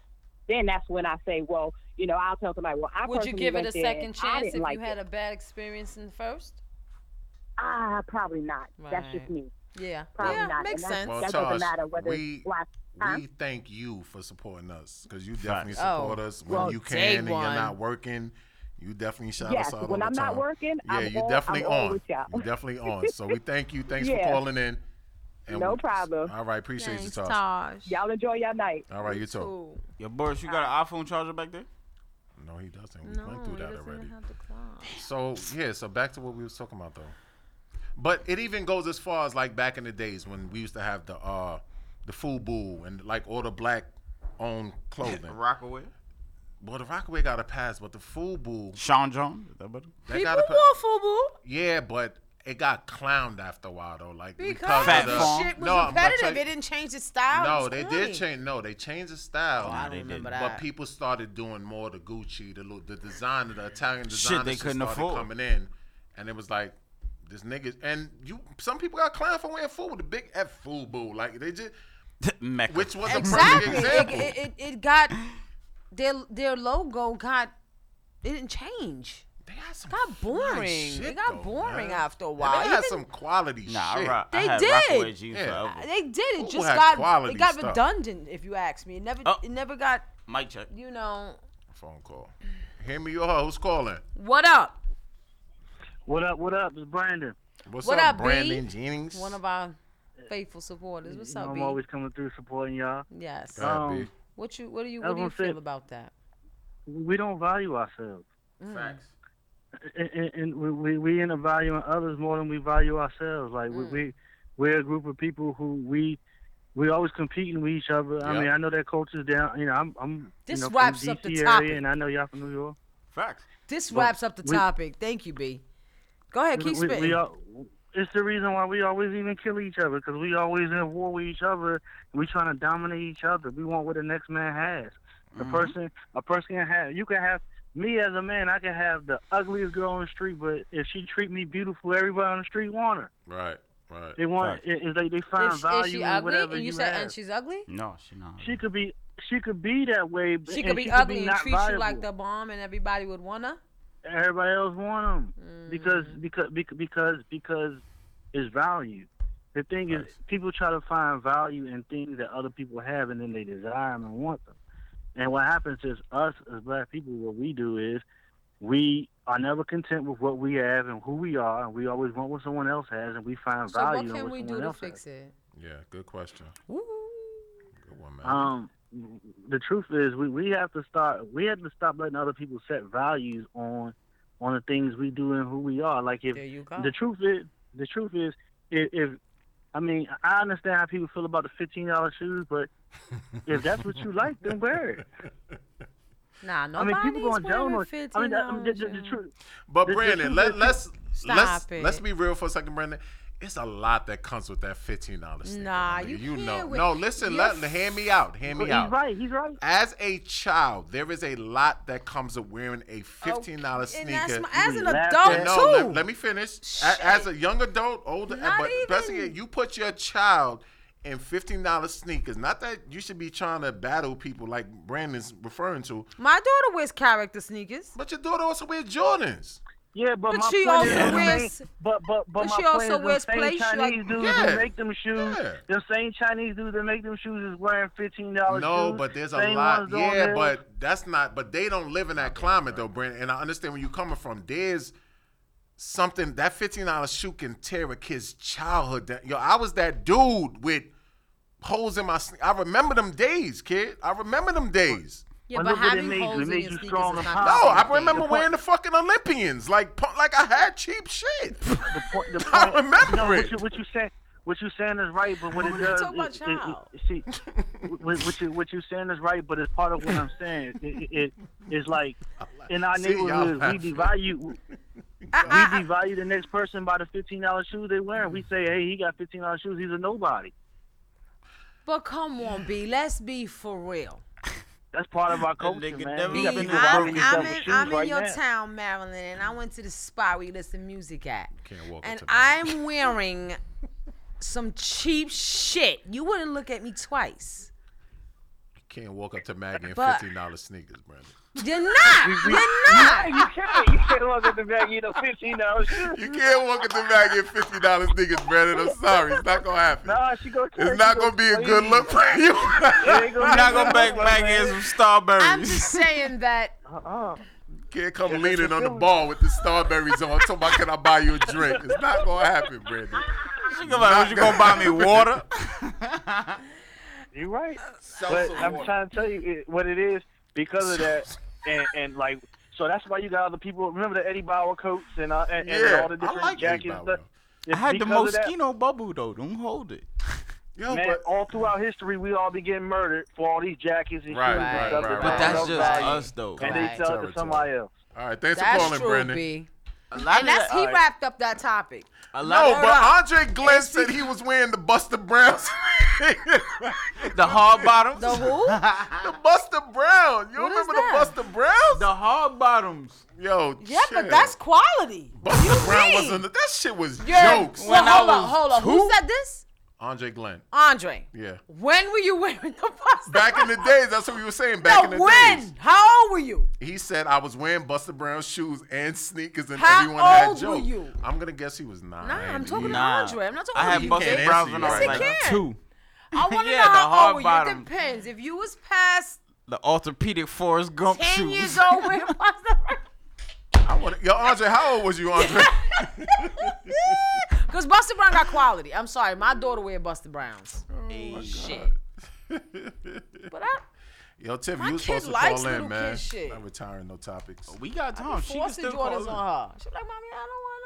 [SPEAKER 9] then that's when I say, well, you know, I'll tell somebody, well, I
[SPEAKER 5] Would you
[SPEAKER 9] personally
[SPEAKER 5] give it
[SPEAKER 9] went
[SPEAKER 5] a
[SPEAKER 9] there
[SPEAKER 5] second
[SPEAKER 9] and I
[SPEAKER 5] chance
[SPEAKER 9] didn't
[SPEAKER 5] if
[SPEAKER 9] like
[SPEAKER 5] you
[SPEAKER 9] it.
[SPEAKER 5] had a bad experience in the first?
[SPEAKER 9] Ah, probably not. That's just
[SPEAKER 5] Right.
[SPEAKER 9] me.
[SPEAKER 5] Yeah,
[SPEAKER 9] Probably
[SPEAKER 5] yeah,
[SPEAKER 9] not.
[SPEAKER 5] makes
[SPEAKER 9] and that,
[SPEAKER 5] sense.
[SPEAKER 4] Well,
[SPEAKER 9] that doesn't
[SPEAKER 4] Tosh,
[SPEAKER 9] matter whether
[SPEAKER 4] we-
[SPEAKER 9] it's black. huh?
[SPEAKER 4] We thank you for supporting us because you definitely
[SPEAKER 9] Facts. Oh,
[SPEAKER 4] support us when
[SPEAKER 9] well,
[SPEAKER 4] you
[SPEAKER 9] day
[SPEAKER 4] can and you're
[SPEAKER 9] one.
[SPEAKER 4] not working. You definitely shout
[SPEAKER 9] Yes,
[SPEAKER 4] us out
[SPEAKER 9] when
[SPEAKER 4] all
[SPEAKER 9] I'm
[SPEAKER 4] the
[SPEAKER 9] not
[SPEAKER 4] time.
[SPEAKER 9] working,
[SPEAKER 4] yeah,
[SPEAKER 9] I'm
[SPEAKER 4] you
[SPEAKER 9] on-
[SPEAKER 4] definitely
[SPEAKER 9] I'm
[SPEAKER 4] on.
[SPEAKER 9] on with y'all.
[SPEAKER 4] You definitely on. So we thank you. Thanks
[SPEAKER 9] Yeah.
[SPEAKER 4] for calling in.
[SPEAKER 9] No
[SPEAKER 4] we-
[SPEAKER 9] problem.
[SPEAKER 4] All right, appreciate you, Tosh.
[SPEAKER 9] Y'all enjoy your night.
[SPEAKER 4] All right, you too.
[SPEAKER 3] Yo, Boris, you got
[SPEAKER 9] Uh,
[SPEAKER 3] an iPhone charger back there?
[SPEAKER 4] No, he doesn't. We
[SPEAKER 3] No,
[SPEAKER 4] went through
[SPEAKER 3] he
[SPEAKER 4] that
[SPEAKER 3] doesn't
[SPEAKER 4] already.
[SPEAKER 5] have the clock.
[SPEAKER 4] So yeah, so back to what we was talking about though. But it even goes as far as like back in the days when we used to have the uh the FUBU and like all the black owned clothing.
[SPEAKER 3] Rockaway.
[SPEAKER 4] Well, the Rockaway got a pass, but the FUBU.
[SPEAKER 3] Sean John. Is that better?
[SPEAKER 4] That got a pa- Yeah, but it got clowned after a while though. Like
[SPEAKER 5] Because
[SPEAKER 4] of
[SPEAKER 5] the shit was
[SPEAKER 4] No, I'm about to
[SPEAKER 5] repetitive.
[SPEAKER 4] tell you-
[SPEAKER 5] It didn't change the style. It
[SPEAKER 4] no,
[SPEAKER 5] was
[SPEAKER 4] they
[SPEAKER 5] corny.
[SPEAKER 4] did change. No, they changed the style.
[SPEAKER 5] Oh, I Nah, they remember didn't.
[SPEAKER 4] But
[SPEAKER 5] that.
[SPEAKER 4] people started doing more the Gucci, the lo- the designer, the Italian
[SPEAKER 3] Shit
[SPEAKER 4] designer.
[SPEAKER 3] they couldn't
[SPEAKER 4] started
[SPEAKER 3] afford.
[SPEAKER 4] coming in, and it was like this niggas and you. Some people got clowned for wearing food, the big F food boo. Like they just, which was a
[SPEAKER 5] Exactly.
[SPEAKER 4] perfect
[SPEAKER 5] It,
[SPEAKER 4] example.
[SPEAKER 5] it, it, it got their their logo got it didn't change. It got boring. it got boring after a
[SPEAKER 4] They
[SPEAKER 5] while.
[SPEAKER 4] had
[SPEAKER 5] Even-
[SPEAKER 4] some quality
[SPEAKER 3] Nah, I
[SPEAKER 4] shit.
[SPEAKER 3] rock- I
[SPEAKER 5] They
[SPEAKER 3] had Rockaway
[SPEAKER 5] did.
[SPEAKER 3] G forever.
[SPEAKER 5] They did. It
[SPEAKER 3] Who
[SPEAKER 5] just
[SPEAKER 3] had
[SPEAKER 5] got
[SPEAKER 3] quality
[SPEAKER 5] it got
[SPEAKER 3] stuff?
[SPEAKER 5] redundant. If you ask me, it never
[SPEAKER 3] Oh.
[SPEAKER 5] it never got
[SPEAKER 3] Mic check.
[SPEAKER 5] you know
[SPEAKER 4] Phone call. Hear me, or her. Who's calling?
[SPEAKER 5] what up.
[SPEAKER 11] What up? What up? It's Brandon.
[SPEAKER 4] What's
[SPEAKER 5] what
[SPEAKER 4] up,
[SPEAKER 5] up, B?
[SPEAKER 4] Brandon Jennings?
[SPEAKER 5] One of our faithful supporters. What's
[SPEAKER 11] You know,
[SPEAKER 5] up,
[SPEAKER 11] I'm
[SPEAKER 5] B?
[SPEAKER 11] always Um, coming through supporting y'all.
[SPEAKER 5] Yes.
[SPEAKER 11] Go ahead, B.
[SPEAKER 5] what you what do you
[SPEAKER 11] That's
[SPEAKER 5] what do you
[SPEAKER 11] what I'm
[SPEAKER 5] feel
[SPEAKER 11] saying.
[SPEAKER 5] about that?
[SPEAKER 11] We don't value ourselves.
[SPEAKER 5] Mm.
[SPEAKER 11] And, and, and we, we we end up valuing others more than we value ourselves. Like
[SPEAKER 5] Mm.
[SPEAKER 11] we, we we're a group of people who we we always competing with each other. I
[SPEAKER 3] Yeah.
[SPEAKER 11] mean, I know that culture's down. You know, I'm I'm
[SPEAKER 5] This
[SPEAKER 11] you know,
[SPEAKER 5] wraps
[SPEAKER 11] from
[SPEAKER 5] up the
[SPEAKER 11] DC
[SPEAKER 5] topic.
[SPEAKER 11] area, and I know y'all from New York.
[SPEAKER 3] Facts.
[SPEAKER 5] This
[SPEAKER 11] But
[SPEAKER 5] wraps up the
[SPEAKER 11] we-
[SPEAKER 5] topic. Thank you, B. Go ahead, keep
[SPEAKER 11] we, we,
[SPEAKER 5] spitting.
[SPEAKER 11] we all, It's the reason why we always even kill each other because we always in war with each other. And we trying to dominate each other. We want what the next man has. The
[SPEAKER 5] Mm-hmm.
[SPEAKER 11] person, a person can have. You can have me as a man. I can have the ugliest girl on the street, but if she treat me beautiful, everybody on the street want her.
[SPEAKER 4] Right, right.
[SPEAKER 11] They want. It, it's like they find
[SPEAKER 5] If-
[SPEAKER 11] value
[SPEAKER 5] is she
[SPEAKER 11] in
[SPEAKER 5] ugly?
[SPEAKER 11] whatever
[SPEAKER 5] And you
[SPEAKER 11] you
[SPEAKER 5] said
[SPEAKER 11] have.
[SPEAKER 5] and she's ugly?
[SPEAKER 3] No, she not.
[SPEAKER 11] she could be. She could be that way.
[SPEAKER 5] She
[SPEAKER 11] and
[SPEAKER 5] could be
[SPEAKER 11] she
[SPEAKER 5] ugly and
[SPEAKER 11] not
[SPEAKER 5] treat you like the bomb, and everybody would want her.
[SPEAKER 11] everybody else want them because
[SPEAKER 5] Mm.
[SPEAKER 11] because because because because it's value. The thing is, people try to find value in things that other people have, and then they desire them and want them. And what happens is, us as black people, what we do is, we are never content with what we have and who we are, and we always want what someone else has, and we find
[SPEAKER 5] So
[SPEAKER 11] value
[SPEAKER 5] what
[SPEAKER 11] in
[SPEAKER 5] can
[SPEAKER 11] what
[SPEAKER 5] we
[SPEAKER 11] someone
[SPEAKER 5] do to
[SPEAKER 11] else has.
[SPEAKER 5] fix it?
[SPEAKER 4] Yeah, good question. Good one, man.
[SPEAKER 11] Um, the truth is, we, we have to start. We have to stop letting other people set values on on the things we do and who we are. Like if
[SPEAKER 5] There you go.
[SPEAKER 11] the truth is, the truth is, if, if I mean, I understand how people feel about the fifteen dollar shoes, but if that's what you like, then wear it.
[SPEAKER 5] Nah,
[SPEAKER 11] I
[SPEAKER 5] nobody's
[SPEAKER 11] mean, people going down
[SPEAKER 5] wearing
[SPEAKER 11] on. I mean, that, I mean, the, the, the truth.
[SPEAKER 4] But
[SPEAKER 11] the- the
[SPEAKER 4] Brandon,
[SPEAKER 11] truth
[SPEAKER 4] let,
[SPEAKER 11] is-
[SPEAKER 4] let's
[SPEAKER 5] Stop
[SPEAKER 4] let's
[SPEAKER 5] it.
[SPEAKER 4] let's be real for a second, Brandon. It's a lot that comes with that fifteen dollars.
[SPEAKER 5] Nah, you
[SPEAKER 4] you
[SPEAKER 5] can't
[SPEAKER 4] know.
[SPEAKER 5] with-
[SPEAKER 4] No, listen.
[SPEAKER 5] you're
[SPEAKER 4] Let hear me out. Hear me
[SPEAKER 11] He's
[SPEAKER 4] out.
[SPEAKER 11] right. He's right.
[SPEAKER 4] As a child, there is a lot that comes with wearing a fifteen dollars
[SPEAKER 5] and
[SPEAKER 4] sneaker.
[SPEAKER 5] that's my- as an
[SPEAKER 4] And
[SPEAKER 5] adult,
[SPEAKER 4] no, let-
[SPEAKER 5] too.
[SPEAKER 4] Let, me finish. A- As a young adult, older,
[SPEAKER 5] Not
[SPEAKER 4] but best
[SPEAKER 5] even.
[SPEAKER 4] yet, you put your child in fifteen dollars sneakers. Not that you should be trying to battle people like Brandon's referring to,
[SPEAKER 5] My daughter wears character sneakers.
[SPEAKER 4] but your daughter also wears Jordans.
[SPEAKER 11] Yeah, but,
[SPEAKER 5] But
[SPEAKER 11] my
[SPEAKER 5] she
[SPEAKER 11] point
[SPEAKER 5] also
[SPEAKER 11] is, them
[SPEAKER 5] wears-
[SPEAKER 11] same- but but but,
[SPEAKER 5] but
[SPEAKER 11] my
[SPEAKER 5] she
[SPEAKER 11] point
[SPEAKER 5] also
[SPEAKER 11] is them
[SPEAKER 5] wears
[SPEAKER 11] same
[SPEAKER 5] play shoes, like-
[SPEAKER 11] Chinese dudes
[SPEAKER 4] Yeah.
[SPEAKER 11] that make them shoes.
[SPEAKER 4] Yeah.
[SPEAKER 11] The same Chinese dudes that make them shoes is wearing fifteen dollars.
[SPEAKER 4] No, but there's a lot. Yeah, but that's not. But they don't live in that climate though, Brandon. And I understand where you're coming from. There's something that fifteen dollars shoe can tear a kid's childhood. down. Yo, I was that dude with holes in my. sne- I remember them days, kid. I remember them days.
[SPEAKER 5] Yeah,
[SPEAKER 11] Well,
[SPEAKER 5] but
[SPEAKER 11] look what it
[SPEAKER 5] having
[SPEAKER 11] made you. It
[SPEAKER 5] holes in
[SPEAKER 11] made
[SPEAKER 5] your
[SPEAKER 11] you
[SPEAKER 5] sneakers
[SPEAKER 11] strong
[SPEAKER 5] is
[SPEAKER 11] and
[SPEAKER 5] not
[SPEAKER 4] No,
[SPEAKER 5] the same
[SPEAKER 4] I
[SPEAKER 5] thing.
[SPEAKER 4] remember wearing the fucking Olympians. Like, pu- like I had cheap shit.
[SPEAKER 11] The point, the
[SPEAKER 4] I
[SPEAKER 11] point,
[SPEAKER 4] remember
[SPEAKER 11] no, What
[SPEAKER 4] it.
[SPEAKER 11] you, what you saying? What you saying is right, but what it
[SPEAKER 5] We're
[SPEAKER 11] does,
[SPEAKER 5] talking about
[SPEAKER 11] is- it- it-
[SPEAKER 5] child.
[SPEAKER 11] see, what, what you what you saying is right, but it's part of what I'm saying. It, it, it's like in our
[SPEAKER 4] See, y'all
[SPEAKER 11] neighborhoods, we
[SPEAKER 4] laughing.
[SPEAKER 11] devalue we devalue the next person by the fifteen dollars shoes they wearing. We say, hey, he got fifteen dollars shoes. He's a nobody.
[SPEAKER 5] But come on, B. Let's be for real.
[SPEAKER 11] That's part of our culture,
[SPEAKER 3] nigga
[SPEAKER 11] man.
[SPEAKER 3] never
[SPEAKER 11] We got
[SPEAKER 3] been
[SPEAKER 11] people
[SPEAKER 3] to
[SPEAKER 11] buying
[SPEAKER 5] I'm,
[SPEAKER 3] Broken
[SPEAKER 11] themselves
[SPEAKER 5] I'm
[SPEAKER 11] with
[SPEAKER 5] in,
[SPEAKER 11] shoes
[SPEAKER 5] I'm in
[SPEAKER 11] right
[SPEAKER 5] your
[SPEAKER 11] now.
[SPEAKER 5] town, Maryland, and I went to the spot where you listen music at.
[SPEAKER 4] Can't walk
[SPEAKER 5] And
[SPEAKER 4] into
[SPEAKER 5] I'm wearing some cheap shit. You wouldn't look at me twice.
[SPEAKER 4] Can't walk up to Maggie in
[SPEAKER 5] But-
[SPEAKER 4] fifteen dollars sneakers, Brandon.
[SPEAKER 5] You're not. You're not.
[SPEAKER 11] You can't. You can't walk at the back. You know, fifteen dollars shoes.
[SPEAKER 4] You can't walk into Maggie in fifty dollars sneakers, Brandon. I'm sorry, it's not gonna happen.
[SPEAKER 11] Nah, she go.
[SPEAKER 4] It's not gonna be a good look for you.
[SPEAKER 3] I'm not gonna back back in some strawberries.
[SPEAKER 5] I'm just saying that.
[SPEAKER 11] Uh-uh.
[SPEAKER 4] Can't come leaning on the ball with the strawberries on. Talking about can I buy you a drink? It's not gonna happen, Brandon.
[SPEAKER 3] She gonna be like, "What, you gonna buy me water?
[SPEAKER 11] You're right.
[SPEAKER 3] Sell
[SPEAKER 11] but
[SPEAKER 3] some
[SPEAKER 11] I'm
[SPEAKER 3] water.
[SPEAKER 11] trying to tell you it, what it is because of that, and, and like so that's why you got other people. Remember the Eddie Bauer coats and uh, and, and
[SPEAKER 4] Yeah,
[SPEAKER 11] all the
[SPEAKER 4] I
[SPEAKER 11] different
[SPEAKER 4] like Eddie
[SPEAKER 11] jackets. and
[SPEAKER 4] Bauer.
[SPEAKER 11] stuff.
[SPEAKER 3] I
[SPEAKER 11] It's
[SPEAKER 3] had the
[SPEAKER 11] because of that,
[SPEAKER 3] Moschino bubble though. Don't hold it.
[SPEAKER 4] Yo,
[SPEAKER 11] Man,
[SPEAKER 4] but
[SPEAKER 11] all throughout history, we all be getting murdered for all these jackets and
[SPEAKER 4] Right,
[SPEAKER 11] shoes
[SPEAKER 4] right,
[SPEAKER 11] and stuff. that
[SPEAKER 4] right, right.
[SPEAKER 11] don't
[SPEAKER 3] But that's
[SPEAKER 11] have
[SPEAKER 3] just
[SPEAKER 11] value,
[SPEAKER 3] us though.
[SPEAKER 11] And
[SPEAKER 5] Right.
[SPEAKER 11] they sell it to somebody else.
[SPEAKER 4] all right, thanks for
[SPEAKER 5] That's
[SPEAKER 4] calling,
[SPEAKER 5] true,
[SPEAKER 4] Brandon.
[SPEAKER 5] B.
[SPEAKER 3] A lot
[SPEAKER 5] And that's
[SPEAKER 3] of
[SPEAKER 5] he
[SPEAKER 3] that,
[SPEAKER 5] wrapped up that topic.
[SPEAKER 3] a lot
[SPEAKER 4] No,
[SPEAKER 3] of
[SPEAKER 4] but Andre Glenn said he was wearing the Buster Brown.
[SPEAKER 3] the hard bottoms.
[SPEAKER 5] The who?
[SPEAKER 4] the Buster Brown. You
[SPEAKER 5] What is
[SPEAKER 4] remember the
[SPEAKER 5] that?
[SPEAKER 4] Buster Browns?
[SPEAKER 3] The hard bottoms.
[SPEAKER 4] Yo,
[SPEAKER 5] Yeah, but
[SPEAKER 4] chill.
[SPEAKER 5] that's quality.
[SPEAKER 4] Buster Brown
[SPEAKER 5] mean?
[SPEAKER 4] was in the, that shit was
[SPEAKER 5] You're-
[SPEAKER 4] jokes.
[SPEAKER 5] Well,
[SPEAKER 3] When I
[SPEAKER 5] hold on,
[SPEAKER 3] was
[SPEAKER 5] hold on.
[SPEAKER 3] two?
[SPEAKER 5] Who said this?
[SPEAKER 4] Andre Glenn.
[SPEAKER 5] Andre,
[SPEAKER 4] Yeah.
[SPEAKER 5] when were you wearing the Buster?
[SPEAKER 4] Back in the days, that's what we were saying. Back
[SPEAKER 5] No,
[SPEAKER 4] in the
[SPEAKER 5] when?
[SPEAKER 4] days.
[SPEAKER 5] How old were you?
[SPEAKER 4] He said I was wearing Busta Brown shoes and sneakers, and
[SPEAKER 5] How
[SPEAKER 4] everyone had
[SPEAKER 5] old
[SPEAKER 4] jokes.
[SPEAKER 5] were you?
[SPEAKER 4] I'm gonna guess he was nine.
[SPEAKER 5] Nah, I'm talking to
[SPEAKER 4] Nah.
[SPEAKER 5] Andre. I'm not talking
[SPEAKER 4] I had
[SPEAKER 5] to you.
[SPEAKER 4] Buster Yes, he Brown can. when I was like
[SPEAKER 5] Yes, he can.
[SPEAKER 3] two.
[SPEAKER 5] I want to
[SPEAKER 3] Yeah,
[SPEAKER 5] know
[SPEAKER 3] the
[SPEAKER 5] how
[SPEAKER 3] hard
[SPEAKER 5] old were you.
[SPEAKER 3] bottom.
[SPEAKER 5] It depends. If you was past
[SPEAKER 3] The orthopedic Forrest Gump
[SPEAKER 5] 10
[SPEAKER 3] shoes.
[SPEAKER 5] years old wearing Buster
[SPEAKER 4] I wanna, yo, Andre, how old was you, Andre?
[SPEAKER 5] Because Buster Brown got quality. I'm sorry. My daughter wear Buster Browns.
[SPEAKER 3] Oh,
[SPEAKER 5] shit. but I,
[SPEAKER 4] yo, Tiff,
[SPEAKER 5] My
[SPEAKER 4] you was
[SPEAKER 5] kid
[SPEAKER 4] supposed to
[SPEAKER 5] likes
[SPEAKER 4] call in,
[SPEAKER 5] little
[SPEAKER 4] man.
[SPEAKER 5] kid shit.
[SPEAKER 4] I'm retiring, no topics.
[SPEAKER 3] We got
[SPEAKER 5] I
[SPEAKER 3] time.
[SPEAKER 5] be
[SPEAKER 3] She can
[SPEAKER 5] forcing
[SPEAKER 3] still call
[SPEAKER 5] Jordans
[SPEAKER 3] in.
[SPEAKER 5] on her. She's like, mommy, I don't want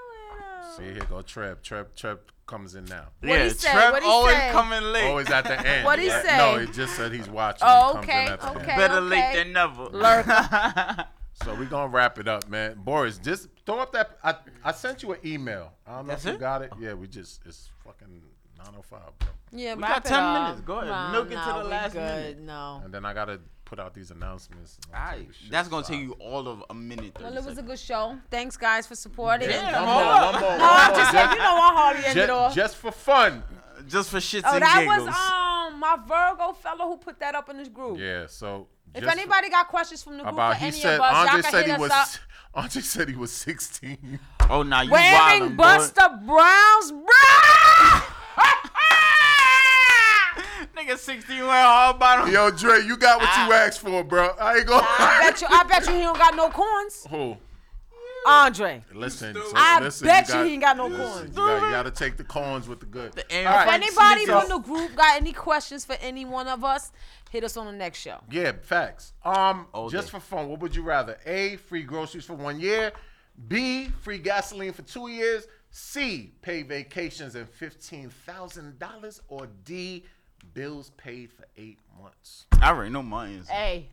[SPEAKER 5] to wear
[SPEAKER 4] See, here go Treb. Treb, Treb comes in now.
[SPEAKER 5] What he Yeah, say? Treb What he always say? coming late.
[SPEAKER 4] Always at the end.
[SPEAKER 5] What he
[SPEAKER 4] Yeah,
[SPEAKER 5] say?
[SPEAKER 4] No, he just said he's watching.
[SPEAKER 5] Oh,
[SPEAKER 4] He comes
[SPEAKER 5] okay,
[SPEAKER 4] in at the end.
[SPEAKER 5] okay, Better okay. late than
[SPEAKER 3] never.
[SPEAKER 4] so we're gonna wrap it up, man. Boris, just throw up that. I, I sent you an email. I don't know
[SPEAKER 3] That's
[SPEAKER 4] if you
[SPEAKER 3] it?
[SPEAKER 4] got it. Yeah, we just it's fucking 9:05, bro.
[SPEAKER 5] Yeah,
[SPEAKER 3] We
[SPEAKER 5] wrap
[SPEAKER 3] got
[SPEAKER 5] it
[SPEAKER 3] 10
[SPEAKER 5] up.
[SPEAKER 3] minutes. Go ahead.
[SPEAKER 5] No,
[SPEAKER 3] Milk it to
[SPEAKER 5] no,
[SPEAKER 3] the
[SPEAKER 5] we
[SPEAKER 3] last
[SPEAKER 5] good.
[SPEAKER 3] minute.
[SPEAKER 5] No.
[SPEAKER 4] And then I gotta put out these announcements.
[SPEAKER 3] All right. That's going to take you all of a minute. 30
[SPEAKER 5] Well, it was a good show. Thanks, guys, for supporting.
[SPEAKER 3] Yeah,
[SPEAKER 5] no,
[SPEAKER 3] one more, one more, one
[SPEAKER 5] I'm
[SPEAKER 3] more.
[SPEAKER 5] just saying, you know, I hardly
[SPEAKER 3] Just-
[SPEAKER 5] ended off.
[SPEAKER 4] Just for fun.
[SPEAKER 3] Just for shits
[SPEAKER 5] Oh,
[SPEAKER 3] and
[SPEAKER 5] that
[SPEAKER 3] giggles.
[SPEAKER 5] was um my Virgo fellow who put that up in this group.
[SPEAKER 4] Yeah. So
[SPEAKER 5] If
[SPEAKER 4] just
[SPEAKER 5] anybody got questions from the group
[SPEAKER 4] about
[SPEAKER 5] for
[SPEAKER 4] he
[SPEAKER 5] any
[SPEAKER 4] said
[SPEAKER 5] of us,
[SPEAKER 4] Andre
[SPEAKER 5] y'all can
[SPEAKER 4] said
[SPEAKER 5] hit
[SPEAKER 4] he
[SPEAKER 5] us
[SPEAKER 4] was Ah,
[SPEAKER 5] up.
[SPEAKER 4] Andre said he was 16.
[SPEAKER 3] Oh, now you
[SPEAKER 5] Wearing
[SPEAKER 3] wildin', boy.
[SPEAKER 5] Buster Brown's bra.
[SPEAKER 3] Nigga 16 wearing hard bottom.
[SPEAKER 4] Yo, Dre, you got what you asked for, Oh, bro. I ain't gonna.
[SPEAKER 5] I bet you. I bet you he don't got no corns.
[SPEAKER 4] Who?
[SPEAKER 5] Andre.
[SPEAKER 4] Listen, so
[SPEAKER 5] I
[SPEAKER 4] listen,
[SPEAKER 5] bet you
[SPEAKER 4] got-
[SPEAKER 5] he ain't got no
[SPEAKER 4] listen,
[SPEAKER 5] corns.
[SPEAKER 4] You got, you got to take the corns with the good.
[SPEAKER 3] Air
[SPEAKER 4] All
[SPEAKER 5] If
[SPEAKER 4] right.
[SPEAKER 5] anybody from the group got any questions for any one of us, hit us on the next show.
[SPEAKER 4] Yeah, facts. Um, just for fun, what would you rather? A, free groceries for one year. B, free gasoline for two years. C, pay vacations and fifteen thousand dollars. Or D, bills paid for eight months.
[SPEAKER 3] I already know my answer.
[SPEAKER 5] Hey,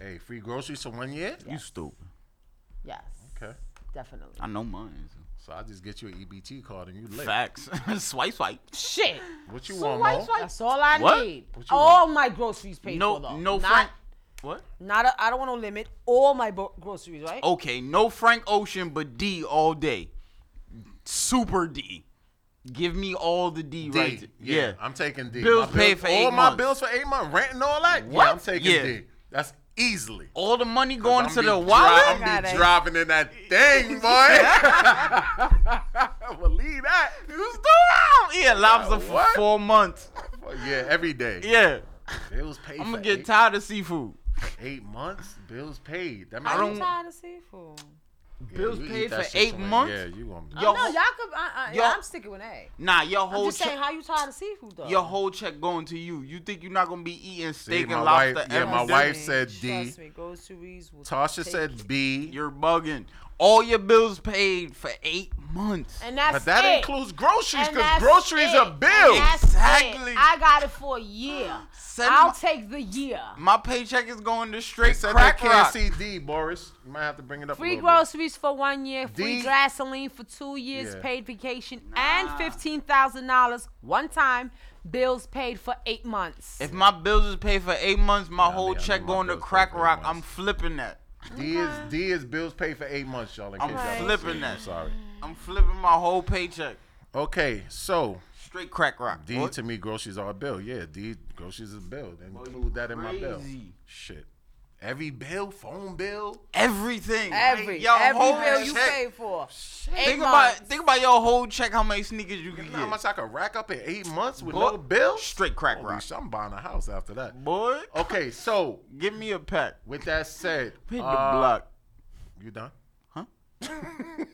[SPEAKER 4] Hey, free groceries for one year.
[SPEAKER 3] You stupid.
[SPEAKER 5] yes,
[SPEAKER 4] Okay.
[SPEAKER 5] definitely.
[SPEAKER 3] I know my answer.
[SPEAKER 4] So I just get you an EBT card and you lit.
[SPEAKER 3] Facts. swipe, swipe.
[SPEAKER 5] Shit.
[SPEAKER 4] What you
[SPEAKER 5] So
[SPEAKER 4] want,
[SPEAKER 5] why-
[SPEAKER 4] Mo?
[SPEAKER 5] why- That's all I
[SPEAKER 3] What?
[SPEAKER 5] need.
[SPEAKER 3] What you
[SPEAKER 5] all my groceries paid
[SPEAKER 3] No,
[SPEAKER 5] for though.
[SPEAKER 3] no,
[SPEAKER 5] not,
[SPEAKER 3] Frank. What? Oh,
[SPEAKER 5] Not. A, I don't want to limit all my bo- groceries, right?
[SPEAKER 3] Okay, no Frank Ocean, but D all day. Super D. Give me all the D,
[SPEAKER 4] D.
[SPEAKER 3] right? th-
[SPEAKER 4] yeah, I'm taking D.
[SPEAKER 3] Bills
[SPEAKER 4] My
[SPEAKER 3] paid for eight
[SPEAKER 4] all
[SPEAKER 3] months.
[SPEAKER 4] my bills for eight months, rent and all that.
[SPEAKER 3] What?
[SPEAKER 4] Yeah, I'm taking
[SPEAKER 3] Yeah.
[SPEAKER 4] D. That's easily.
[SPEAKER 3] all the money going
[SPEAKER 4] I'm
[SPEAKER 3] to
[SPEAKER 4] be
[SPEAKER 3] the
[SPEAKER 4] dri-
[SPEAKER 3] wallet.
[SPEAKER 4] I'm be driving in that thing, boy. Believe that.
[SPEAKER 3] Just do it. Yeah, lobster for
[SPEAKER 4] What?
[SPEAKER 3] four months.
[SPEAKER 4] yeah, every day.
[SPEAKER 3] Yeah.
[SPEAKER 4] Bills paid.
[SPEAKER 3] I'm
[SPEAKER 4] for
[SPEAKER 3] gonna get
[SPEAKER 4] eight,
[SPEAKER 3] tired of seafood.
[SPEAKER 4] eight months. Bills paid. That
[SPEAKER 5] I
[SPEAKER 4] means-
[SPEAKER 5] don't tired of seafood.
[SPEAKER 4] Yeah,
[SPEAKER 3] Bills
[SPEAKER 4] you eat
[SPEAKER 3] paid
[SPEAKER 4] that
[SPEAKER 3] for
[SPEAKER 4] shit
[SPEAKER 3] eight
[SPEAKER 4] so much.
[SPEAKER 3] months?
[SPEAKER 4] Yeah, you gonna.
[SPEAKER 5] I don't
[SPEAKER 3] Yo-
[SPEAKER 5] know, y'all could. I, I,
[SPEAKER 3] yo-
[SPEAKER 5] yeah, I'm sticking with A.
[SPEAKER 3] Nah, your
[SPEAKER 5] I'm
[SPEAKER 3] whole
[SPEAKER 5] just saying,
[SPEAKER 3] check,
[SPEAKER 5] how you tired of seafood though?
[SPEAKER 3] your whole check going to you. You think you're not gonna be eating
[SPEAKER 4] See,
[SPEAKER 3] steak
[SPEAKER 4] my
[SPEAKER 3] and
[SPEAKER 4] wife.
[SPEAKER 3] lobster?
[SPEAKER 4] Yeah,
[SPEAKER 3] every
[SPEAKER 4] my
[SPEAKER 3] day?
[SPEAKER 4] wife said D.
[SPEAKER 5] Trust me, groceries will
[SPEAKER 4] Tasha
[SPEAKER 5] take you.
[SPEAKER 4] said B.
[SPEAKER 3] You're bugging. All your bills paid for eight months.
[SPEAKER 5] And that's
[SPEAKER 4] But that
[SPEAKER 5] it.
[SPEAKER 4] includes groceries
[SPEAKER 5] And
[SPEAKER 4] because
[SPEAKER 5] that's
[SPEAKER 4] groceries
[SPEAKER 5] it.
[SPEAKER 4] are bills.
[SPEAKER 5] And that's it.
[SPEAKER 3] Exactly.
[SPEAKER 5] I got it for a year.
[SPEAKER 3] Send
[SPEAKER 5] I'll
[SPEAKER 3] my-
[SPEAKER 5] take the year.
[SPEAKER 3] My paycheck is going to
[SPEAKER 4] They
[SPEAKER 3] straight
[SPEAKER 4] said
[SPEAKER 3] crack
[SPEAKER 4] they can't
[SPEAKER 3] rock.
[SPEAKER 4] see D, Boris. You might have to bring it up. a
[SPEAKER 5] Free
[SPEAKER 4] little bit.
[SPEAKER 5] groceries for one year, free
[SPEAKER 4] The-
[SPEAKER 5] gasoline for two years,
[SPEAKER 4] Yeah.
[SPEAKER 5] paid vacation, and fifteen thousand dollars one time. Bills paid for eight months.
[SPEAKER 3] If my bills is paid for eight months, my
[SPEAKER 4] I
[SPEAKER 3] whole
[SPEAKER 4] know
[SPEAKER 3] check
[SPEAKER 4] my
[SPEAKER 3] going to
[SPEAKER 4] bills paid
[SPEAKER 3] crack
[SPEAKER 4] for eight
[SPEAKER 3] rock.
[SPEAKER 4] months.
[SPEAKER 3] I'm flipping that.
[SPEAKER 4] D is D is bills paid for eight months, y'all. In
[SPEAKER 3] I'm
[SPEAKER 4] case y'all didn't
[SPEAKER 3] flipping
[SPEAKER 4] see it.
[SPEAKER 3] that.
[SPEAKER 4] I'm sorry.
[SPEAKER 3] I'm flipping my whole paycheck.
[SPEAKER 4] Okay, so
[SPEAKER 3] Straight crack rock.
[SPEAKER 4] D
[SPEAKER 3] boy.
[SPEAKER 4] to me, groceries are a bill. Yeah, D groceries is a bill. They include that in my bill.
[SPEAKER 3] crazy.
[SPEAKER 4] Shit, every bill, phone bill.
[SPEAKER 3] Everything.
[SPEAKER 5] every
[SPEAKER 3] Your
[SPEAKER 5] every
[SPEAKER 3] whole
[SPEAKER 5] bill you
[SPEAKER 3] check.
[SPEAKER 5] paid for, eight
[SPEAKER 3] Think
[SPEAKER 5] months.
[SPEAKER 3] about think about your whole check. How many sneakers you
[SPEAKER 4] You
[SPEAKER 3] can
[SPEAKER 4] know how
[SPEAKER 3] get?
[SPEAKER 4] much I could rack up in eight months with
[SPEAKER 3] Boy,
[SPEAKER 4] no bill?
[SPEAKER 3] Straight crack
[SPEAKER 4] Holy
[SPEAKER 3] rock.
[SPEAKER 4] shit, I'm buying a house after that.
[SPEAKER 3] Boy,
[SPEAKER 4] Okay, so
[SPEAKER 3] give me a pack.
[SPEAKER 4] with that said,
[SPEAKER 3] Hit the
[SPEAKER 4] uh,
[SPEAKER 3] block.
[SPEAKER 4] You done?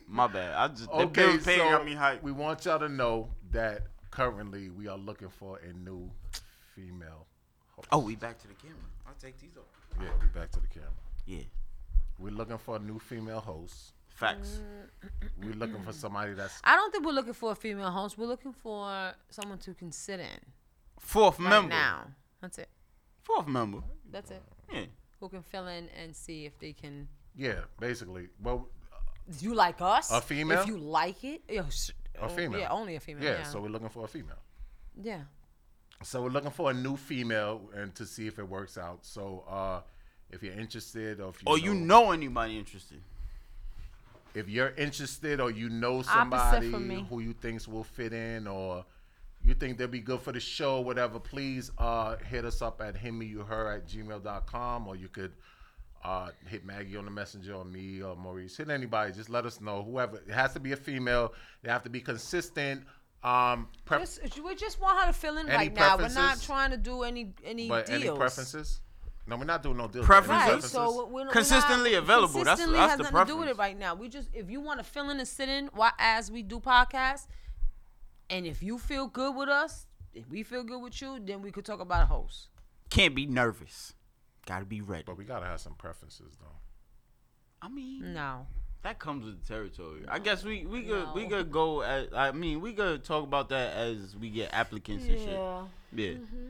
[SPEAKER 3] My bad. I just the
[SPEAKER 4] Okay,
[SPEAKER 3] bills paid got me
[SPEAKER 4] so
[SPEAKER 3] hyped.
[SPEAKER 4] we want y'all to know that currently we are looking for a new female.
[SPEAKER 3] Oh, we back to the camera. I'll take these off.
[SPEAKER 4] Yeah, we back to the camera.
[SPEAKER 3] Yeah.
[SPEAKER 4] We're looking for a new female host.
[SPEAKER 3] Facts.
[SPEAKER 5] Mm.
[SPEAKER 4] We're looking for somebody that's
[SPEAKER 5] I don't think we're looking for a female host. We're looking for someone to can sit in
[SPEAKER 3] Fourth
[SPEAKER 5] right
[SPEAKER 3] member.
[SPEAKER 5] now. That's it.
[SPEAKER 3] Fourth member.
[SPEAKER 5] That's it.
[SPEAKER 3] Yeah.
[SPEAKER 5] Who can fill in and see if they can.
[SPEAKER 4] yeah, basically. Well,
[SPEAKER 5] If you like us,
[SPEAKER 4] A female?
[SPEAKER 5] If you like it, yeah, sh-
[SPEAKER 4] a
[SPEAKER 5] oh,
[SPEAKER 4] female.
[SPEAKER 5] Yeah, only a female.
[SPEAKER 4] Yeah,
[SPEAKER 5] Yeah.
[SPEAKER 4] so we're looking for a female.
[SPEAKER 5] yeah.
[SPEAKER 4] So we're looking for a new female and to see if it works out. So uh if you're interested or if you
[SPEAKER 3] Or Oh, you know anybody interested?
[SPEAKER 4] if you're interested or you know somebody
[SPEAKER 5] for me.
[SPEAKER 4] who you thinks will fit in or you think they'll be good for the show, whatever, please uh, hit us up at himmeyouher at gmail.com or you could uh, hit Maggie on the messenger or me or Maurice. Hit anybody. Just let us know. Whoever. It has to be a female. They have to be consistent. Um, pref-
[SPEAKER 5] Just- we just want her to feel in
[SPEAKER 4] Any
[SPEAKER 5] right now. We're not
[SPEAKER 4] preferences?
[SPEAKER 5] trying to do any any
[SPEAKER 4] but
[SPEAKER 5] deals.
[SPEAKER 4] any preferences? No, we're not doing no deals.
[SPEAKER 5] Right, so we're- we're,
[SPEAKER 3] Consistently
[SPEAKER 5] we're not,
[SPEAKER 3] available, that's-
[SPEAKER 5] Consistently
[SPEAKER 3] that's
[SPEAKER 5] has
[SPEAKER 3] the
[SPEAKER 5] nothing to do with it right now. We just if you want to fill in and sit in while as we do podcasts, and if you feel good with us, if we feel good with you, then we could talk about a host.
[SPEAKER 3] Can't be nervous. Gotta be ready.
[SPEAKER 4] But we gotta have some preferences though.
[SPEAKER 3] I mean,
[SPEAKER 5] no.
[SPEAKER 3] That comes with the territory. I guess we we could we could go. At, I mean, we could talk about that as we get applicants and shit.
[SPEAKER 4] Yeah.
[SPEAKER 3] Yeah.
[SPEAKER 5] Mm-hmm.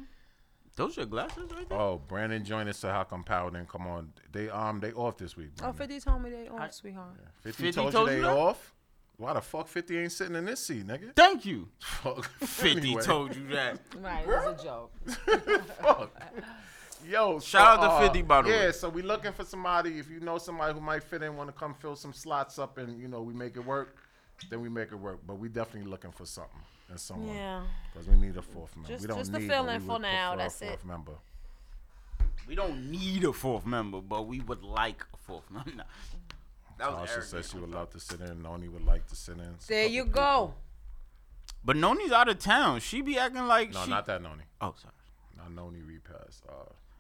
[SPEAKER 3] Those your glasses right there.
[SPEAKER 4] Oh, Brandon joined us. So how come Powell didn't come on? They um they off this week.
[SPEAKER 5] Oh,
[SPEAKER 4] Brandon.
[SPEAKER 5] 50 told me they off, sweetheart.
[SPEAKER 4] 50, told, you they off. Why the fuck 50 ain't sitting in this seat, nigga?
[SPEAKER 3] Thank you.
[SPEAKER 4] Fuck.
[SPEAKER 3] 50 told you that.
[SPEAKER 5] Right, it was a joke.
[SPEAKER 4] Yo,
[SPEAKER 3] Shout
[SPEAKER 4] so,
[SPEAKER 3] out to
[SPEAKER 4] uh,
[SPEAKER 3] 50 by the
[SPEAKER 4] Yeah,
[SPEAKER 3] way.
[SPEAKER 4] so we looking for somebody. If you know somebody who might fit in, want to come fill some slots up, and you know we make it work, then we make it work. But we definitely looking for something and someone.
[SPEAKER 5] Yeah.
[SPEAKER 4] Because we need a fourth member.
[SPEAKER 5] Just-
[SPEAKER 4] we don't
[SPEAKER 5] just the
[SPEAKER 4] need, but we
[SPEAKER 5] fill-in for
[SPEAKER 4] would
[SPEAKER 5] now,
[SPEAKER 4] prefer a
[SPEAKER 5] that's it.
[SPEAKER 4] fourth Member.
[SPEAKER 3] We don't need a fourth member, but we would like a fourth member. No. That was
[SPEAKER 4] Tasha
[SPEAKER 3] arrogant.
[SPEAKER 4] said she would love to sit in. Noni would like to sit in.
[SPEAKER 5] There you go.
[SPEAKER 3] But Noni's out of town. She be acting like
[SPEAKER 4] No,
[SPEAKER 3] she.
[SPEAKER 4] not that Noni.
[SPEAKER 3] Oh, sorry.
[SPEAKER 4] Not Noni repass. Uh,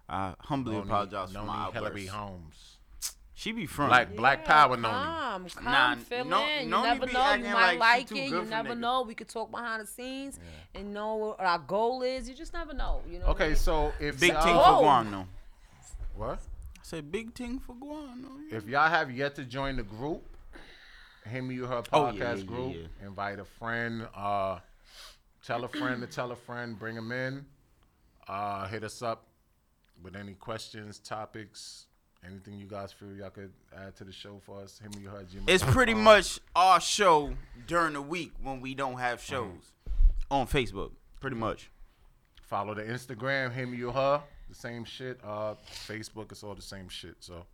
[SPEAKER 3] I humbly
[SPEAKER 4] Noni-
[SPEAKER 3] apologize for
[SPEAKER 4] Noni
[SPEAKER 3] my
[SPEAKER 4] Hillary
[SPEAKER 3] outburst.
[SPEAKER 4] Holmes.
[SPEAKER 3] She be front.
[SPEAKER 4] Black- Black Yeah, Power Noni.
[SPEAKER 5] Come, come,
[SPEAKER 3] Nah,
[SPEAKER 5] fill
[SPEAKER 3] No-
[SPEAKER 5] in. You
[SPEAKER 3] Noni
[SPEAKER 5] never
[SPEAKER 3] be
[SPEAKER 5] know. You
[SPEAKER 3] acting
[SPEAKER 5] might
[SPEAKER 3] like
[SPEAKER 5] like,
[SPEAKER 3] she too
[SPEAKER 5] it.
[SPEAKER 3] good
[SPEAKER 5] You
[SPEAKER 3] for
[SPEAKER 5] never
[SPEAKER 3] niggas.
[SPEAKER 5] know. We could talk behind the scenes and know what our goal is. You just never know. You know. what I
[SPEAKER 4] Okay,
[SPEAKER 5] mean?
[SPEAKER 4] so if
[SPEAKER 3] Big
[SPEAKER 4] y'all-
[SPEAKER 3] ting
[SPEAKER 5] Oh.
[SPEAKER 3] for Guano.
[SPEAKER 4] What?
[SPEAKER 3] I said big ting for Guano.
[SPEAKER 4] If y'all have yet to join the group, him you her podcast
[SPEAKER 3] Oh, yeah, yeah, yeah,
[SPEAKER 4] group,
[SPEAKER 3] yeah.
[SPEAKER 4] invite a friend, uh, tell a friend to tell a friend, bring them in, uh, hit us up with any questions, topics, anything you guys feel y'all could add to the show for us. Him you her gmail.
[SPEAKER 3] It's pretty
[SPEAKER 4] Uh-huh.
[SPEAKER 3] much our show during the week when we don't have shows on Facebook. Pretty much.
[SPEAKER 4] follow the Instagram, him you her, the same shit. Uh, Facebook, it's all the same shit. So,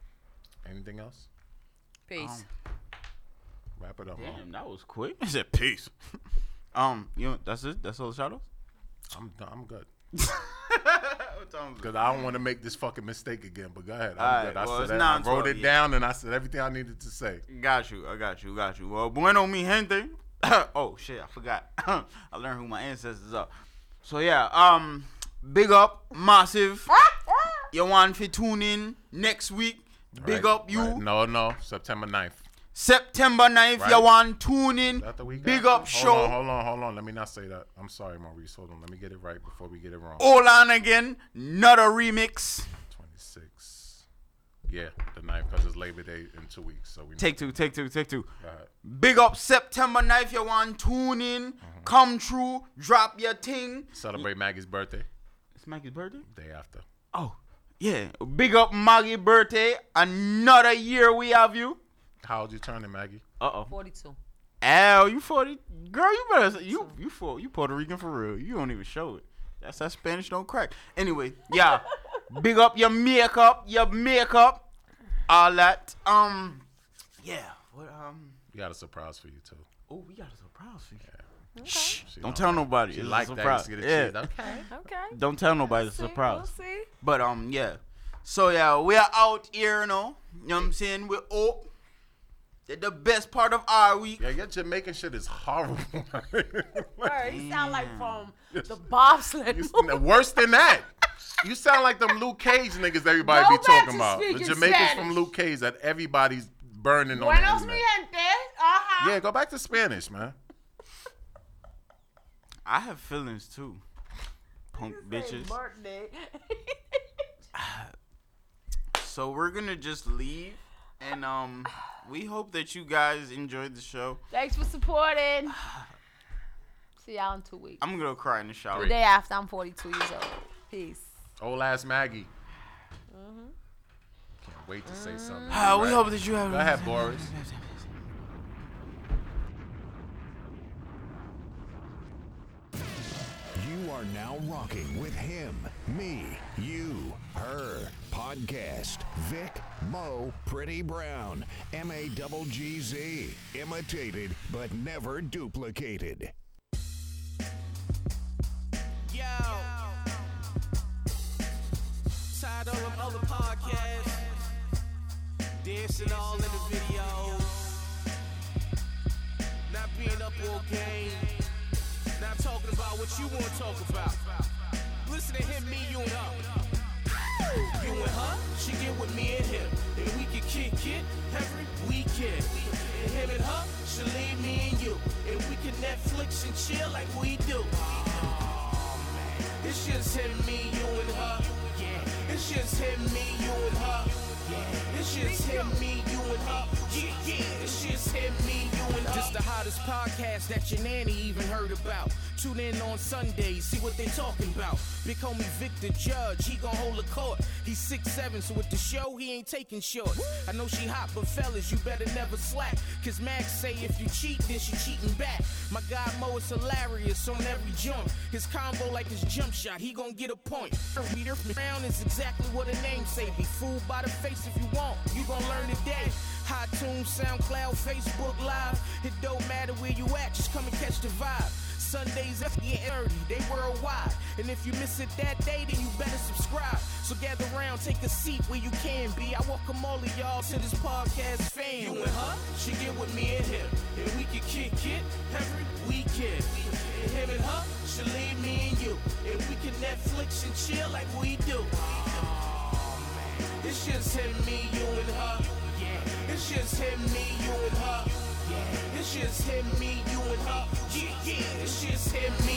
[SPEAKER 4] anything else?
[SPEAKER 5] Peace.
[SPEAKER 4] Wrap it up.
[SPEAKER 3] Um, Damn,
[SPEAKER 4] Mom.
[SPEAKER 3] that was quick. I said peace. um, you know, that's it. That's all the shadows.
[SPEAKER 4] I'm done. I'm good.
[SPEAKER 3] What time is it?
[SPEAKER 4] Because I don't want to make this fucking mistake again. But go ahead. I'm
[SPEAKER 3] All right,
[SPEAKER 4] good.
[SPEAKER 3] well,
[SPEAKER 4] I,
[SPEAKER 3] it's
[SPEAKER 4] said that, I wrote
[SPEAKER 3] 9:12,
[SPEAKER 4] it
[SPEAKER 3] yeah.
[SPEAKER 4] down and I said everything I needed to say.
[SPEAKER 3] Got you. I got you. Got you. Well, bueno mi gente. oh shit, I forgot. I learned who my ancestors are. So yeah, um, big up, massive. you want to tune in next week? Big
[SPEAKER 4] Right,
[SPEAKER 3] up you.
[SPEAKER 4] right. No, no. September 9th.
[SPEAKER 3] September 9th,
[SPEAKER 4] Right.
[SPEAKER 3] you want to tune in.
[SPEAKER 4] That the week
[SPEAKER 3] Big
[SPEAKER 4] after?
[SPEAKER 3] up
[SPEAKER 4] hold
[SPEAKER 3] show.
[SPEAKER 4] On, hold on, hold on. Let me not say that. I'm sorry, Maurice. Hold on. Let me get it right before we get it wrong.
[SPEAKER 3] All on again, not a remix.
[SPEAKER 4] 26. Yeah, the 9th because it's Labor Day in two weeks. So we
[SPEAKER 3] Take two, take two, take two.
[SPEAKER 4] Go ahead.
[SPEAKER 3] Big up September 9th, you want to tune in.
[SPEAKER 4] Mm-hmm.
[SPEAKER 3] Come true, drop your ting.
[SPEAKER 4] Celebrate Maggie's birthday.
[SPEAKER 3] It's Maggie's birthday?
[SPEAKER 4] Day after.
[SPEAKER 3] Oh, yeah. Big up Maggie birthday. Another year we have you.
[SPEAKER 4] How old you turning, Maggie?
[SPEAKER 3] Uh oh.
[SPEAKER 5] Forty-two.
[SPEAKER 3] Al, you 40. Girl, you better. You you for you Puerto Rican for real. You don't even show it. That's that Spanish don't crack. Anyway, yeah. Big up your makeup, your makeup, all that. Um, yeah. What um?
[SPEAKER 4] We got a surprise for you, too.
[SPEAKER 3] Oh, we got a surprise for you.
[SPEAKER 4] Shh.
[SPEAKER 3] Don't tell nobody.
[SPEAKER 4] She
[SPEAKER 3] It's a
[SPEAKER 4] like that.
[SPEAKER 3] surprise.
[SPEAKER 4] Used to get a
[SPEAKER 3] Yeah.
[SPEAKER 4] cheese. Okay.
[SPEAKER 5] Okay.
[SPEAKER 3] Don't tell nobody it's a surprise.
[SPEAKER 5] We'll see.
[SPEAKER 3] But um, yeah. So yeah, we are out here, you know. You know what I'm saying? We're up. They're the best part of our week.
[SPEAKER 4] Yeah, your Jamaican shit is horrible.
[SPEAKER 5] Word, he sound like
[SPEAKER 4] Um,
[SPEAKER 5] from the bobsled. movie.
[SPEAKER 4] No, Mm. Worse than that. You sound like them Luke Cage niggas everybody
[SPEAKER 5] Go
[SPEAKER 4] be
[SPEAKER 5] back
[SPEAKER 4] talking
[SPEAKER 5] to
[SPEAKER 4] about. The
[SPEAKER 5] speaking
[SPEAKER 4] Jamaicans
[SPEAKER 5] Spanish.
[SPEAKER 4] from Luke Cage that everybody's burning on. the
[SPEAKER 5] Buenos mi
[SPEAKER 4] internet.
[SPEAKER 5] gente. Uh-huh.
[SPEAKER 4] Yeah, go back to Spanish, man.
[SPEAKER 3] I have feelings too. Punk bitches.
[SPEAKER 5] Birthday.
[SPEAKER 3] So we're gonna just leave, and um, we hope that you guys enjoyed the show.
[SPEAKER 5] Thanks for supporting. See y'all in two weeks.
[SPEAKER 3] I'm gonna cry in the shower.
[SPEAKER 5] The day after I'm 42 years old. Peace.
[SPEAKER 4] Old ass Maggie. Can't wait to say something.
[SPEAKER 3] Ah, we
[SPEAKER 4] Right.
[SPEAKER 3] hope that you have.
[SPEAKER 4] Go ahead, Boris.
[SPEAKER 1] You are now rocking with him, me, you, her podcast. Vic Mo Pretty Brown, M A double G Z. Imitated but never duplicated.
[SPEAKER 2] Dancing all in the video. Not being up all game. Not talking about what you want to talk about. Listen to him, me, you, and her. You and her, she get with me and him. And we can kick it every weekend. And him and her, she leave me and you. And we can Netflix and chill like we do. It's just him, me, you, and her. Yeah. It's just him, me, you, and her. Yeah. It's just him, me, you, and her. Yeah, yeah. It's just him, me, you, and her. This the hottest podcast that your nanny even heard about. Tune in on Sundays, see what they talking about. Big homie Victor Judge, he gon' hold the court. He's six seven, so with the show, he ain't taking shorts. I know she hot, but fellas, you better never slack. Cause Max say if you cheat, then she cheating back. My guy Mo is hilarious on every jump. His combo like his jump shot, he gon' get a point. Reader round is exactly what a name say. Be fooled by the face if you want, you gon' learn today. iTunes, SoundCloud, Facebook Live. It don't matter where you at, just come and catch the vibe. Sundays at 8:30, they worldwide. And if you miss it that day, then you better subscribe. So gather round, take a seat where you can be. I welcome all of y'all to this podcast fam. You and her, she get with me and him, and we can kick it every weekend. And him and her, she leave me and you, and we can Netflix and chill like we do. It's just him, me, you and her. Yeah. It's just him, me, you and her. Yeah. It's just him, me, you and her. Yeah, yeah. It's just him, me,